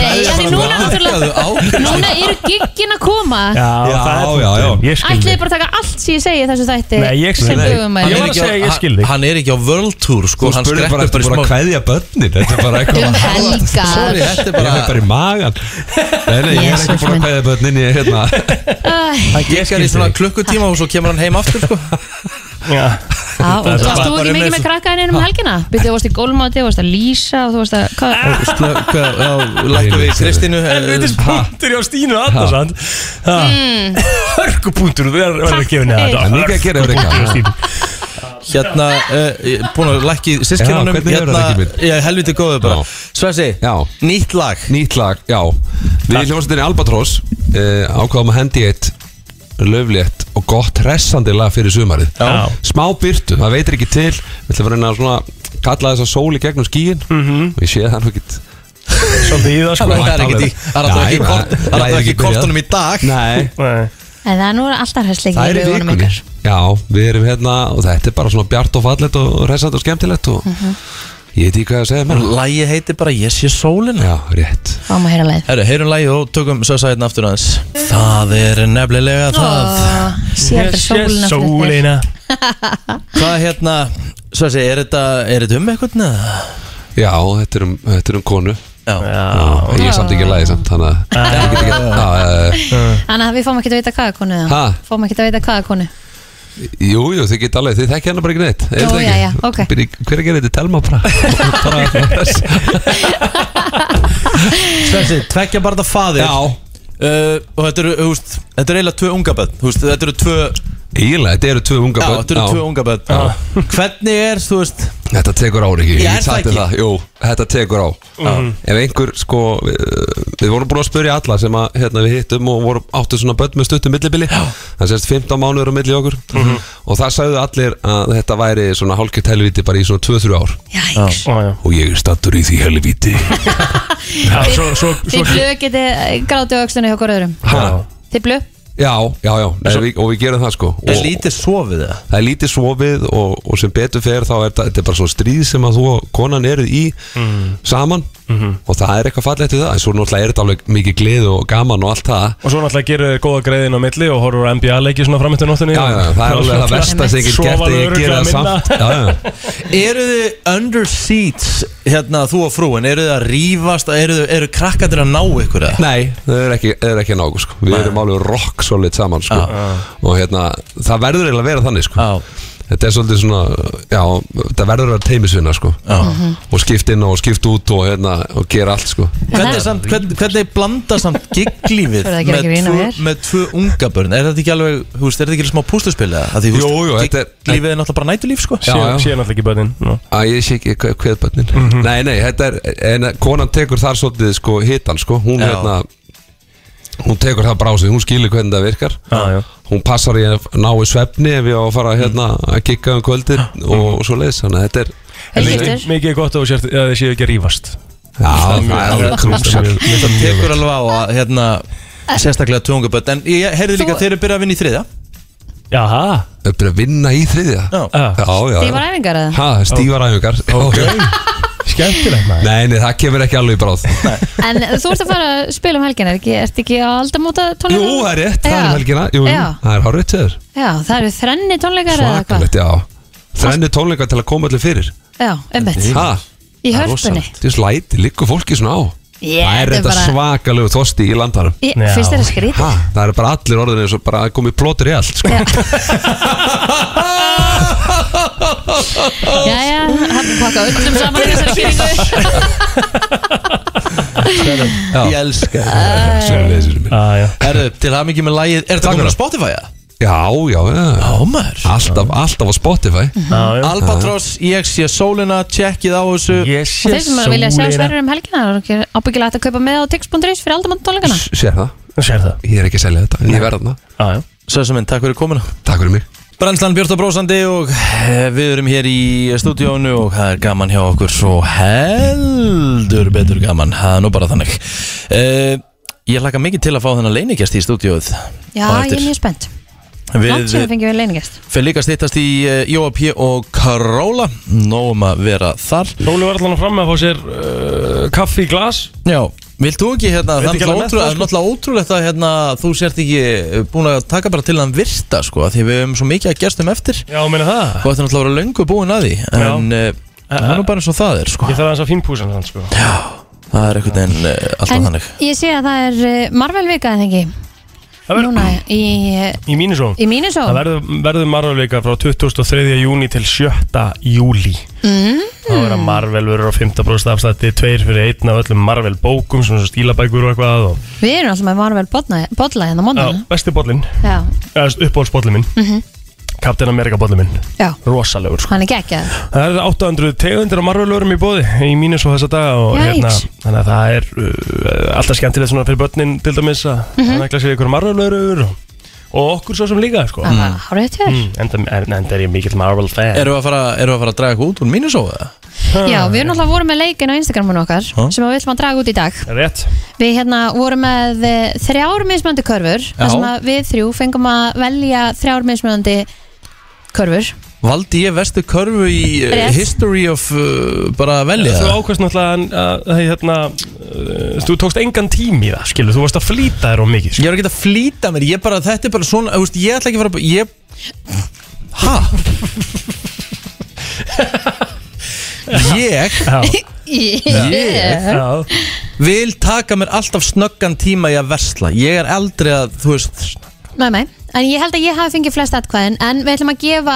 B: nei, af því núna
A: Lagaðu
B: náttúrulega
A: ákveðslu.
B: núna eru giggin að koma
C: Já,
J: Já,
C: það er
J: já, já.
C: Ég skil
B: ætliði
C: þig
B: bara að taka allt sem ég segi í þessu þætti
C: Nei, ég skil
B: sem
C: þig.
B: dögum
A: Hann
C: Ég
A: er
C: var að
A: ekki á-
C: segja, ég
A: hann-
C: skil þig.
A: Hann er ekki á World Tour sko,
J: Þú
A: hann
J: spurði bara
A: skreppur
J: eftir bara að kveðja börnin Þetta er bara eitthvað
B: um helgar
A: Sorry,
J: Ég
A: þetta er
J: fekk
A: bara
J: bara í magan Nei, nei, ég er ekki
B: Jesus
J: búin að
B: minn.
J: kveðja börnin Ég er hérna
A: Hann gekar í svona klukkutíma og svo kemur hann heim aftur sko.
C: Já.
B: Já, og
A: er
B: þú varst
A: bara-
B: þú
A: bara
B: ekki mikið með
A: með-
B: krakkaðin einum helgina? Byrðu, þú varst í gólmáti, þú varst að lýsa og þú varst að... Hvað?
A: Lættu við Kristínu
C: Helvitis
A: eh, Hmm.
C: punktur hjá Stínu Andersand Hörkupunktur, þú verður verður að gefa henni þetta
J: Það er mikið að gera yfir
C: Hörkupunktur hjá
J: eitthvað
C: Stínu
A: Hérna, uh, búin að lækki Hérna, sískinunum
J: Já, hvernig hefur það ekki verið?
A: Ég helviti góðu bara
J: Já.
A: Svesi,
J: Já.
A: nýtt lag
J: Nýtt lag, já Við hljómsveitinni Albatross uh, ákváðum að hendi í eitt löflétt og gott hressandi lag fyrir sumarið
C: Já.
J: Smá byrtu, það veitir ekki til Við ætlum að reyna að svona kalla þess að sóli gegnum skíin -hmm. og ég sé það nú ekki
C: Svolítið í það sko
A: Mhm. Það er ekki í- það er alltaf
J: Nei,
A: ekki í
J: nei,
A: kort- það er
J: lagið
A: alltaf
J: er
A: ekki í
J: ekki byrjað.
A: kortunum í dag
J: Nei,
C: Nei.
B: En það er nú alltaf hræsleiki
J: það er í vikunni Já, við erum hérna og þetta er bara svona bjart og fallet og hressandi og skemmtilegt og
B: Mhm.
J: ég veit ekki hvað að segja mér
A: Lægi heitir bara Ég sé sólina
J: Já, rétt
B: Fáum að heyra leið.
A: Herru, heyrum lægi og tökum Svesa hérna aftur aðeins Það er nefnilega það
B: Sér þetta sólina fyrir þér.
C: Sólina
A: Hvað hérna, Svesi, er þetta, er þetta um eitthvað neða?
J: Já, þetta er um, þetta er um konu
A: Já,
J: Já, ég er samt ekki að læði samt Þannig að ég get ekki að
B: Þannig að við fáum ekki að vita hvaða konu
J: Ha?
B: það. Fáum ekki að vita hvaða konu.
J: Jú, jú, þið geta alveg, þið þekkja hana bara ekki neitt er
B: Jú,
J: það ekki?
B: já, já, ok.
J: Byrji- Hver er að gera þetta? Telma bara
A: Svensi, tveggja barða faðir Já Uh, og þetta eru, þú veist, þetta eru eiginlega tvö unga börn, þú veist, þetta eru tvö
J: Eiginlega, þetta eru tvö unga
A: Já,
J: börn,
A: þetta eru
J: já.
A: tvö unga börn
C: Ah.
A: Já. Hvernig er, þú veist
J: Þetta tekur á, Riki,
A: Já,
J: ég
A: er það
J: sætti
A: ekki?
J: það Jú, þetta tekur á
A: Mhm.
J: Ef einhver, sko, við, við vorum búin að spyrja alla sem að, hérna, við hittum og vorum áttu svona börn með stuttum millibili Það sést 15 mánuður á milli okkur
A: Mhm.
J: Og það sagðu allir að þetta væri svona hálkjöt helviti bara í svona 2-3 ár
B: Jæks
J: Og ég er stattur í því helviti Já, svo, svo,
B: Þið blöð getið eh, grátið á öxlunni hjá okkur öðrum
J: Ha?
B: Þið blöð
J: Já, já, já, nei, við, og við gerum það sko
A: Er
J: Og-
A: lítið sofið það?
J: það er lítið sofið og, og sem betur fer þá er það, þetta er bara svo stríð sem að þú og konan eruð í
C: Mm,
J: saman
C: mhm.
J: og það er eitthvað fallegt í það en svo náttúrulega er þetta alveg mikið gleð og gaman og allt það
C: Og svo náttúrulega gerir þið góða greiðin á milli og horfur NBA-leiki svona framöttu nóttunni
J: Já, já, það er alveg það versta sem ég get gert að ég gera það samt já, já.
A: Eru þið under seats, hérna, þú og frúin, eru þið að rífast, eru, þið- eru krakkandir að ná ykkur það?
J: Nei, það er ekki, það er ekki nágu sko. Við erum alveg rock solid saman sko. og hérna, það verður eiginlega að vera þannig sko. Þetta er svolítið svona já, það verður að vera teimisvinna sko.
A: Mhm.
J: og skipt inn og skipt út og, hérna, og gera allt sko.
A: Hvernig, samt, hvern, hvernig blanda samt gigglífið
B: Þú verður að gera
A: með,
B: ekki vín á
A: tvö-
B: mér.
A: með tvö unga börn er þetta ekki alveg, þú veist, er þetta ekki alveg smá púsluspil eða? Jú, jú, þetta er Gigglífið er náttúrulega bara nætulíf, sko
J: Já, já.
C: Sér náttúrulega ekki börnin
J: Æ, ég sé ekki hvað hvað er bönnin
C: Mhm.
J: Nei, nei, þetta er en, Konan tekur þar svolítið sko hitan sko Hún,
C: Já.
J: hérna, hún tekur það bara á sig Hún skilur hvernig það virkar
C: Já, já.
J: Hún passar í að ná í svefni Ef ég á að fara hérna, að gigga um kvöldið
C: Mhm.
J: Og, og svo leiðis, þannig að þetta er
C: Mikið mikið er gott að þú sért- að þið séu ekki að rífast
J: Já,
C: það er
A: alveg
C: mjög-
A: krúsa
C: mjög- mjög-
A: Það tekur alveg á að, hérna,
B: Eh.
A: sérstaklega tvö unga börn en ég heyrði líka að þeir eru byrjað að vinna í þriðja
C: Jaha
J: Þau byrjað að vinna í þriðja?
A: Já,
J: já, já.
B: Stífar æfingar eða?
J: Ha, stífar æfingar Ok,
C: skemmtilegt maður
J: Nei, nei, það kemur ekki alveg í bráð
B: En þú ert að fara að spila um helgina er ekki, Ertu ekki á aldamóta
J: Jú,
B: tónleikar?
J: það er rétt, það er um
B: Já.
J: helgina Jú, jú,
B: Já.
J: það er hárið til þér
B: Já, það eru þrenni tónleikar eða hvað?
J: Svakalegt, já Þrenni tónleika til að koma allir fyrir
B: Já, einmitt
J: Ha?
B: Í
J: Það er
B: hörpunni
J: rosalegt. Þessu læti liggur fólki svona á
B: Ég,
J: Það
B: þetta
J: er
B: er
J: þetta
B: bara-
J: svakalegu þosti í landarum
B: Ég- finnst þér það skrítið?
J: Ha, Það er bara allir orðinni eins og bara komið plótur í allt sko.
B: Jæja, hann pakka öllum saman í þessari kynningu
A: Ég elska
C: Ah,
A: Herðu, til það mikið með lagið Er þetta
J: Takk
A: komin
J: fyrir.
A: á Spotify? eða?
J: Já, já, já
A: Já, maður
J: Alltaf, alltaf á Spotify
A: Albatross, ég sé sólina, tjekkið á þessu Ég
B: Og þeir sem vilja sjá sverjur um helgina Það er ekki ábyggilega hægt að kaupa með á tix.is fyrir aldamóta tónleikana
J: Sér það
C: Sér það
J: Ég er ekki að selja þetta, en ég verða
C: þarna
A: Sveðsum minn, Ah, takk fyrir komuna
J: Takk fyrir mig
A: Brænslan Björta Brósandi og eh, við erum hér í stúdíónu og það er gaman hjá okkur svo heldur betur gaman, það er nú bara þannig uh, Ég laka mikið til að fá þennan leiningjast í stúdíóið
B: Já,
A: á
B: ég
A: eftir.
B: er mjög spennt Langt sem við
A: Við
B: fengjum við leiningest
A: fyrir líka að stýttast í eh, Jóa P. og Karóla Nóum að vera þar
C: Lóli var allan að fram að fá sér uh, kaffi í glas
A: Já, vilt þú ekki hérna,
C: Veit
A: það er
C: ekki alveg
A: náttúrulega ótrú- það er
C: með það, sko.
A: náttúrulega ótrúlegt að hérna, þú sért ekki eh, búin að taka bara til hann virta sko, af því við höfum svo mikið að gerstum eftir
C: Já, meina það
A: og þetta er náttúrulega að vera löngu búin að því en eh, það er nú bara eins og það er sko.
C: Ég þarf aðeins að fínpúsa hann sko Já,
A: það er einhvern veginn eh, alltaf
B: En
A: þannig
B: ég sé að það er eh, Marvel vika en þengi
C: verður-
B: Núna í, eh,
C: Í mínusó
B: í mínu svo
C: Það verður, verður marvelveika frá 23. júni til 7. júli
B: mm.
C: Það verður Marvel verður á 15% afstætti Tveir fyrir einn af öllum Marvel bókum Svona svo stílabækur og eitthvað og,
B: Við erum alltaf með Marvel botla hérna á
C: Já,
B: móndana
C: besti bollin
B: Já,
C: Uppbólsbollin minn
B: mhm,
C: Captain America bollin minn
B: já Sko,
C: Rosalegur sko.
B: Hann er geggjað
C: Það eru 800 tegundir af marvölurum í bóði í mínus og þessa daga og
B: Jæks.
C: hérna, þannig að það er uh, alltaf skemmtilegt svona fyrir börnin til dæmis að mm
B: Mhm.
C: -hmm. nægla sér ykkur marvölur og, og okkur svo sem líka sko.
B: Það var hárið til
C: Mm, enda, er, enda er ég mikill Marvel fan
A: Erum við að fara, erum við að, fara að draga eitthvað út úr mínu sóða?
B: Já, við erum alltaf voru með leikin á Instagramun okkar
A: Ha?
B: sem að við ætlum að draga út í dag
C: Rétt
B: Við hérna vorum með eh, þrjár mismöndi körfur
A: Já.
B: þar sem að við þrjú fengum að velja þrjár mismöndi körfur
A: Valdi ég vestu körfu í eh,
B: Rétt.
A: History of uh, bara velja
C: Þú ákvæmst náttúrulega að, að, að hérna, uh, þú tókst engan tími í það skilur, þú varst að flýta þér og mikið sko.
A: Ég er ekki að flýta mér, ég bara, þetta er bara svona, þú veist, ég ætla ekki að fara, ég, ha? Ég
B: Yeah.
A: vil taka mér alltaf snöggan tíma í að versla Ég er aldrei að, þú veist
B: Nei, nei En ég held að ég hafi fengið flest atkvæðin En við ætlum að gefa,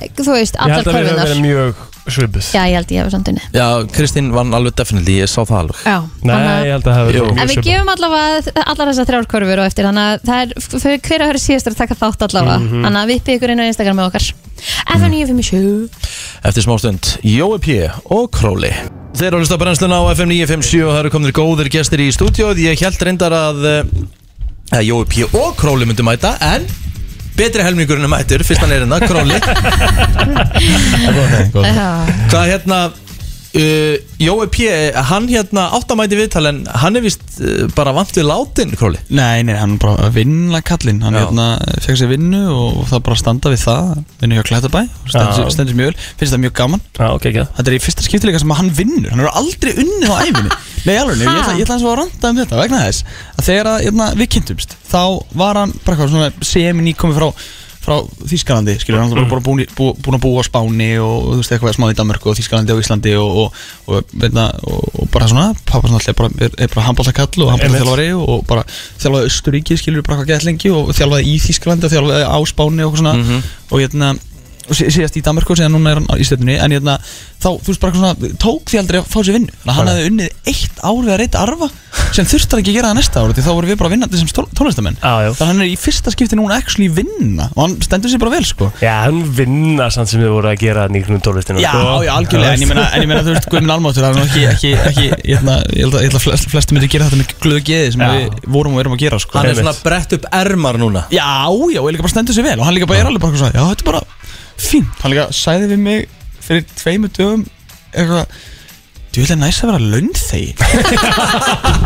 B: eh, þú veist,
C: Ég
B: allar
C: held að við höfum
B: körfunar
C: verið mjög svipuð
B: Já, ég held ég hafi samt unni
A: Já, Kristín vann alveg definitely, ég sá það alveg
B: Já,
C: Nei, ég held að það hafi verið
A: Jú.
B: En
C: mjög
B: við
C: svipað
B: gefum allavega allar þessar þrjár körfur og eftir Þannig að það er f- fyrir hver að höra síðast er að taka þátt allavega
A: Mhm.
B: Þannig að vippið ykkur inn á Instagram með okkar FM 957
A: Eftir smástund, Jói P. og Króli Þeir eru að hlusta á brennsluna á FM 957 og það eru komnir góðir gestir í stúdíóð Ég held reyndar að eh, Jói P. og Króli myndu mæta En betri helmingurinn er mættur, fyrst hann er hérna, Króli
B: Já.
A: Hvað hérna uh, Jói P. hann hérna áttamæti viðtal en hann er vist uh, bara vant við látin, Króli
K: Nei, nei, hann er bara að vinna kallinn Hann hérna, fekk sér vinnu og það bara að standa við það Vinnu hjá Klættabæ
C: Já.
K: Stendur sér- stendur sér mjög vel, finnst það mjög gaman
C: Já, okay, okay.
K: Þetta er í fyrsta skiptilega sem að hann vinnur Hann hefur aldrei unnið á æfinni Nei, alveg, ég ætla, ég ætla hans að randa um þetta vegna þess að Þegar að, hérna, við kynntumst Þá var hann bara eitthvað svona semin í komið frá frá Þýskalandi, skilur hann mm. bara búin, bú, búin að búa á Spáni og þú veist eitthvað smá í Danmörku og Þýskalandi og Íslandi og, og, og, veitna, og, og bara svona pappa svona alltaf er bara, er, er bara handbóltakall og handbóltaþjálfari og bara þjálfaði Östuríki skilur bara hvað gett lengi og þjálfaði í Þýskalandi og þjálfaði á Spáni og eitthvað svona og hérna og sí- síðast í Danmarku síðan núna er hann á- í stefnunni en hérna, þá, þú veist bara eitthvað svona tók því aldrei að fá sér vinnu þannig að hann hefði unnið eitt ár við að reyta arfa sem þurfti hann ekki að gera það næsta ár því þá vorum við bara vinnandi sem stól- tónlistamenn ah, þannig að hann er í fyrsta skipti núna actually vinna og hann stendur sér bara vel sko
C: Já, hann vinna samt sem þið voru að gera sko. nýgrunum tólestinu
K: Já, já, algjörlega, en ég meina, en ég meina þú veist, Guðmund Almáttur, það er nú ekki, ekki, ekki ég, held að, ég held að, ég held að flest, flestum myndi gera þetta með glöðu geði sem
C: Já.
K: við vorum og erum að gera, sko
A: Hann er svona brett upp ermar núna
K: Já, já, og líka bara stendur sér vel og hann líka bara er alveg bara eitthvað svona, já, þetta er bara fínt Hann líka sæði við mig fyrir tveimu dögum eitthvað Þú vil að næst að vera laun þegi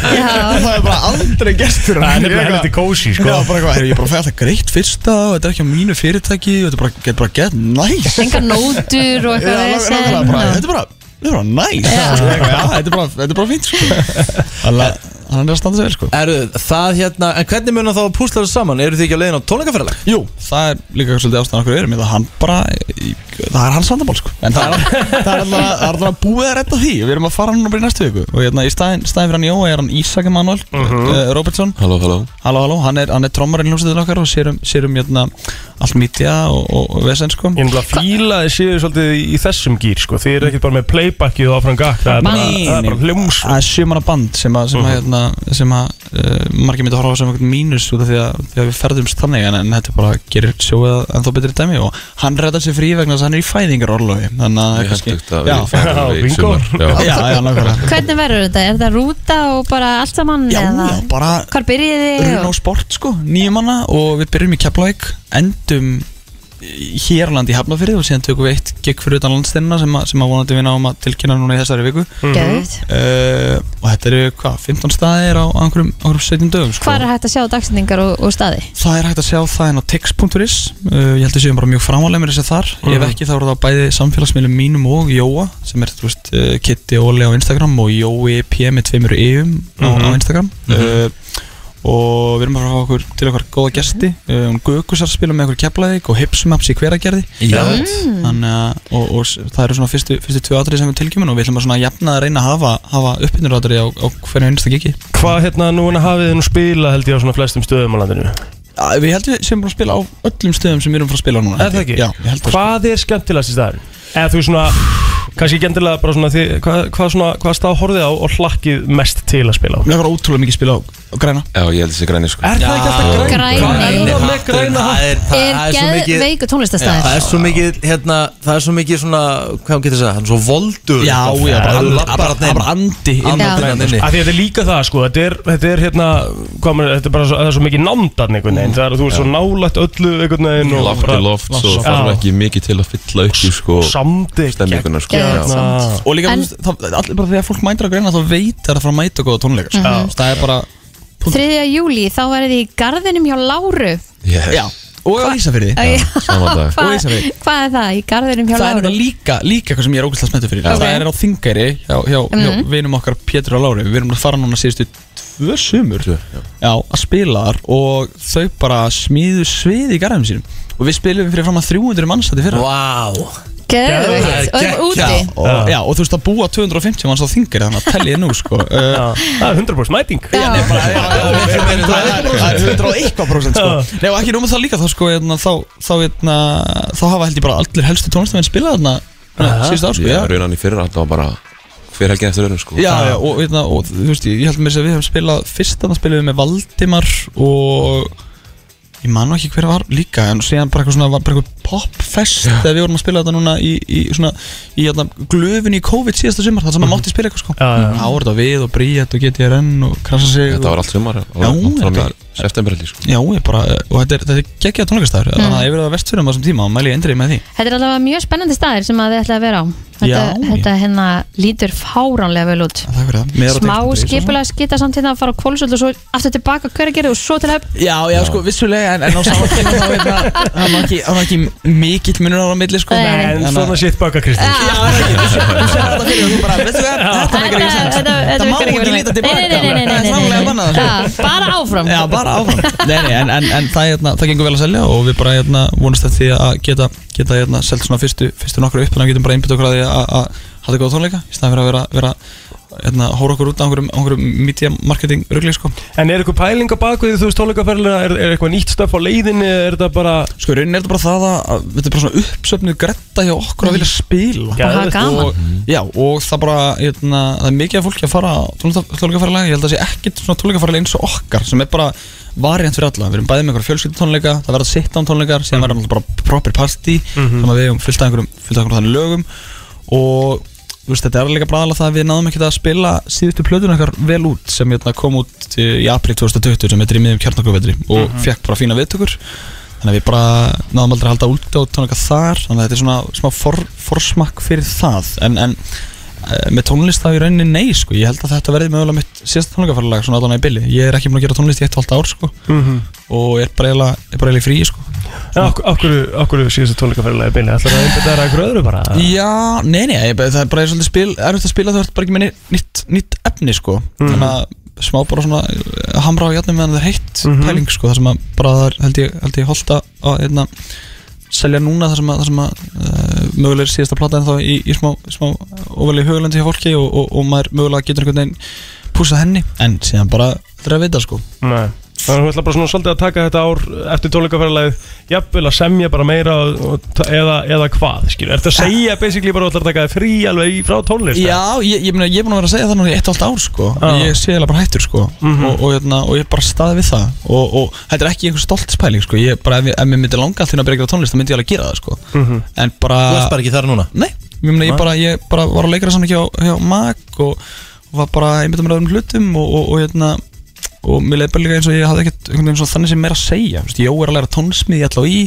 K: Það er bara aldrei gestur
C: Það er nefnilega helviti kósi, sko.
K: Já, bara eitthvað, "Heyrðu, ég er bara að fæða þetta greitt fyrsta og þetta er ekki á mínu fyrirtæki og þetta er bara, þetta er bara get næs
B: Engar nótur og eitthvað
K: Já,
B: vesen.
K: nákvæmlega, bara, Þetta er bara, þetta er bara næs Sko, eitthvað, Já, þetta er bara, þetta er bara fínt sko Hann er að standa sig vel sko
A: Eru það hérna, en hvernig mun þá púslar þessu saman? Eru þið ekki á leiðin á tónleikaferðalag?
K: Jú, það er líka svolítið ástæðan okkur við erum í það hann bara, í, það er hans vandamál sko en það er, það er alltaf að búið að redda því við erum að fara núna bara í næstu viku og hérna í staðin, staðin fyrir hann Jóa er hann Ísak Emanuel uh
C: Mhm.
K: Robertson
J: Halló, halló
K: Halló, halló, hann er, hann er trommarinn hljómsveitin okkar og sérum, sérum hérna allt mítja og, og, og vesen sko
C: Ég nefnilega fílaði séu svolítið í þessum gýr sko. Þið eru ekkert bara með playbackið og áfram gakk Það er bara, það er bara
K: hljúms Það er sjömanna band sem að, sem að, hérna, sem að uh, margir myndi að horfa á sem einhvern mínus út af því að, því að við ferðumst þannig en, en þetta bara gerir sjóið ennþá betri dæmi og hann reddar sér frí vegna þess að hann er í fæðingarorlofi þannig að það er kannski
J: að við
K: Já.
J: erum fæðingarorlofi í Já, bingo. sumar, já.
K: Já, já, nákvæmlega
B: Hvernig verður þetta? Er þetta rúta og bara allt saman?
K: Já,
B: eða?
K: já, bara
B: Hvar byrjið þið?
K: Runa á sport sko, nýjum manna og við byrjum í Keflavík, endum Hérland í Hafnafyrði og síðan tökum við eitt gig fyrir utan landsteinina sem, að- sem að vonandi við náum að tilkynna núna í þessari viku
B: Mhm. Geðveikt.
K: uh, Og þetta eru hvað, 15 staðir á á einhverjum, á einhverjum 17 dögum sko.
B: Hvar er hægt að sjá dagsendingar og, og staði?
K: Það er hægt að sjá það en á tix.is uh, Ég held að séum bara mjög framvalega með þessi þar Ef
C: Mhm.
K: ekki þá eru það bæði samfélagsmiðlum mínum og Jóa sem er, þú veist, uh, Kitty og Óli á Instagram og Jói P með tveimur EU-um á, á
C: Mhm.
K: Instagram
C: Mhm.
K: uh, og við erum bara að fá okkur til okkar góða
C: Mhm.
K: gesti um, Guðgusar spila með okkur keflaðik og Hipsumaps í hveragerði
A: Já.
C: Mhm.
K: Mm. Þannig að, og, og s- það eru svona fyrstu, fyrstu tvö atrið sem við tilkjumum og við ætlum að svona jafna að reyna að hafa, hafa uppinnur atrið á, á hverju einsta gigi
C: Hvað hérna núna hafið þið nú spila held ég á svona flestum stöðum á landinu
K: Ja, Við heldum við sem bara að spila á öllum stöðum sem við erum frá að spila á núna
C: Er það ekki?
K: Já, ég held sko. það
C: Hvað er skemmtilegast í staðin? Eða þú svona, kannski ekki endilega bara svona því, hvað, hvað, svona, hvað stað horfið á og hlakkið mest til að spila á?
K: Mér var ótrúlega mikið spila á, á græna
J: Já, ég held þessi græni sko
C: Er það ekki alltaf græn?
B: Græni.
C: Hvað er það með græna hatt?
A: Það er, það
B: Er
A: er svo mikið
B: geðveikur tónlistarstaður.
A: Já, Það er svo mikið, hérna, það er svo mikið svona Hvað getur það, hann er svo voldur
K: Já, já, bara
A: Hann
K: andi-
A: labbar
K: bara-
A: þarna inn.
K: bara andi inn á
A: Andi
K: grænu,
A: þarna inni.
C: Af því að þetta er líka það sko, þetta er, þetta er hérna, hvað maður, þetta er bara svo, það er svo mikið námdarn einhvern
K: Mm.
C: veginn, það er að þú er svo nálægt öllu einhvern veginn og
J: Láft
C: bara-
J: í loft, svo þarf
C: Já.
J: ekki mikið til að fylla upp í sko
C: Samdi
J: Stemminguna sko
C: geggjað
J: Já.
C: samt.
K: Og líka,
B: En-
K: en... það, allir bara þegar fólk mætir á græna þá veit það er að fara að mæta góða tónleikar sko.
C: Mm.
B: Mhm.
K: Það er bara
B: 3. júli, þá verðið þið í garðinum hjá Láru
J: Yes.
K: Já, og á Ísafyrði
B: Já,
J: sama dag.
B: Hvað
K: Og Ísafirði.
B: hvað er það? Í garðinum hjá
K: Það er
B: Láru
K: nefnilega líka, líka eitthvað sem ég er ógæslega smettur fyrir
B: Ok.
K: Það er á Þingæri hjá, hjá, hjá
B: Mhm.
K: vinum okkar Pétur og Lári Við erum að fara núna síðustu tvö sumur já. að spila þar og þau bara smíðu svið í garðum sínum Og við spilum fyrir fram að 300 manns þetta fyrir
A: Vá
B: Geðveikt. Og þeim úti.
K: Já, og- Já, og þú veist að búa 250 manns á þingir þannig að tellið nú sko Það
C: er 100% mæting
K: Já, nei, bara- já, já, miklu meira en það er- það er 100 og eitthvað prósent sko.
C: Já.
K: Nei og ekki nómið það líka þá sko hérna, þá, þá, hérna, þá hafa held ég bara allir helstu tónlistamenn spilað þarna hérna, síðust ár sko
J: Ég
K: já.
J: er raunan í fyrra alltaf bara Hver helgin eftir öðrum sko
K: Já, já, og, hérna, og þú veist, ég held mér að segja við hefum spilað fyrst þannig að spilum við með Valdimar og ég man nú ekki hver var líka en síðan bara eitthvað svona, var bara eitthvað popfest þegar við vorum að spila þetta núna í, í svona, í hérna, glöfun í COVID síðasta sumar þar sem
J: Mhm.
K: maður mátti spila eitthvað sko
C: já.
K: Þá var þetta við og Bríett og GTRN og Krasa sig
J: Þetta var allt sumar og-
K: Já,
J: og fram í
K: þetta-
J: September held ég sko
K: Já, ég bara, og þetta er, þetta er geggjað tónleikastæður
B: Mm.
K: þannig að ef við erum að vestfyrir um þessum tíma og mæli ég endrið með því
B: Þetta er allavega mjög spennandi staðir sem að þið ætla að vera á Þetta,
K: Já.
B: þetta hérna lítur fáránlega vel út
K: Takk fyrir það Meira á
B: Smá
K: Dexter.is og svona.
B: skipulega skita samt hérna að fara á kvólusöld og svo aftur tilbaka hverjargerði og svo til höfn
K: Já, já, sko, vissulega, en, en á saman tíma þá veit maður það var ekki, það var ekki mikill munur ára á milli, sko
B: Nei.
C: En svona shit baka Kristins
K: Já, ekki, þú sér þú sér þetta fyrir og þú bara, veistu hvað, þetta meikar ekki sens
B: Þetta
K: má
B: virkar vel. Nei,
K: ekki líta
B: nei,
K: tilbaka
B: nei, nei, nei,
K: Það er
B: nei,
K: framlega
B: nei.
K: bannað sko.
B: Já, Bara áfram
K: Já, bara áfram Nei, nei, en, en, en það, hérna, það gengur vel að selja og við bara hérna, vonast að því að geta, geta hérna, selt svona fyrstu, fyrstu nokkru upp þannig að við getum bara einbytt okkur að því að- að hafa góða tónleika í staðan fyrir að vera, vera hérna, hóra okkur út á einhverjum, einhverjum media marketing rugli sko.
C: En er eitthvað pæling á bakvið þú veist tónleikaferðina, er, er eitthvað nýtt stöf á leiðinni, er þetta bara
K: Sko, í rauninni er þetta bara það að- að þetta er bara svona uppsöfnuð gretta hjá
C: Mm.
K: okkur að vilja spila
C: Bara hafa gaman.
K: og, Já, og það bara, hérna, það er mikið af fólki að fara á tónleikafæralega, ég held að það sé ekkit svona tónleikafæralega eins og okkar sem er bara variant fyrir alla, við erum bæðið með einhverja fjölskyldutónleika það verða sitt án tónleikar, síðan verða náttúrulega bara proper party,
C: Mhm.
K: þannig að við hefum fyllt að einhverjum, fyllt að einhverjum þannig lögum og þú veist, þetta er líka bræðalega það að við náðum ekkert að spila síðustu plötun okkar vel út sem hérna, kom út eh, í apríl 2020 sem heitir í miðjum kjarnakovetri og
C: Mhm.
K: fekk bara fína viðtökur þannig að við bara náðum aldrei að halda út á tónleika þar þannig að þetta er svona smá for, forsmakk fyrir það en, en eh, með tónlist þá í rauninni nei sko. ég held að þetta verði mögulega mitt síðasta tónleikafarlag svona allan að í bylli, ég er ekki búin að gera tónlist í eitt og halvt ár sko.
C: Mhm.
K: og er bara eiginlega- er bara eiginlega í frí sko.
C: En okkur, okkur, okkur síðast tónleikaferðilega beinu, ætlar það einhvern veginn að einbeita þér að gröðru bara?
K: Já, nei, nei, ég, bara- það er bara svolítið spil, erfitt að spila þú ert bara ekki með neitt- nýtt, nýtt efni sko.
C: Mhm.
K: þannig að smá bara svona eh, hamra á hjarnum meðan það er heitt
C: Mhm.
K: pæling sko, þar sem að bara það er held ég, held ég holdt að að, hérna, selja núna þar sem að, þar sem að uh, mögulega er síðasta plata en þá í, í smá, smá óvalið hugulandi hjá fólki og, og, og maður mögulega getur einhvern veginn púsað henni en síðan bara þetta er að vita sko
C: Nei Þannig að þú ætlar bara svona svolítið að taka þetta ár eftir tónleikaferðilegið, jafnvel að semja bara meira og, og, ta- eða, eða hvað, skilur? Ertu að segja basically bara að þú ætlar að taka þig frí alveg í- frá tónlist?
K: Já, ég, ég, meina, ég er búin að vera að segja það núna í eitt og allt ár sko.
C: Já.
K: Ég sé eiginlega bara hættur sko.
C: Mhm.
K: og, og, hérna, og ég er bara staðið við það Og, og þetta er ekki einhver stoltspæling sko. Ég er bara, ef, ég- ef mér myndi langa allt hérna að byrja að gera tónlist þá myndi ég alveg að gera það sko.
C: Mhm.
K: En bara
A: Þú ert bara ekki þar núna?
K: Nei, ég, meina, ég,
A: Nei.
K: bara, ég bara var að leikra saman hjá, hjá MAG og, og var bara einmitt um öðrum hlutum og, og, og hérna og mér leiði bara líka eins og ég hafði ekkert einhvern veginn svona þannig sem meira að segja Vist, Jó er að læra tónsmið allá í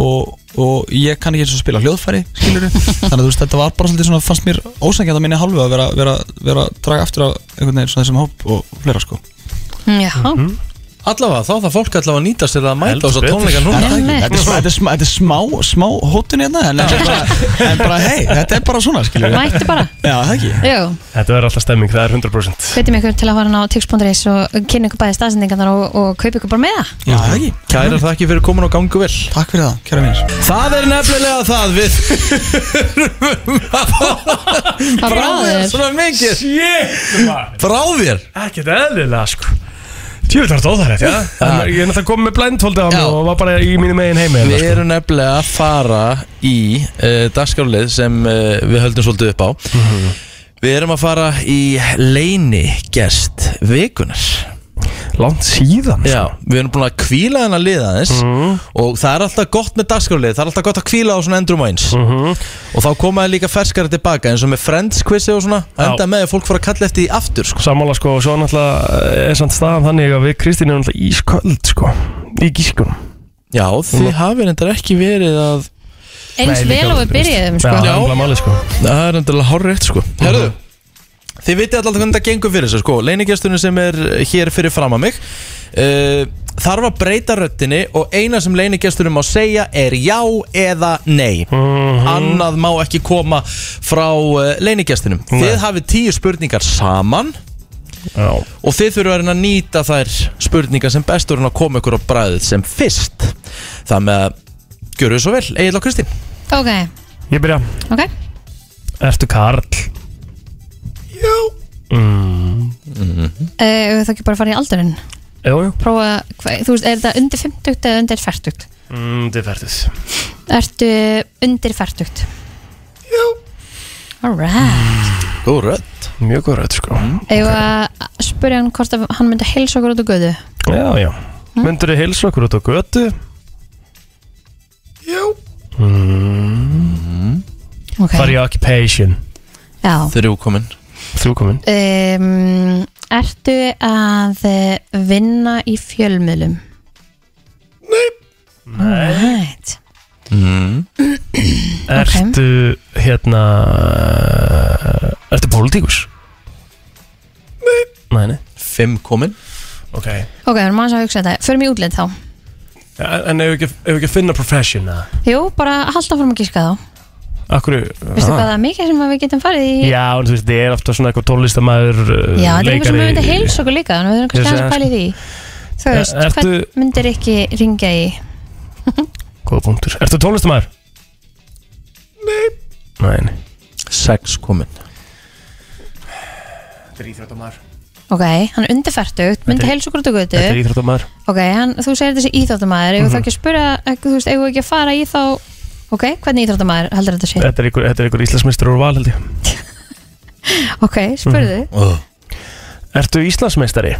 K: og, og ég kann ekki eins og spila hljóðfæri skilur þannig að þú veist þetta var bara svolítið svona fannst mér ósækjað að minni hálfu að vera, vera, vera að draga aftur af einhvern veginn svona þessum hóp og fleira sko
B: Já,
A: Allavega, þá það fólk allavega að nýta sér það að mæta á
K: Heldur
A: þessa
K: betur.
A: tónleika núna
K: Er það ekki? Þetta er smá- þetta er smá- þetta er smá, smá hóttun hérna en, en, bara, en bara hei, þetta er bara svona skilur
B: Mættu bara.
K: Já, það ekki
B: jú
C: Þetta verður alltaf stemming, það er 100%.
B: Hvetjum ykkur til að fara inn á tix.is og kynna ykkur bæði staðsendingarnar og, og kaupa ykkur bara með það
K: Já, það ekki
A: Kærar það ekki fyrir komin og gangu vel
K: Takk fyrir það, kæra mínir
A: Það er nefnilega það við
B: Hvað
A: Brá þér svona mikið Brá þér
C: Ekkert eðlilega sko Tjóður þarf þetta óþægilegt, já En Ég er náttúrulega komið með blindfoldið á mig og var bara í mínu megin heimi sko.
A: Við erum nefnilega að fara í uh, dagskjárlið sem uh, við höldum svolítið upp á Við erum að fara í leini gest vikunar
C: Langt síðan
A: Já, við erum búin að kvíla hennar lið aðeins og það er alltaf gott með dagskjárlið það er alltaf gott að kvíla á svona endrum og eins og þá koma það líka ferskara tilbaka eins og með friends quizið og svona
C: Já.
A: enda með að fólk fara að kalla eftir því aftur sko.
C: Sammála sko, og svo náttúrulega eh, er samt staðan þannig að við Kristín erum náttúrulega ísköld sko Í gískunum
A: Já, þið hafið reyndar ekki verið að
B: Eins
A: Nei,
B: vel
A: líka
B: og við byrjuðum sko
C: Já, það er máli sko
A: Það er endilega horrið sko Herðu, þið vitið alltaf hvernig það gengur fyrir sig sko Leinigesturinn sem er hér fyrir fram að mig uh, Þarf að breyta röttinni Og eina sem leinigesturinn má segja er já eða nei Annað má ekki koma frá uh, leinigestinum Þið hafið tíu spurningar saman
C: Já.
A: Og þið þurfum að reyna að nýta þær spurningar sem bestur en að koma ykkur á bræðið sem fyrst Það með að gjöru þið svo vel, Egil og Kristín
B: Ok,
C: Ég byrja
B: Ok
C: Ertu Karl? Já mm.
A: Mhm.
B: Eða uh, það ekki bara að fara í aldurinn
C: Jú, jú
B: Prófa, hva, þú veist, er þetta undir 50 eða undir 40?
C: mm, Þið færtið
B: Ertu undir 40? Jú Alright
C: Góð rödd Mjög góð rödd sko
A: Mhm.
B: Eða að spurja hann hvort að hann myndi heilsa okkur út á göðu
C: Já, já
B: Mhm.
C: mm. Myndur þið heilsa okkur út á götu? Já mm.
A: Mhm.
B: Ok.
C: Far í occupation
B: Já
C: Þrjú komin Þrjú komin
B: um, Ertu að eh, vinna í fjölmiðlum? Nei Alright
C: mm. Ertu hérna Ertu pólitíkus? Nei Nei, nei
A: Fimm komin
C: Ok
B: Ok, við erum aðeins að hugsa um þetta Förum í útlit þá
C: En ef ekki, ef ekki að finna profession eða?
B: Jú, bara halda fórum að gíska þá
C: Akkur
B: Veistu hvað það er mikið sem að við getum farið í?
C: Ah. Já, en þú veist, þið er alltaf svona eitthvað tónlistamæður uh,
B: Já, þetta er einhver sem
C: leikari.
B: við myndum heilsa okkur líka Þannig að við erum
C: Ég
B: kannski
C: segi
B: aðeins að
C: það,
B: pæla í því Þú
C: Er-
B: veist,
C: ertu-
B: hvern myndir ekki ringja í?
C: Góða punktur Ertu tónlistamæður? Nei Nei, nei
A: Sex komin
C: Þetta er íþróttamæður
B: Ok, hann er undirfertugt,
C: Þetta
B: myndi
C: er-
B: heilsa okkur út á götu
C: Þetta er íþróttamæður
B: Ok, hann, þú segir þessi íþróttamæður Ef mm -hmm.
C: Mhm.
B: þá ekki að spura, ekki, þú veist, ef ekki að fara í þá Ok, hvernig íþróttamæður heldur þetta sé?
C: Þetta er ykkur, þetta er ykkur íslensmestari úr val held ég
B: Ok, spurðu
C: oh. Ertu íslensmestari?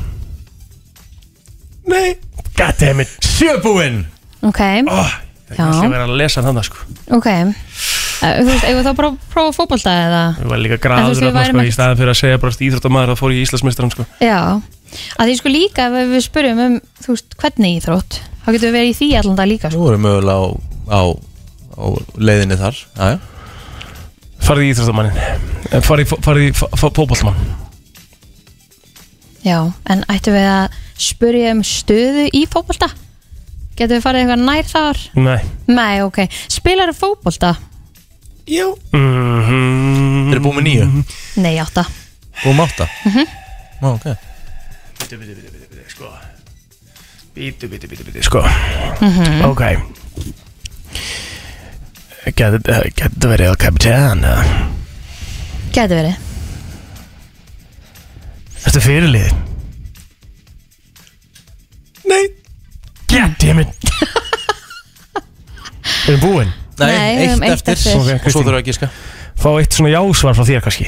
C: Nei Goddammit Sjöbúinn
B: Ok,
C: Ég ætla að
B: já,
C: vera að lesa þannig sko
B: ok Eh, Þú veist, ef þá bara að prófa fótbolta eða
C: Ég var líka
B: En þú veist,
C: graður
B: við
C: þarna,
B: værum
C: sko,
B: ekki-
C: Í staðan fyrir að segja bara íþróttamæður þá fór ég í íslensmestaran sko
B: Já, að því sko líka ef við spurjum um, þú veist, hvernig íþrótt þá getum við verið í því allan dag líka
A: Þú
B: sko.
A: voru mögulega á, á, á leiðinni þar Aja.
C: Farði í íþróttamannin Farði í fótballmann
B: Já, en ættum við að spurja um stöðu í fótbolta? Getum við farið eitthvað nær þar?
C: Nei
B: Nei, ok. Spilar fótbolta?
A: Jú.
C: mm
B: Mhm.
C: -hmm.
A: Þeir eru búin með nýju
B: Nei, átta.
A: Búin með átta
B: Mm
A: Ó, ok
C: Bítu, bítu, bítu, bítu, bítu, sko Bítu, bítu, bítu, bítu, sko
B: Mhm.
C: Ok Gæti gæti verið El Capitan eða?
B: Gæti verið.
C: Ertu fyrirlið?
A: Mm.
C: Nei Goddammit Erum búin?
A: Nei, Nei, við eitt höfum eitt eftir. eftir.
C: Ok,
A: Og svo
C: Kristín.
A: þurfum við að giska.
C: Fá eitt svona jásvar frá þér kannski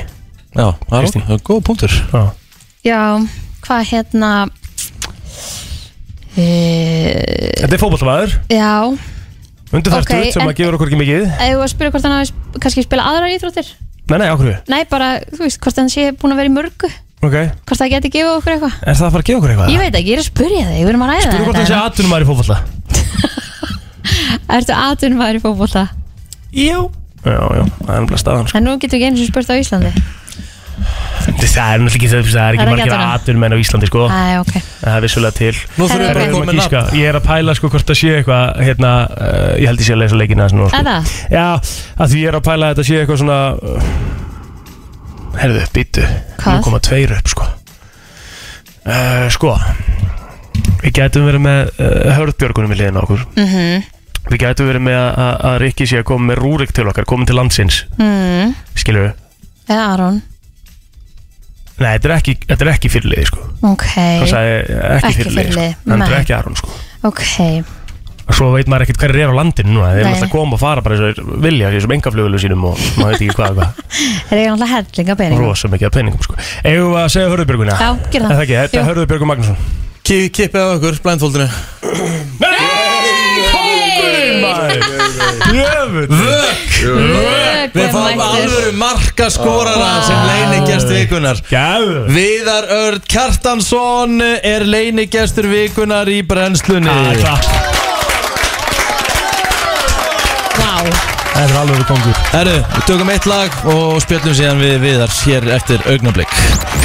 A: Já, það er ok. góð punktur
C: Já
B: Já, hvað hérna...
A: Eh,
B: E...
C: Þetta er fótballmaður
B: Já,
C: Undirfærstur
B: Ok,
C: sem
B: en-
C: að gefur okkur ekki mikið
B: ef við að spyrja hvort hann hafi sp- kannski spila aðrar íþróttir?
C: Nei, nei, okkur
B: Nei, bara, þú veist, hvort hann sé búin að vera í mörgu?
C: Ok
B: Hvort það geti gefið okkur eitthvað?
C: Er það að fara að gefa okkur eitthvað?
B: Ég veit ekki, ég er að spyrja þig, við erum að ræða
C: Spurðu hvort hann sé atvinnumæður í fótballa
B: hérna. Ertu atvinnumæður í fótbolta?
C: Jú Já, já, það er nefnilega staðan sko.
B: En nú getum við ekki eins og spurt á Íslandi
C: Það er náttúrulega ekki það, það er
B: Það er
C: ekki
B: ekki
C: margir
B: atvinna.
C: atvinnmenn á Íslandi sko
B: Æ, ok
C: Það er vissulega til
B: Nú þurfum við bara að
C: Herra,
B: koma
C: við
B: með
C: erum að gíska. Ég er að pæla sko hvort það sé eitthvað hérna, uh, Ég held ég sé að lesa leikina þess nú
B: Er
C: sko.
B: það?
C: Já, að því ég er að pæla að þetta sé eitthvað svona eh, uh, Herðu, býttu
B: Hvað?
C: Nú koma tveir upp sko uh, Sko Við gætum verið með uh, Hörðbjörgunum í liðin á okkur
B: Mhm.
C: Við gætum verið með að, að- að Rikki sé að koma með Rúrik til okkar, komin til landsins
B: mm.
C: Skilur við?
B: Eða Aron
C: Nei, þetta er ekki, þetta er ekki fyrirliði sko
B: Ok
C: Hann sagði ekki,
B: Ekki
C: ekki fyrirliði
B: fyrirliði,
C: sko. Hann er
B: nei.
C: ekki Aron sko
B: Ok
C: og svo veit maður ekkert hver er á landinu núna þeir
B: Nei.
C: náttúrulega koma og fara bara eins og þeir vilja þessum engaflugulegu sínum og maður veit ekki hvað og hvað
B: Er ég náttúrulega hellinga peningum
C: rosa mikið af penningum sko Eigum við að segja Hörðubjörguna?
B: Já, gerðu það.
C: Er ekki, þetta
B: Jú.
C: er Hörðubjörgur Magnússon
A: Kippið á okkur, blindfoldinu
C: Jöfull
A: Vök
B: Vök
A: Við
B: er
A: fáum
B: mættur.
A: alvöru markaskorara sem leinigjast vikunar
C: Gæðu
A: Viðar Örd Kjartansson er leinigjastur vikunar í brennslunni
B: Vá
C: Það er alveg kongur
A: Herru, við tökum eitt lag og spjöllum síðan við Viðar hér eftir augnablík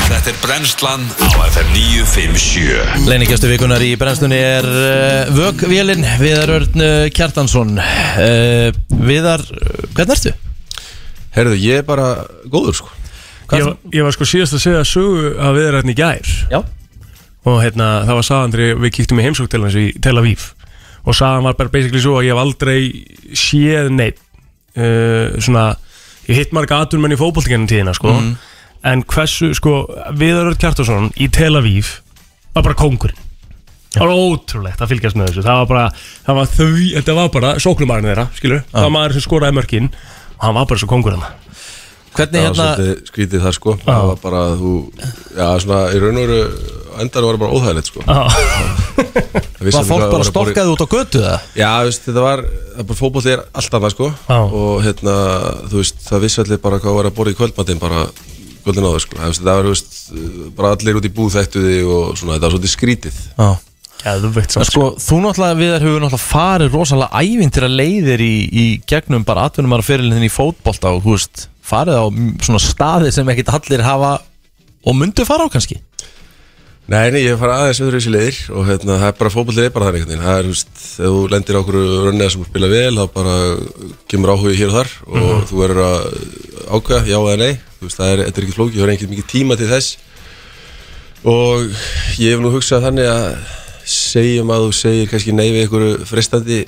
D: Þetta er brennslan á FM 957
A: Leinigjastur vikunar í brennslunni er uh, Vökvélinn Viðar Örd uh, Kjartansson uh, Viðar, uh, hvernig ertu?
L: Herðu, ég er bara góður sko
A: Hvað
C: ég, var- ég var sko síðast að segja sögu að við erum hérna í gær
A: Já
C: Og hérna, það var sagandri, við kíktum í heimsók til hans í Tel Aviv Og sagan var bara basically svo að ég hef aldrei séð neitt uh, svona, ég hitt marga aturmenn í fótboltinginu tíðina sko,
M: Mhm.
C: en hversu sko, Viðar Örd Kjartason í Tel Aviv var bara kóngurinn Það var ótrúlegt að fylgjast með þessu Það var bara, það var því, þetta var bara sóknumarinn þeirra, skilur Það var maður sem skoraði mörkin og hann var bara svo kóngur hann
A: Hvernig hérna-
L: það
C: hérna-
L: var svolítið skrítið það sko það var bara að þú já svona í raun og veru endar var það bara óþægilegt sko
C: Já.
L: Það vissi
A: Var
L: allir hvað
A: fólk bara
L: að bora í-
A: stokkaði út á götu það?
L: já þú veist þetta var það bara fótbolti er allt annað sko
A: Já.
L: og hérna þú veist það vissi allir bara hvað var að borða í kvöldmatinn bara kvöldin áður sko það, það var þú veist bara allir út í búð þekktu þig og svona þetta var svolítið skrítið
A: Já
C: Geðveikt
A: En sko, þú náttúrulega viðar hefur náttúrulega farið rosalega ævintir að leiðir í, í gegnum bara atvinnum að fyrirlinni í fótbolta og þú veist, farið á m- svona staði sem ekkit allir hafa og myndu fara á kannski
L: Nei, nei, ég fara aðeins öðru þessi leiðir og hérna, það er bara fótbollir er bara þannig einhvern veginn. það er, þú veist, ef þú lendir á okkur rönnið sem spila vel, þá bara kemur áhugi hér og þar og
M: Mhm.
L: þú verður að ákveða, já eða nei þú veist, það er, þetta er ekki flókið, það er ekkert mikið tíma til þess og ég hef nú hugsað þannig að segjum að þú segir kannski nei við einhverju frestandi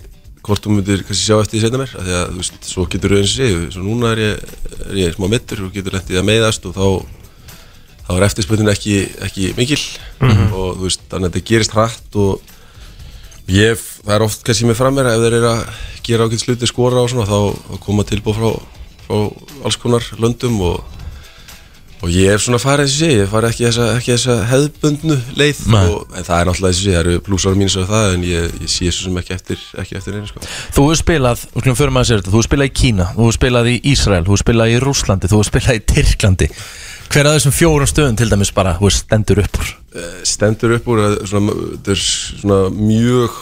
L: hvort þú myndir kannski sjá eftir því setna mér af því að þú veist, svo getur þú eins og segju svo núna er ég, er ég smá mittur og getur lendið að meiðast og þá þá er eftirspunnin ekki, ekki mikil
M: Mhm.
L: og þú veist, þannig að þetta gerist hratt og ég, það er oft kannski með frammeira ef þeir eru að gera ákveðs hluti skora og svona þá, þá koma tilbúð frá, frá alls konar löndum og, og ég er svona farið þessi sé, ég farið ekki þessa, ekki þessa hefðbundnu leið
A: Nei.
L: og, en það er náttúrulega þessi sé, það eru plúsar og mínus af það en ég, ég sé svo sem ekki eftir, ekki eftir einu sko.
A: Þú hefur spilað, og skulum fyrir maður að segja þetta, þú hefur spilað í Kína, þú hefur spilað í Ísrael, þú hefur spilað í Rúslandi, þú hefur spilað í Tyrklandi Hver að þessum fjórum stöðum til dæmis bara, þú veist, stendur upp úr
L: Eh, stendur upp úr að svona, þetta er svona mjög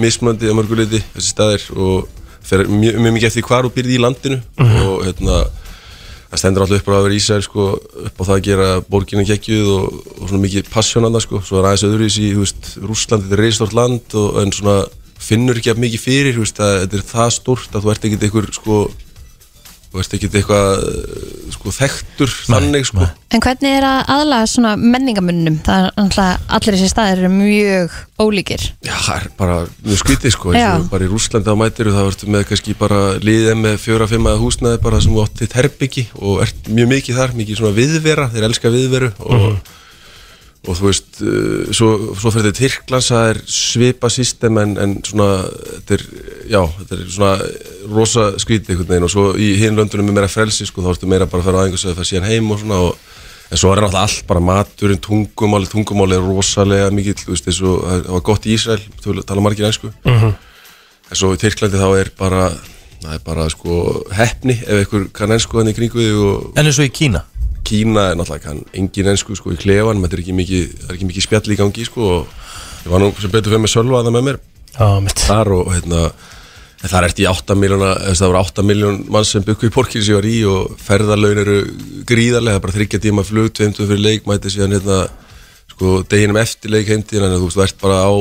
L: mismunandi að mörguleiti þessi staðir og fer mjög, mjög mikið eftir hvar þú byrði í landinu
M: Mhm.
L: og hérna það stendur alltaf upp á að vera Ísæl sko, upp á það að gera borgina geggjuð og, og svona mikið passjónanda sko, svo er aðeins öðruvísi í Rúsland, þetta er reistort land og, en svona finnur ekki að mikið fyrir þú veist, að, þetta er það stórt að þú ert ekkit einhver sko, þú ert ekkit eitthvað eh, sko, þekktur þannig sko
B: En hvernig er að aðlaga svona menningamunnum? Það er náttúrulega allir þessi staðir eru mjög ólíkir.
L: Já, það er bara mjög skrítið sko eins og
B: Já.
L: bara í Rúslandi á mætiru það vartu með kannski bara liðið með fjóra, fimm að húsnaði bara sem þú átt þitt herbyggi og ert mjög mikið þar, mikið svona viðvera þeir elska viðveru og, og þú veist, uh, svo, svo fyrir þetta Tyrklands, það er svipa system en, en svona, þetta er já, þetta er svona rosa skrítið einhvern veginn og svo í hinn löndunum er meira frelsi sko, þá ertu meira bara að fara á aðeins að fara síðan heim og svona og En svo er náttúrulega allt bara maturinn, tungumáli, tungumáli er rosalega mikill, þú veist, eins og það var gott í Ísrael, töl- tala margir einsku.
M: Mhm.
A: Mm.
L: En svo í Tyrklandi þá er bara, það er bara sko hefni ef einhver kann einsku hann í kringu þig og...
A: En eins og í Kína?
L: Kína er náttúrulega kann engin einsku sko í klefanum, þetta er ekki mikið, það er ekki mikið spjall í gangi sko og ég var nú sem betur fyrir með Sölva að það með mér
C: Já, mitt.
L: þar og hérna En það er eftir 8 miljóna, þess að það voru 8 miljón mann sem byggu í porkinn sem ég var í og ferðarlaun eru gríðarlega, bara þryggja tíma flug, tveimtum fyrir leik, mæti síðan hérna, sko, deginum eftir leik heimtíðin, þannig að þú veist, þú ert bara á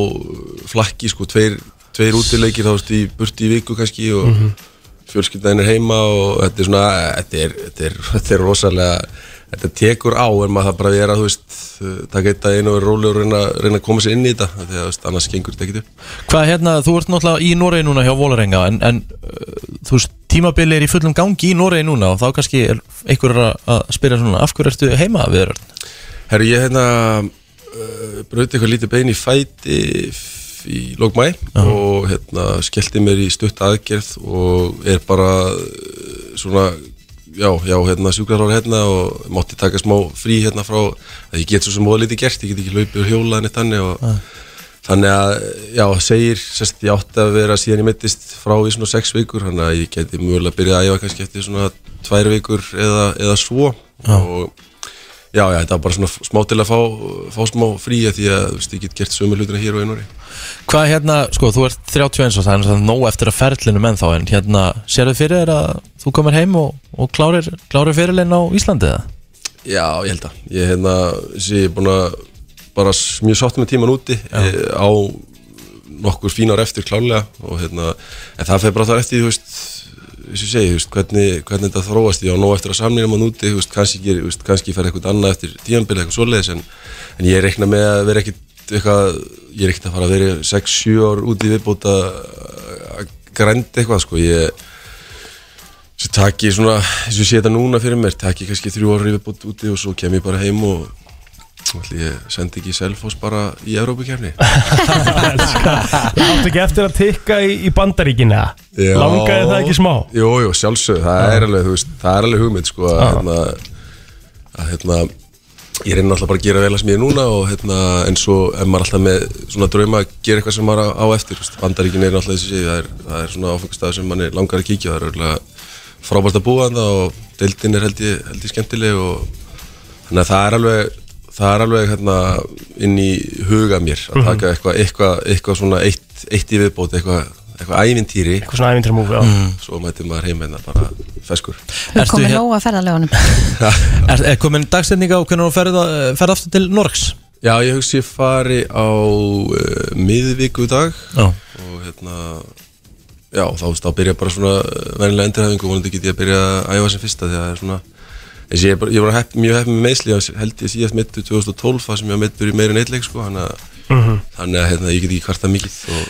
L: flakki, sko, tveir, tveir útileikir, þá veist, í burti í viku kannski og
M: Mhm.
L: fjölskyldaðin er heima og þetta er svona, þetta er, þetta er, þetta er rosalega, þetta tekur á en maður það bara vera, þú veist, taka eitt að einu og vera rólegur og reyna, reyna að koma sér inn í þetta, því að, þú veist, annars gengur þetta ekki upp.
A: Hvað hérna, þú ert náttúrulega í Noregi núna hjá Volarenga en, en uh, þú veist, tímabili er í fullum gangi í Noregi núna og þá kannski er einhver að, að spyrja svona, af hverju ertu heima við þér?
L: Herru, ég hérna uh, bröði eitthvað lítið bein í fæti f- í lók mæ og hérna skellti mér í stutt aðgerð og er bara uh, svona, já, já, hérna sjúkrarar hérna og mátti taka smá frí hérna frá, að ég get svo sem móða lítið gert, ég get ekki hlaupið og hjólað neitt þannig og
A: Nei.
L: þannig að, já, segir sérst, ég átti að vera síðan ég mittist frá í svona sex vikur, þannig að ég geti mjögulega byrjað að æfa kannski eftir svona tvær vikur eða, eða svo
A: Já.
L: og Já, já, þetta var bara svona smá til að fá, fá smá frí af því að þú veist, ég get gert sömu hlutina hér og einhverju.
A: Hvað hérna, sko, þú ert 31 og það er náttúrulega nóg eftir að ferlinum ennþá en hérna, sérðu fyrir þér að þú komir heim og, og klárir, klárir fyrirlin á Íslandi eða?
L: Já, ég held að. Ég hérna, sé, ég er búin að bara s- mjög sátt með tíman úti eh, á nokkur fínar eftir klárlega og hérna, en það fer bara þar eftir, þú veist, þess að segja, þú veist, hvernig, hvernig þetta þróast, ég á nóg eftir að samlýna mann úti, þú veist, kannski, ger, þú veist, kannski fer eitthvað annað eftir tímanbili, eitthvað svoleiðis, en, en ég reikna með að vera ekkit eitthvað, ég er ekkit að fara að vera 6-7 ár úti viðbúta að grændi eitthvað, sko, ég, Sérst, taki svona, eins og ég sé þetta núna fyrir mér taki kannski þrjú ára yfirbútt úti og svo kem ég bara heim og ætli ég sendi ekki Selfoss bara í Evrópukefni
C: Áttu ekki eftir að tikka í, í bandaríkina
L: Já.
C: Langaði það ekki smá?
L: Jú, jú, sjálfsög, það, er alveg, þú veist, það er alveg hugmynd sko, að, hérna, að hérna ég reyna alltaf bara að gera vel að sem ég er núna og, hérna, en svo er maður alltaf með svona drauma að gera eitthvað sem maður á, á eftir þú veist. bandaríkin er alltaf þessi það er, það er svona áfengstað sem manni langar að kíkja á. það er örgulega frábært að búa þannig og deildin er held ég, held ég skemmtileg og þannig að það er alveg það er alveg hérna inn í huga mér að
C: Mhm.
L: taka eitthvað eitthvað, eitthvað svona eitt, eitt í viðbót eitthvað, eitthvað ævintýri
C: eitthvað svona ævintýra múfi
L: mm. svo mætti maður heim hérna bara feskur
B: Þú komið nóg að ferðarlegunum
A: Er, er komin dagsetning á hvernig þú ferð, ferð aftur til Norgs?
L: Já, ég hugsi ég fari á uh, miðvíku dag
A: Já.
L: og hérna já, þá veist, þá byrja bara svona verðinlega endurhæfingu og vonandi get ég að byrja að æfa sem fyrsta því að það er svona eins og ég, er bara- ég var hepp, mjög heppin með meðsli ég held ég síðast mittu 2012 það sem ég var mittur í meira en eitt leik sko, þannig að,
A: Mhm.
L: þannig að hérna, ég get ekki kvarta mikið og,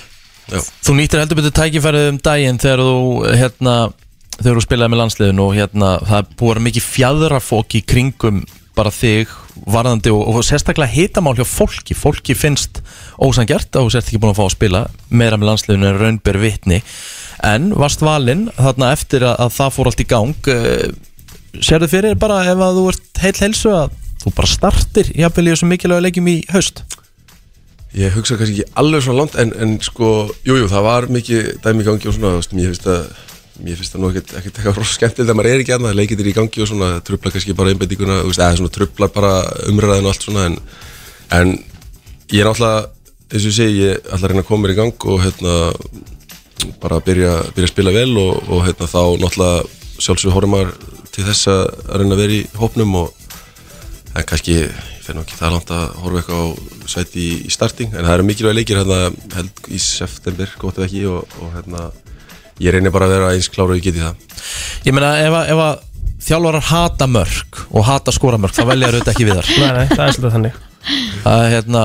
L: já,
A: Þú nýttir heldur betur tækifærið um daginn þegar þú, hérna, þegar þú spilaði með landsliðinu og hérna, það er búið að vera mikið fjadrafók í kringum bara þig varðandi og, og sérstaklega hitamál hjá fólki. Fólki finnst ósangjart að þú sért ekki búin að fá að spila meira með landsliðinu en raunber vitni. En varst valinn þarna eftir að, að það fór allt í gang. eh, Sérðu fyrir þér bara ef að þú ert heil helsu að þú bara startir jafnvel í þessum mikilvægu leikjum í haust?
L: Ég hugsa kannski ekki alveg svona langt en, en sko, jújú, jú, það var mikið dæmi í gangi og svona, þú veist, mér finnst að mér finnst það nú ekkert ekkert eitthvað rosa skemmtilegt að maður er ekki annað, leikið er í gangi og svona trubla kannski bara einbætinguna, þú veist, eða svona trubla bara umræðin og allt svona en, en ég er náttúrulega, eins og ég segi, ég ætla að reyna að koma mér í gang og hérna bara að byrja, byrja að spila vel og, og hérna þá náttúrulega sjálfsög horfum maður til þess að að reyna að vera í hópnum og en kannski ég finn ekki það langt að horfa eitthvað á sæti í, í starting en það eru mikilvæg leikir hérna held í september, gott ef ekki og, og hérna ég reynir bara að vera eins klára og ég geti það
A: Ég meina ef að, ef að þjálfarar hata mörg og hata skóramörg þá velja þau þetta ekki við þar
C: Nei, nei, það er svolítið þannig
A: Það er hérna,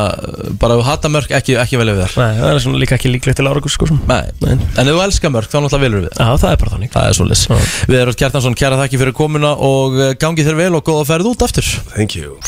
A: bara ef þú hata mörg ekki, ekki velja við þar
C: Nei, það er svona líka ekki líklegt til árakur sko sem.
A: Nei. En ef þú elskar mörg þá náttúrulega velur við þar
C: Já, það er bara þannig
A: Það er svolítið Við erum Kjartansson, kæra þakki fyrir komuna og eh, gangi þér vel og góða ferð út aftur
L: Thank you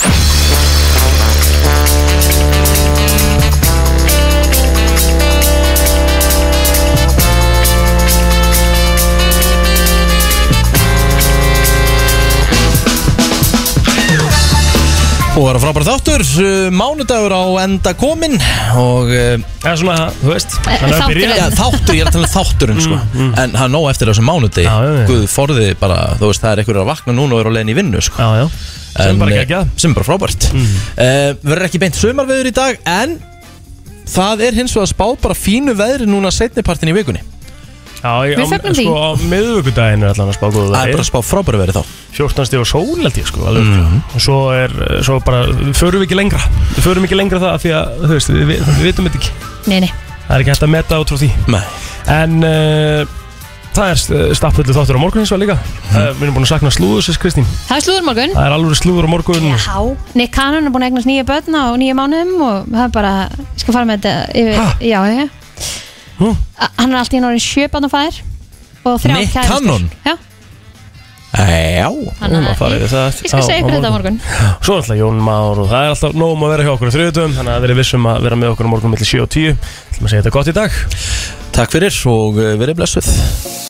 A: Og er að frábæra þáttur, eh, mánudagur á enda komin og eh, Það
C: er svona, þú veist
B: Eh, hann er að byrja. þátturinn.
A: Já, Þáttur, ég er að tala um þátturinn sko
C: Mm,
A: En hann nóg eftir þessum mánudegi Guð forði bara, þú veist, það er einhverjur að vakna núna og eru á leiðin í vinnu sko
C: já, já.
A: En,
C: bara
A: eh,
C: geggjað. Mm.
A: sem er bara frábært uh, verður ekki beint sumarveður í dag en það er hins vegar spáð bara fínu veðri núna setnipartin í vikunni
C: Já, ég,
A: Við
C: á-
A: fögnum því.
C: Sko, á miðvíkudaginn er allan að spá góðu
A: Það er bara að spá frábæru verið þá Mhm.
C: 14 stíð og sól held ég sko alveg, mm. Og svo er, eh, svo bara, förum við ekki lengra Við förum ekki lengra það af því að, þú veist, við, við, við vitum þetta ekki
B: Nei, nei
C: Það er ekki hægt að meta út frá því
A: Nei.
C: En uh, það er stappullu þáttur á morgun eins og líka
A: Mhm.
C: uh, Við erum búin að sakna slúður, sér Kristín
B: Það er slúður morgun
C: Það er alveg slúður á morgun
B: Já, Nick Cannon er búin að eignast nýja börn á nýja mánuðum og það er bara, ég skal fara með þetta yfir, já, já, já. A- Hann er allt í einu orðin sjö barn og fæðir og þrjá
A: Nick Cannon?
B: Já,
A: Já,
B: Hann er- ég skal segja ykkur þetta á morgun
C: Svo er alltaf Jón Már og það er alltaf nóg um að vera hjá okkur á þriðutum Þannig að verið vissum að vera með okkur á morgun millir 7 og 10 Það er að segja þetta gott í dag
A: Takk fyrir og eh, verið blessuð